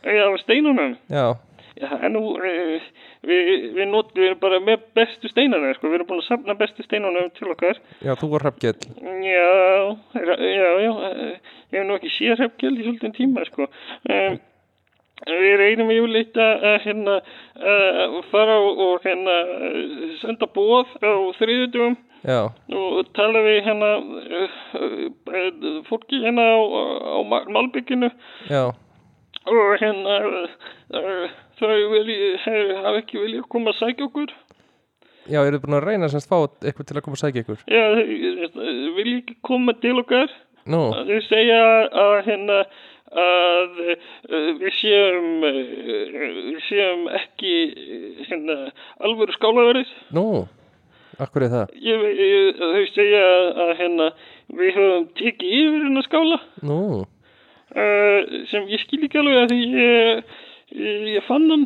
S6: Já, steinunum
S3: Já,
S6: Já, en nú eh, við, við notum, við erum bara með bestu steinunum sko Við erum búin að safna bestu steinunum til okkar
S3: já, þú var hreppgjell
S6: Já, ra- já, já eh, Ég hef nú ekki séð hefgjald í svolítið tíma sko um, Við reynum yfirleitt að að, hérna, að fara og, og hérna, eh, senda bóð á þriðutum
S3: Já,
S6: og tala við hérna uh, uh, fólki hérna á, á Ma- Malbygginu
S3: já,
S6: og hérna uh, þau vilji, hef, hafa ekki viljað koma að sækja okkur
S3: já, eruðu búin að reyna semst fá eitthvað til að koma að sækja ykkur
S6: já, þau eh, vilja ekki koma til okkar
S3: Nú,
S6: þau segja að hérna að uh, við séum uh, við séum ekki eh, hérna alvöru skálaverið
S3: nú, akkur er það
S6: ég, ég, þau segja að hérna við höfum tekið yfir hérna skála
S3: Nú,
S6: Eh, sem ég skil ekki alveg að því ég, ég, ég fann hann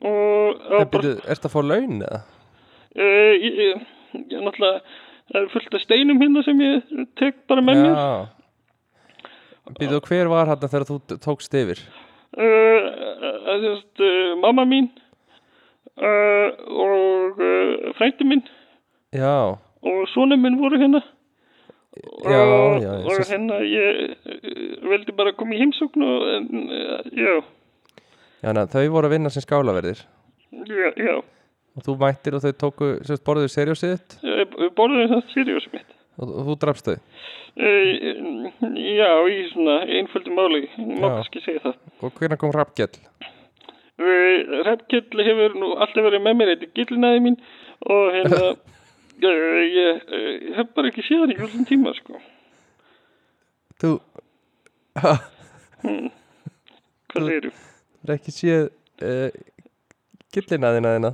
S6: og
S3: en
S6: og bara,
S3: byrju, ertu að fá laun eða?
S6: uh, ég, ég, ég náttúrulega það er fullt af steinum hérna sem ég tek bara með mér
S3: Já Byrju, og hver var hérna þegar þú t- tókst yfir?
S6: uh, að þú veist uh, mamma mín uh, og uh, frændi minn
S3: Já,
S6: og sonu minn voru hérna
S3: já,
S6: og,
S3: já,
S6: og
S3: já,
S6: hérna ég uh, veldi bara koma í heimsókn og en, uh, já,
S3: já na, Þau voru að vinna sem skálaverðir
S6: já, já
S3: og þú mættir og þau tóku, semst borðuðu seriósið þitt
S6: Eh, við borðum það seriós mitt
S3: og, og þú drafst þau
S6: Eh, Já, í svona einföldu máli, ég má
S3: Já.
S6: kannski segja það.
S3: og hvernig kom hreppgjell?
S6: Ræpkjall hefur nú alltaf verið með mér, þetta er gillinaði mín og hérna, eh, ég, eh, ég hef bara ekki séð hann í allan tíma, sko.
S3: Þú,
S6: Hvað þeir eru?
S3: er ekki séð uh, gillina þína þína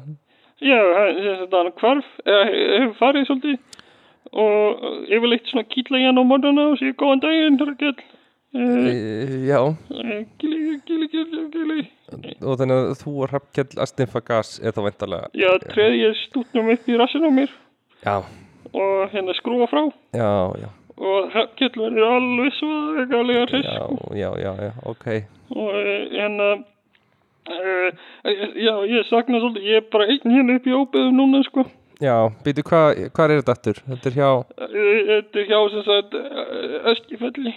S6: Já, hann, sem sagt, hann hvarf, eða he- hefur farið svolítið og eh, yfirleitt svona kýtla í hann á morgunna og segja góðan daginn, Ræpkjall. Mm.
S3: e, Já,
S6: Gilli, gilli, gilli, gilli.
S3: og þannig að þú og hreppgjell að sniffa gas er þá veintalega
S6: Já, treði ég stútnum upp í rassinu á mér
S3: Já,
S6: og hérna skrúa frá.
S3: já, já
S6: og Hrafnkell verður alveg svakalega hress
S3: Já, já, já, já, ok
S6: og eh, hérna uh, já, ég sakna svolítið ég er bara einn hérna upp í óbyðum núna sko.
S3: Já, býtu, hvað hva er þetta aftur? Þetta er hjá
S6: Eh, þetta er hjá sem sagt eh, Eskifelli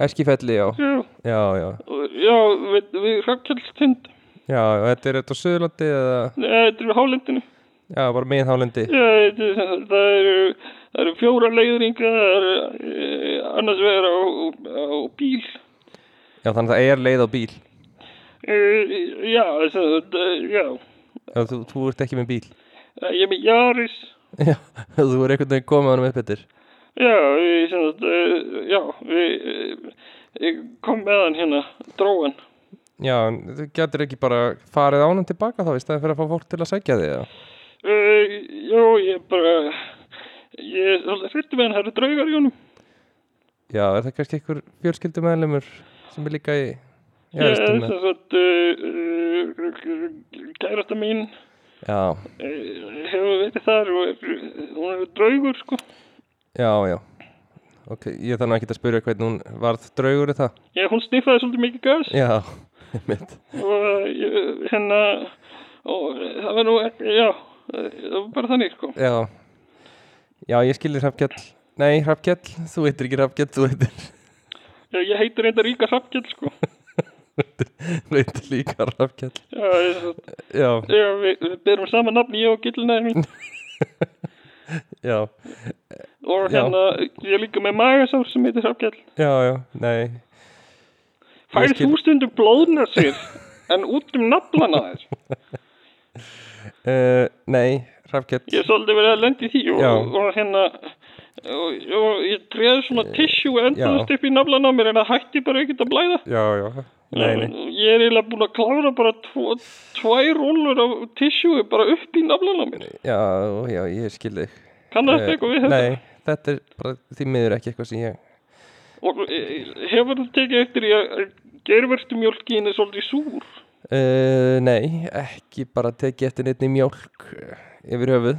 S3: Eskifelli, já
S6: já,
S3: Já, já,
S6: og- já við, við Hrafnkell tind eh,
S3: já, og þetta er þetta á Suðurlandi eða
S6: þetta er við hálendinu
S3: Já, bara miðhálendi
S6: já, þetta er, sem sagt, það eru það eru fjóra leiðringa það eru eh, annars vegar á, á, á bíl
S3: Já, þannig að það er leið á bíl
S6: uh, já, sem sagt, eh, já Eh,
S3: Já, þú, þú ert ekki með bíl
S6: ég er með Jaris
S3: Já, þú er einhvern veginn komið honum upp eftir
S6: Já, við, sem eh, sagt, uh, já, við uh, kom með hann hérna, dróan.
S3: Já, en þú getur ekki bara farið ánum tilbaka þá í staðin fyrir að fá fólk til að segja þig eða?
S6: Uh, já, ég bara, ég er svolítið hrættu með hann, það eru draugar í honum.
S3: Já, er það kannski einhver fjölskyldum sem er líka í
S6: Ég er
S3: jæðistum
S6: þess að uh, kærasta mín
S3: Já,
S6: uh, hefur verið þar og er, hún er draugur, sko.
S3: já, já Ok, ég þarf nú ekki að spyrja hvernig hún varð draugur í það
S6: Já, hún sniffaði svolítið mikið gas
S3: Já, mitt
S6: og uh, ég- hérna, og það var nú, ekki- já, eh, það var bara þannig, sko.
S3: Já, já, ég skilði Hrafkjall Nei, Hrafkjall, þú heitir ekki Hrafkjall þú heitir,
S6: Já, Eh, ég heitir reynda Ríka Hrafkjell, sko.
S3: þú heitir líka Hrafkjall
S6: Já, ég,
S3: Já,
S6: já við, við berum saman nafni, ég og gillinaði mín.
S3: já,
S6: Og
S3: Já.
S6: hérna, ég er líka með magasár sem heitir Hrafkjell.
S3: já, já, nei
S6: Færið
S3: Ég skil-
S6: þú stundum blóðna sér en út um naflana þér?
S3: uh, Nei, Hrafkjall
S6: Ég er svolítið verið að lendi því og,
S3: Já.
S6: og hérna og, og ég treði svona
S3: Eh,
S6: tissue endast upp í naflana á mér en það hætti bara ekkert að blæða.
S3: Já, já, nei, nei
S6: Ég er eiginlega búin að klára bara tvo, tvær rúllur af tissue bara upp í naflana á mér.
S3: Já, já, ég skilði þig
S6: Kann
S3: Eh,
S6: þetta eitthvað við þetta?
S3: Nei, þetta er bara því miður ekki eitthvað sem ég
S6: Og e, hefur þú tekið eftir í að gervertu mjölkin er svolítið súr?
S3: uh, Nei, ekki bara tekið eftir neitt í mjólk eh, yfir höfuð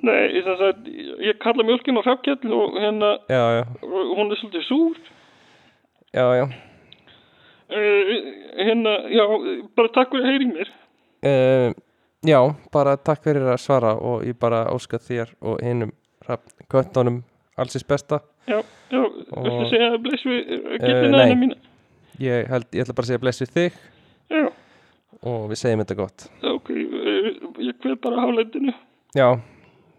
S6: Nei, ég, sagt, ég kalla mjölkin á hrafkjall og hérna
S3: Já, já,
S6: og hún er svolítið súr.
S3: já, já
S6: Uh, hérna, já, bara takk fyrir að heyri mér.
S3: uh, Já, bara takk fyrir að svara og ég bara óska þér og hinum köttunum allsins besta
S6: Já, já, viltu segja að bless við
S3: Eh,
S6: gillina
S3: nei.
S6: hennar mína?
S3: Ég held, ég ætla bara að segja blessi þig
S6: Já,
S3: og við segjum þetta gott
S6: ok, uh, ég kveð bara hálendinu.
S3: Já,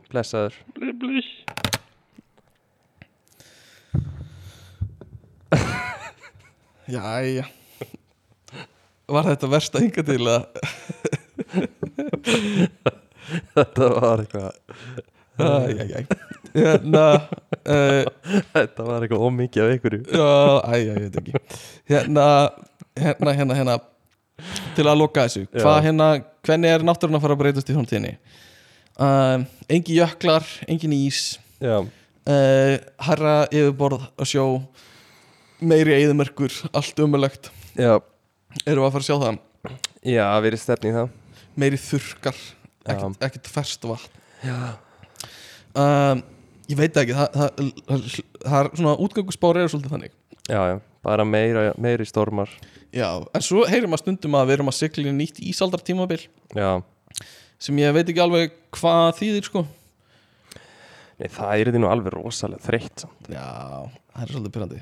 S3: blessaður
S6: Bless, bless.
S4: Jæja Var þetta versta hinga til að
S3: Þetta var eitthvað
S4: Æjæjæj Hérna uh,
S3: Þetta var eitthvað ómikið af einhverju
S4: Já, æ, ég veit ekki Hérna, hérna, hérna, hérna Til að loka þessu Hvað hérna, hvernig er náttúrun að fara að breytast í framtíðinni? Um, engi jöklar, engin ís
S3: Já,
S4: uh, Herra yfirborð að sjó Meiri eðumörkur, allt umulegt
S3: já,
S4: Erum við að fara að sjá það?
S3: já, við erum stefni í það
S4: Meiri þurkar,
S3: Já.
S4: ekkert, ekkert ferst vatn um, Ég veit ekki, það, það, það, það er svona útgönguspári er svolítið þannig
S3: Já, já, bara meira, meiri stormar
S4: Já, en svo heyrum að stundum að við erum að sigla inn í nýtt ísaldartímabil
S3: Já,
S4: sem ég veit ekki alveg hvað þýðir sko
S3: Nei, það er því nú alveg rosalega þreytt samt.
S4: Já, það er svolítið pyrrandi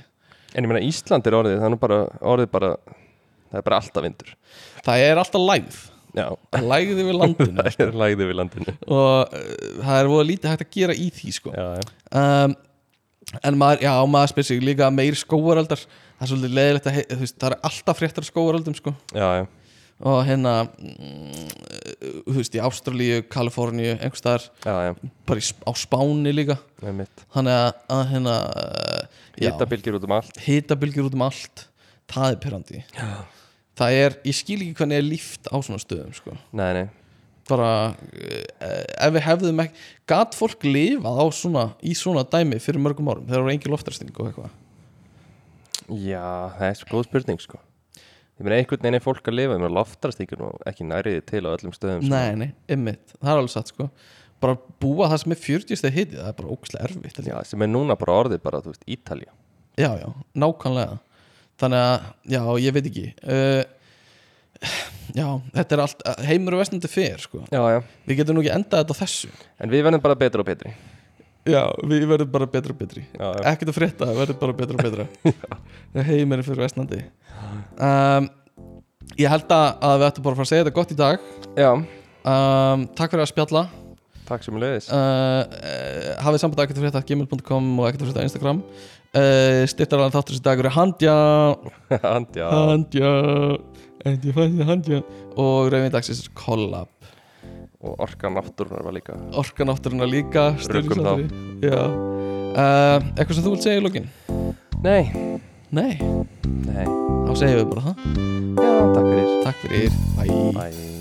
S3: En ég meina Ísland er orðið, það er nú bara orðið bara, það er bara alltaf vindur
S4: Það er alltaf lægð,
S3: Já,
S4: lægð yfir landinu
S3: það er lægðið við landinu
S4: og uh, það er voða lítið hægt að gera í því sko
S3: Já, já,
S4: um, En maður, já, maður spyrir sig líka meir skóaraldar það er svolítið leðilegt að, he- þú veist, það er alltaf fréttar af skóaraldum sko
S3: já, já,
S4: og hérna, mm, uh, þú veist, í Ástralíu, Kaliforníu, einhvers staðar
S3: já, já,
S4: bara í, Sp- á Spáni líka
S3: með mitt
S4: þannig að, að hérna uh, já,
S3: Hittabilgjur út um allt
S4: hitabylgjur út um allt það er perandi já. það er, ég skil ekki hvernig er líft á svona stöðum sko.
S3: Nei, nei,
S4: bara uh, ef við hefðum ekki gat fólk lifað á svona í svona dæmi fyrir mörgum árum þegar það voru engin loftarsting og eitthvað
S3: já, það er svo góð spurning sko Ég meina einhvern veginn er fólk að lifa, ég meina loftast ekki, ekki næriði til á öllum stöðum sko.
S4: nei, nei, ymmit, það er alveg satt sko bara búa það sem er 40 steg hiti það er bara ókslega erfitt
S3: Já, sem er núna bara orðið bara, þú veist, Ítalja
S4: já, já, nákvæmlega þannig að, já, ég veit ekki uh, já, þetta er allt heimur og vestnandi fer sko.
S3: Já, já,
S4: við getum nú ekki endað þetta á þessu
S3: en við verðum bara betur og betri
S4: Já, við verðum bara betra og betri
S3: Já, já.
S4: Ekkert að frétta, við verðum bara betra og betra Það heimir fyrir vestnandi um, Ég held að, að við ættum bara að fara að segja þetta gott í dag
S3: Já,
S4: um, Takk fyrir að spjalla uh,
S3: takk sem leiðis
S4: uh, Hafið samband ekkert að frétta gmail.com og ekkert að frétta Instagram uh, Styrtar alveg þáttur þessi dagur er handja
S3: Andja
S4: Handja Handja, handja, handja Og rauðin dagsins er kollab
S3: og orka náttúrunar var líka
S4: Orkan átturinn að líka
S3: Rukkum þá.
S4: stuðningsatriði. Já Eh, uh, Eitthvað sem þú vilt segja í lokin?
S3: Nei,
S4: Nei
S3: nei
S4: Þá
S3: þá segjum við bara það
S4: Já, takk fyrir
S3: takk fyrir, bye
S4: Bye